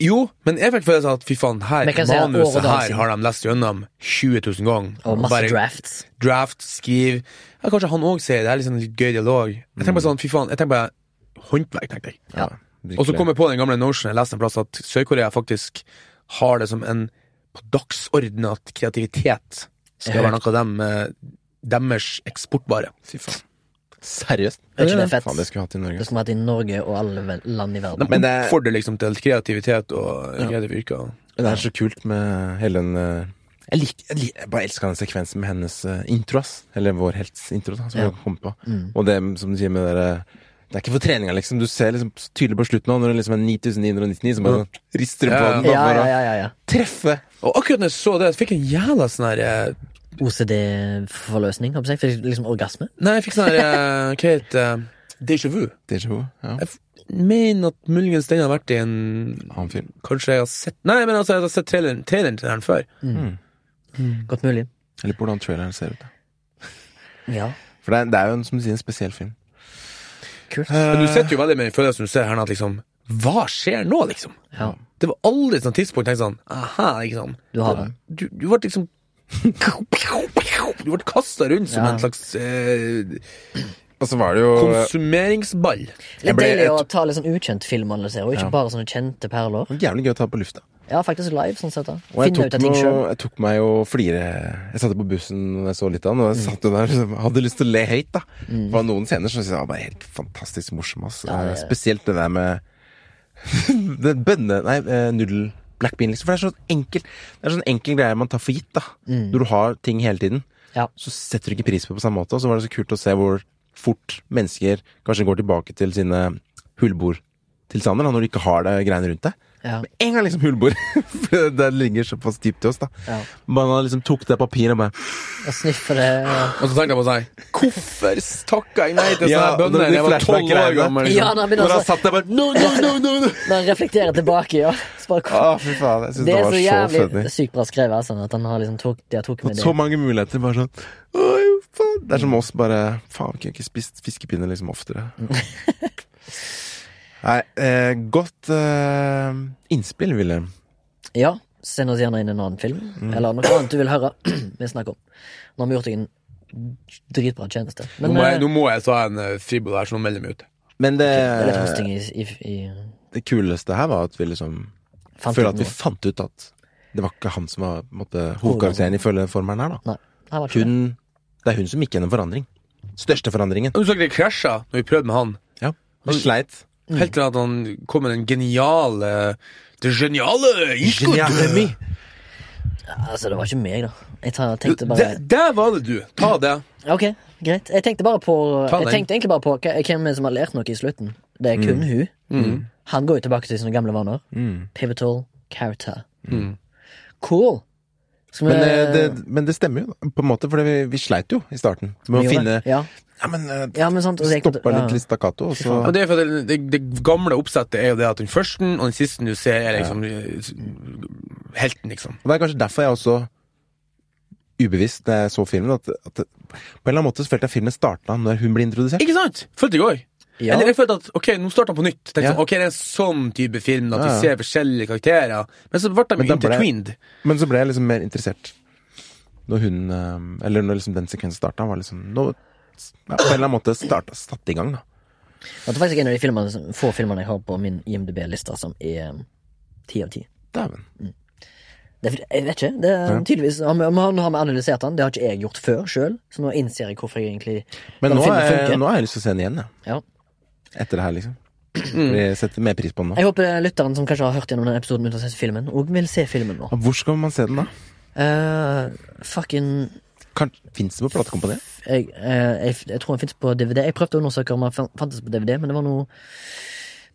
S3: Jo, men jeg fikk følelsen av at fy faen, her
S2: Men jeg kan si at år og
S3: manuset
S2: dag
S3: her
S2: siden.
S3: har de lest gjennom 20 000 ganger.
S2: Og masse
S3: bare
S2: drafts.
S3: draft, skriv ja, Kanskje han òg sier det. Det er liksom litt gøy dialog. Jeg tenker bare sånn, fy faen, jeg tenker bare håndverk, tenkte jeg.
S2: Ja.
S1: altså. Virkelig.
S3: Og så kom jeg på den gamle Notion jeg leste en plass at Sør-Korea faktisk har det som en på dagsorden at kreativitet skal være noe av dem, eh, deres eksportvare.
S1: Fy faen. Seriøst?
S2: Er ikke det fett?
S1: Faen, det skulle vi hatt i
S2: Det
S1: Norge.
S2: skulle vært i Norge og alle vel- land i verden.
S3: De
S1: Men eh, det-
S3: oppfordrer liksom til kreativitet og kreative yrker.
S1: Det er så kult med hele den eh, jeg, lik, jeg, lik, jeg bare elsker den sekvensen med hennes eh, intro, ass. Eller vår helts intro, da, som
S2: Ja. Mm.
S1: vi kom på. Og det som du sier med det derre Det er ikke for treninga, liksom. Du ser liksom så tydelig på slutten nå, når det liksom er 9999 som bare sånn rister på
S3: Ja, ja.
S1: den.
S2: Ja,
S1: Da,
S2: ja,
S1: for å
S2: ja, ja, ja.
S1: treffe!
S3: Og akkurat når jeg så det, fikk jeg en jævla sånn her eh,
S2: OCD-forløsning, holdt jeg på å si. Fikk Liksom orgasme.
S3: Nei, jeg fikk sånn her eh, Hva heter det? Déjà vu.
S1: Déjà vu. Ja,
S3: Jeg f- mener at muligens den har vært i en
S1: annen film.
S3: Kanskje jeg har sett Nei, men altså, jeg har sett traileren, traileren til den før.
S2: Godt mulig.
S1: Eller på hvordan traileren ser ut. da.
S2: Ja,
S1: For det er, det er jo, en, som du sier, en spesiell film.
S2: kult.
S3: Men du sitter jo veldig med den følelsen du ser her nå, at liksom Hva skjer nå, liksom?
S2: Ja,
S3: Det var aldri et sånt tidspunkt jeg tenkte sånn Aha, ikke sant?
S2: du har den.
S3: Du, du ble liksom Du ble kasta rundt som
S2: Ja.
S3: en slags eh,
S1: Og så var det jo
S3: konsumeringsball.
S2: Litt
S1: ble-
S2: deilig
S1: jeg
S2: å ta litt sånn ukjent filmanalyser, og ikke
S1: Ja.
S2: bare sånne kjente perler.
S1: jævlig gøy å ta på lufta.
S2: Ja, faktisk live, sånn sett. da
S1: Og jeg
S2: Finne ut
S1: tok,
S2: av ting
S1: meg-
S2: sjøl.
S1: jeg tok meg og flire Jeg satte på bussen og jeg så litt av den, og jeg satt jo der liksom, hadde lyst til å le høyt. da
S2: Mm.
S1: Det var noen scener som jeg syntes var bare helt fantastisk morsom. Ass. Eh, Spesielt det der med den bønne... Nei, eh, nudel... Black bean, liksom. For det er sånn enkel Det er sånn enkel greie man tar for gitt. da
S2: Mm.
S1: Når du har ting hele tiden,
S2: Ja.
S1: så setter du ikke pris på det på samme måte. Og så var det så kult å se hvor fort mennesker kanskje går tilbake til sine hulbordtilstander da, når de ikke har det greiene rundt deg.
S2: Ja.
S1: Med en gang liksom hulbord. For det- det ligger såpass dypt i oss, da.
S2: Ja.
S1: Man har liksom tok det papiret med
S2: Og sniffe det.
S3: Og så tenkte jeg på sånn seg Hvorfor takka jeg nei til sånne
S1: Ja,
S3: her bønder
S1: og
S3: da
S1: de
S3: jeg var tolv
S1: flashback-greiene.
S3: år gammel? liksom.
S2: Ja, da begynner
S1: Når han
S2: altså-
S1: satt der bare No, no, no, no! no.
S2: Når han reflekterer tilbake, ja. Så bare,
S1: Å, fy faen. Jeg syns
S2: Det
S1: det
S2: er
S1: var
S2: så
S1: så
S2: jævlig
S1: funny.
S2: sykt bra skrevet. Altså, at han har liksom tok, de har tok med det. Mm.
S1: Så mange muligheter. Bare sånn Oi, faen. Det er som oss, bare Faen, kunne jeg ikke spist fiskepinner liksom oftere. Nei, eh, godt eh, innspill, Wilhelm.
S2: Ja, Send oss gjerne inn en annen film,
S1: Mm.
S2: eller noe annet du vil høre vi snakker om. Nå har vi gjort deg en dritbra tjeneste.
S3: Nå
S2: Men
S3: må
S2: eh,
S3: jeg- Nå må jeg ta en eh, fribo der, så nå melder jeg meg ut.
S1: Men det,
S2: det er litt høsting i, i, i
S1: det kuleste her var at vi liksom
S2: fant
S1: Føler
S2: ut
S1: at vi
S2: noe.
S1: fant ut at Det var ikke han som var på en måte, hovedkarakteren ifølge formelen her, da.
S2: Nei, her var det ikke
S1: Hun, det er hun som gikk gjennom forandring. Største forandringen.
S3: Du så ikke det krasja når vi prøvde med han?
S1: Ja. Hun sleit.
S3: Helt til at han kom med den geniale Det geniale
S1: Geniale.
S3: iskodet!
S2: det. Altså, det var ikke meg, da. Jeg tar, tenkte bare
S3: Der, der var det, du! Ta det.
S2: Ok, greit. Jeg tenkte bare på
S3: Ta
S2: Jeg
S3: den.
S2: tenkte egentlig bare på hva- hvem er det som har lært noe i slutten. Det er
S1: Mm.
S2: kun hun. Han går jo tilbake til sine gamle vaner. Pivotal character.
S3: Mm.
S2: Cool. Skal vi
S1: Men, eh, det, men det stemmer jo, da, på en måte, for vi, vi sleit jo i starten med
S2: vi
S1: å
S2: gjorde
S1: finne
S2: det? Ja,
S1: Ja, men eh,
S2: ja men sant. og det-
S1: stoppa
S2: ja.
S1: litt litt stakkato, og så
S3: Og det, er for at det, det, det gamle oppsettet er jo det at den første og den siste du ser, er liksom eh, helten, liksom.
S1: Og det er kanskje derfor jeg også ubevisst da jeg så filmen, at, at det- på en eller annen måte så følte jeg filmen starta når hun ble introdusert.
S3: Ikke sant? Følte jeg òg.
S2: Ja.
S3: Eller jeg følte at ok, nå starter han på nytt. Tenkte
S1: Ja.
S3: sånn, ok, Det er en sånn type film at
S1: Ja,
S3: vi
S1: ja.
S3: ser forskjellige karakterer. Men så ble de
S1: Men
S3: jo
S1: da ble-
S3: intertwined.
S1: Men så ble jeg liksom mer interessert når hun eh, Eller når liksom den sekvensen starta, var liksom nå, ja, På en eller annen måte starta, satt i gang, da.
S2: Det er faktisk en av de filmerne, som- få filmene jeg har på min IMDb-liste som er um, ti av ti.
S1: Dæven.
S2: Det er- Jeg vet ikke. Det er tydeligvis har vi- Nå har vi analysert den. Det har ikke jeg gjort før sjøl, så nå innser jeg hvorfor jeg egentlig
S1: Men
S2: den
S1: nå,
S2: filmen
S1: er,
S2: funker.
S1: nå har jeg lyst til å se den igjen, jeg.
S2: Ja.
S1: Etter det her, liksom.
S2: Mm.
S1: Jeg setter mer pris på den nå.
S2: Jeg håper lytteren som kanskje har hørt gjennom denne episoden uten å ha sett filmen, òg vil se filmen nå.
S1: Hvor skal man se den, da?
S2: Eh, fucking
S1: Fins det på platekompaniet?
S2: jeg, eh, jeg, jeg tror den fins på DVD. Jeg prøvde å undersøke om den fan- fantes på DVD, men det var noe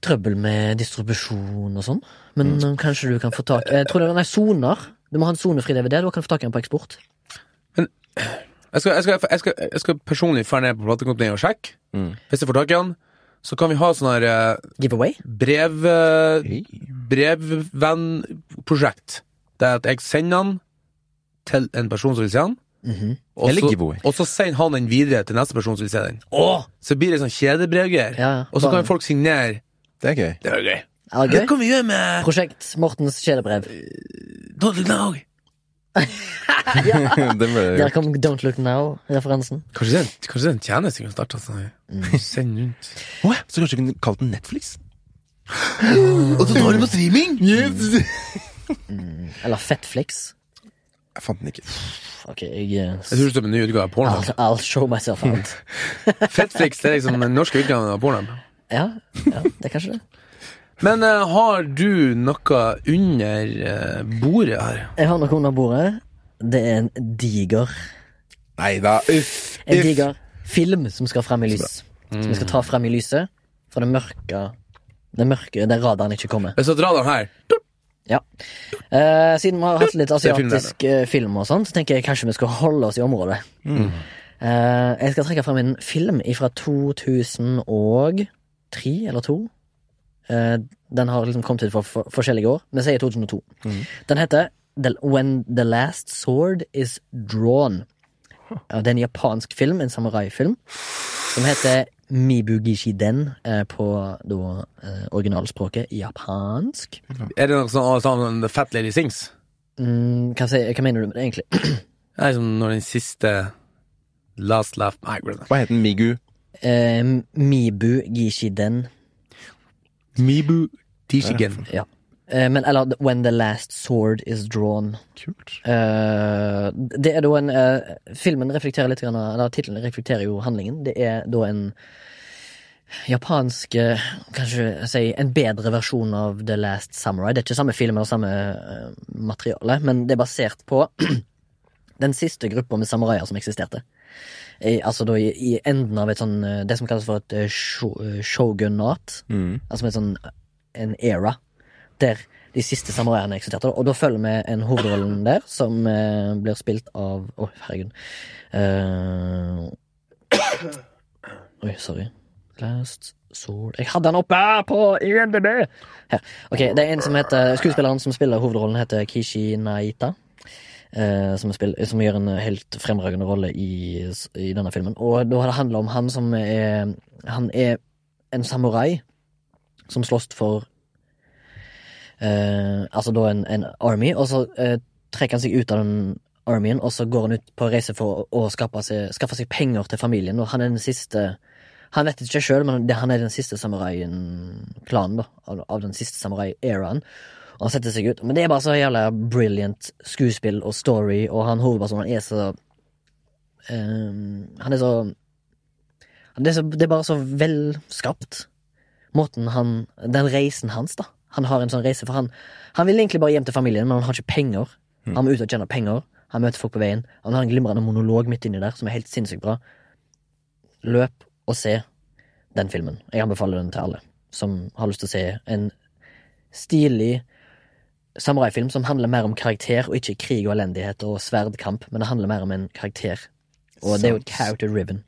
S2: trøbbel med distribusjon og sånn. Men
S1: Mm.
S2: eh, kanskje du kan få tak Jeg tror det er nei, soner. Du må ha en sonefri DVD. Da kan du få tak i den på eksport.
S3: Jeg skal, jeg, skal, jeg, skal, jeg skal personlig dra ned på platekompaniet og sjekke. Hvis jeg får tak i han, så kan vi ha sånn her eh,
S2: Giveaway.
S3: brev... eh, Brevvennprosjekt. Det er at jeg sender han til en person som vil se han.
S2: Mhm.
S3: og,
S1: Eller
S3: så,
S1: giveaway.
S3: og så sender han den videre til neste person som vil se den.
S2: Åh!
S3: Så blir det sånn kjedebrevgreier.
S2: Ja, ja.
S3: Og så
S2: Bare-
S3: kan folk signere.
S1: Det er gøy.
S3: Det er jo gøy.
S2: Er
S3: Det
S2: det gøy?
S3: kan vi gjøre med
S2: Prosjekt Mortens kjedebrev.
S3: Don't Look Now.
S1: det ble
S2: Der kom Don't Look Now-referansen.
S3: Kanskje det er en- kanskje det er en tjeneste vi kan starte? Sånn. Send rundt.
S1: Å ja, så kanskje du kunne kalt den Netflix?
S3: Og så tar du på streaming!
S2: Eller Fettflix.
S1: Jeg fant den ikke.
S2: Ok, jeg eh,
S3: Jeg tror det står på en ny utgave av Pornhub.
S2: I'll, I'll show myself out.
S3: Fettflix det er liksom den norske utgaven av Pornhub.
S2: Ja, ja, det er kanskje det.
S3: Men eh, har du noe under eh, bordet her?
S2: Jeg har noe under bordet. Det er en diger
S1: Nei da, uff.
S2: En
S1: uff.
S2: diger film som skal frem i lys. Som vi skal ta frem i lyset. For det mørke Det mørke der radaren ikke kommer.
S3: Hvis jeg drar den her
S2: Ja. Eh, siden vi har hatt litt
S3: er filmen der,
S2: asiatisk eh, film og sånn, så tenker jeg kanskje vi skal holde oss i området.
S3: Mm.
S2: Eh, jeg skal trekke frem en film fra 2003 eller 2. Eh, den har liksom kommet ut for, for forskjellige år. Vi sier 2002.
S3: Mm.
S2: Den heter The- When the Last Sword Is Drawn. Ja, det er en japansk film, en samuraifilm, som heter Mibugishi Den eh, på da, eh, originalspråket japansk.
S3: Er det noe sånn sånn The Fat Lady Sings?
S2: Mm, hva, sier, hva mener du med det, egentlig?
S3: Det er liksom når den siste Last laugh Nei, glem det.
S1: Hva het den? Migu?
S2: Eh, Mibu Gishiden.
S3: Mibu Tishigen.
S2: Ja. Eh, men, eller When the Last Sword Is Drawn.
S1: Kult.
S2: Eh, det er da en eh, Filmen reflekterer litt grann, av- Eller tittelen reflekterer jo handlingen. Det er da en japansk eh, Kanskje si en bedre versjon av The Last Samurai. Det er ikke samme film eller samme eh, materiale, men det er basert på den siste gruppa med samuraier som eksisterte. I, altså da i, i enden av et sånn eh, Det som kalles for et eh, sho- eh, shogunat.
S1: Mm.
S2: Altså med et sånn en era der de siste samuraiene eksisterte. Og da følger vi en hovedrollen der, som eh, blir spilt av Å, herregud. Eh, oi, sorry. Last Sword Jeg hadde han oppe på IMDb! Her. Ok, det er en som heter Skuespilleren som spiller hovedrollen, heter Kishi Naita. eh, som, spill- som gjør en helt fremragende rolle i, i denne filmen. Og da har det handla om han som er Han er en samurai som slåss for eh, Altså da en, en army, og så eh, trekker han seg ut av den armyen, og så går han ut på reise for å, å skaffe, seg, skaffe seg penger til familien, og han er den siste han vet det ikke sjøl, men det, han er den siste samuraien-klanen, da. Av, av den siste samurai-eraen. Og han setter seg ut. Men det er bare så jævla brilliant skuespill og story, og han hovedpersonen er så eh, Han er så det er, så, det er bare så velskapt. Måten han Den reisen hans, da. Han har en sånn reise, for han Han vil egentlig bare hjem til familien, men han har ikke penger. Han må ut og tjene penger. Han møter folk på veien. Han har en glimrende monolog midt inni der som er helt sinnssykt bra. Løp og se den filmen. Jeg anbefaler den til alle som har lyst til å se en stilig samuraifilm som handler mer om karakter og ikke krig og elendighet og sverdkamp, men det handler mer om en karakter. Og det er jo et
S1: Sans.
S2: character ribbon.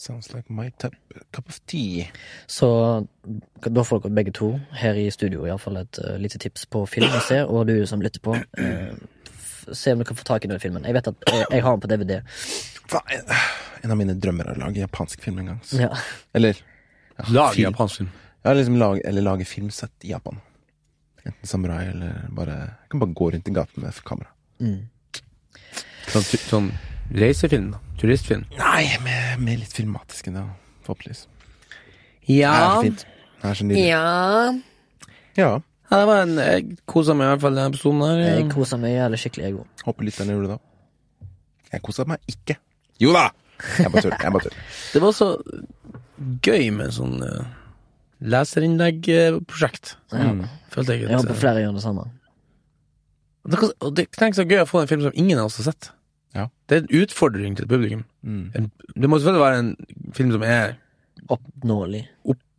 S1: Sounds like my type, cup of tea.
S2: Så da får dere begge to her i studio iallfall et eh, lite tips på film å se, og du som lytter på, eh, f- se om du kan få tak i den filmen. Jeg vet at eh, jeg, jeg har den på DVD.
S1: Faen, en av mine drømmer er å lage japansk film en gang. ass.
S2: Ja.
S1: Eller
S3: Lag
S1: film.
S3: japansk film.
S1: Ja, liksom lage, eller lage filmsett i Japan. Enten samurai eller bare Jeg kan bare gå rundt i gaten med kamera.
S3: Sånn, tu- sånn reisefilm, da. Turistfilm.
S1: Nei, med, med litt filmatisk enn det, forhåpentligvis. Det er
S3: Ja.
S1: så fint. Det er så nydelig. Ja.
S3: Ja, det var en Jeg kosa meg i hvert fall i denne episoden her.
S2: Jeg koser meg jævlig skikkelig, jeg òg.
S1: Håper lytterne gjorde det òg. Jeg kosa meg ikke. Jo da! Jeg bare tuller. Jeg bare tuller.
S3: Det var så gøy med sånn eh, leserinnlegg-prosjekt. Følte jeg.
S2: Jeg
S3: At,
S2: håper flere gjør det samme.
S3: det, kan- og det tenk så gøy å få en film som ingen av oss har sett.
S1: Ja.
S3: Det er en utfordring til publikum.
S1: Mm.
S3: En, det må selvfølgelig være en film som er
S2: Oppnåelig.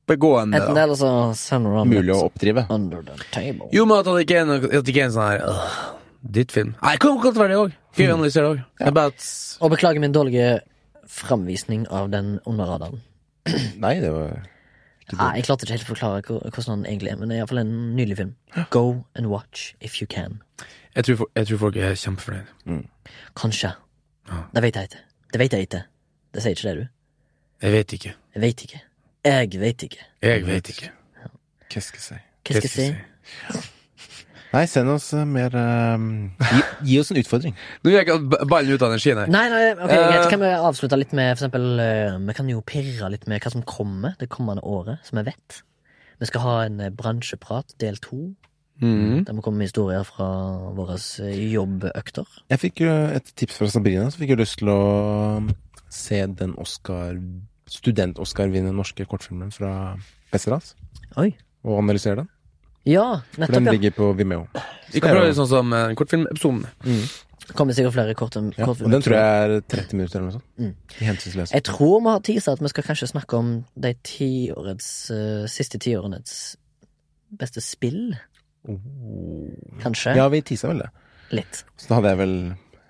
S3: begående.
S2: Enten det
S3: Da.
S2: eller så sender han
S1: Mulig å oppdrive.
S2: under the table.
S3: Jo, men at det ikke er, noe, at det ikke er en sånn her øh, Ditt film. Nei, det kan godt være det òg. Gøy å analysere det òg. Det er bare at
S2: Og beklager min dårlige framvisning av den under radaren.
S1: Nei, det var
S2: Nei, jeg klarte ikke helt å forklare hvor- hvordan den egentlig er, men det er iallfall en nydelig film. Go and watch if you can.
S3: jeg tror, fo- jeg tror folk er kjempefornøyd.
S2: Kanskje.
S3: Ja.
S2: Det vet jeg ikke. Det vet jeg ikke. Det sier ikke det, du.
S3: Jeg vet ikke.
S2: Jeg vet ikke. Jeg vet ikke.
S3: Jeg vet ikke.
S1: Hva skal jeg si?
S2: Hva skal jeg si?
S1: Nei, send oss eh, mer ehm, gi, gi oss en utfordring.
S3: Nå gikk b- ballen ut av energien her.
S2: Nei, nei, ok,
S3: Eh.
S2: greit. Kan vi avslutte litt med for eksempel eh, Vi kan jo pirre litt med hva som kommer det kommende året, som vi vet. Vi skal ha en eh, bransjeprat del to,
S3: Mhm.
S2: der vi kommer med historier fra våre eh, jobbøkter.
S1: Jeg fikk jo et tips fra Sabrina, så fikk jeg lyst til å mm, se den Oscar student-Oscar-vinnende norske kortfilmen fra Westerdals,
S2: Oi.
S1: og analysere den.
S2: Ja,
S1: For den
S2: nettopp, ja.
S1: ligger på Vimeo.
S3: Vi kan prøve det sånn som eh, kortfilmepisoden.
S2: Det kommer sikkert flere kort.
S1: Ja, og den tror jeg er 30 minutter eller noe sånt.
S2: Mm.
S1: I hensynsløs.
S2: Jeg tror vi har teasa at vi skal kanskje snakke om de tiårets, eh, siste tiårenes beste spill. Kanskje.
S1: Ja, vi tisa vel det.
S2: Litt.
S1: Så da hadde jeg vel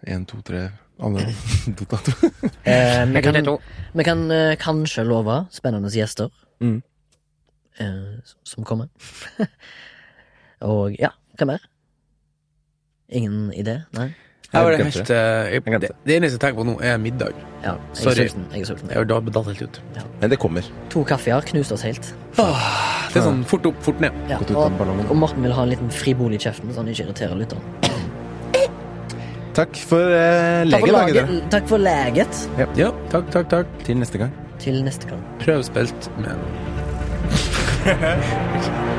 S1: én, to, tre alle Dota, tror jeg.
S2: Eh, vi kan,
S3: to.
S2: vi kan eh, kanskje love spennende gjester
S1: Mm.
S2: eh, som kommer. Og ja, hva mer? Ingen idé? Nei?
S3: Jeg var
S1: Jeg glemte
S3: helt,
S1: det.
S3: eh, jeg,
S1: glemte
S3: det, det eneste jeg tenker på nå, er middag.
S2: Ja, jeg er
S3: Sorry.
S2: sulten. Jeg er sulten.
S3: Jeg har da datt helt ut.
S1: Men det kommer.
S2: To kaffeer knuste oss helt.
S3: Det er sånn fort opp, fort ned.
S2: Ja,
S1: Gått ut av
S2: og,
S1: ballongen.
S2: og Morten vil ha en liten fribolig i kjeften, så han ikke irriterer lytteren.
S1: Takk for uh,
S2: Takk for
S1: legedagen, dere.
S2: laget. Takk for laget.
S3: Ja, takk, takk, takk.
S1: Til neste gang.
S2: Til neste gang.
S3: Prøvspilt med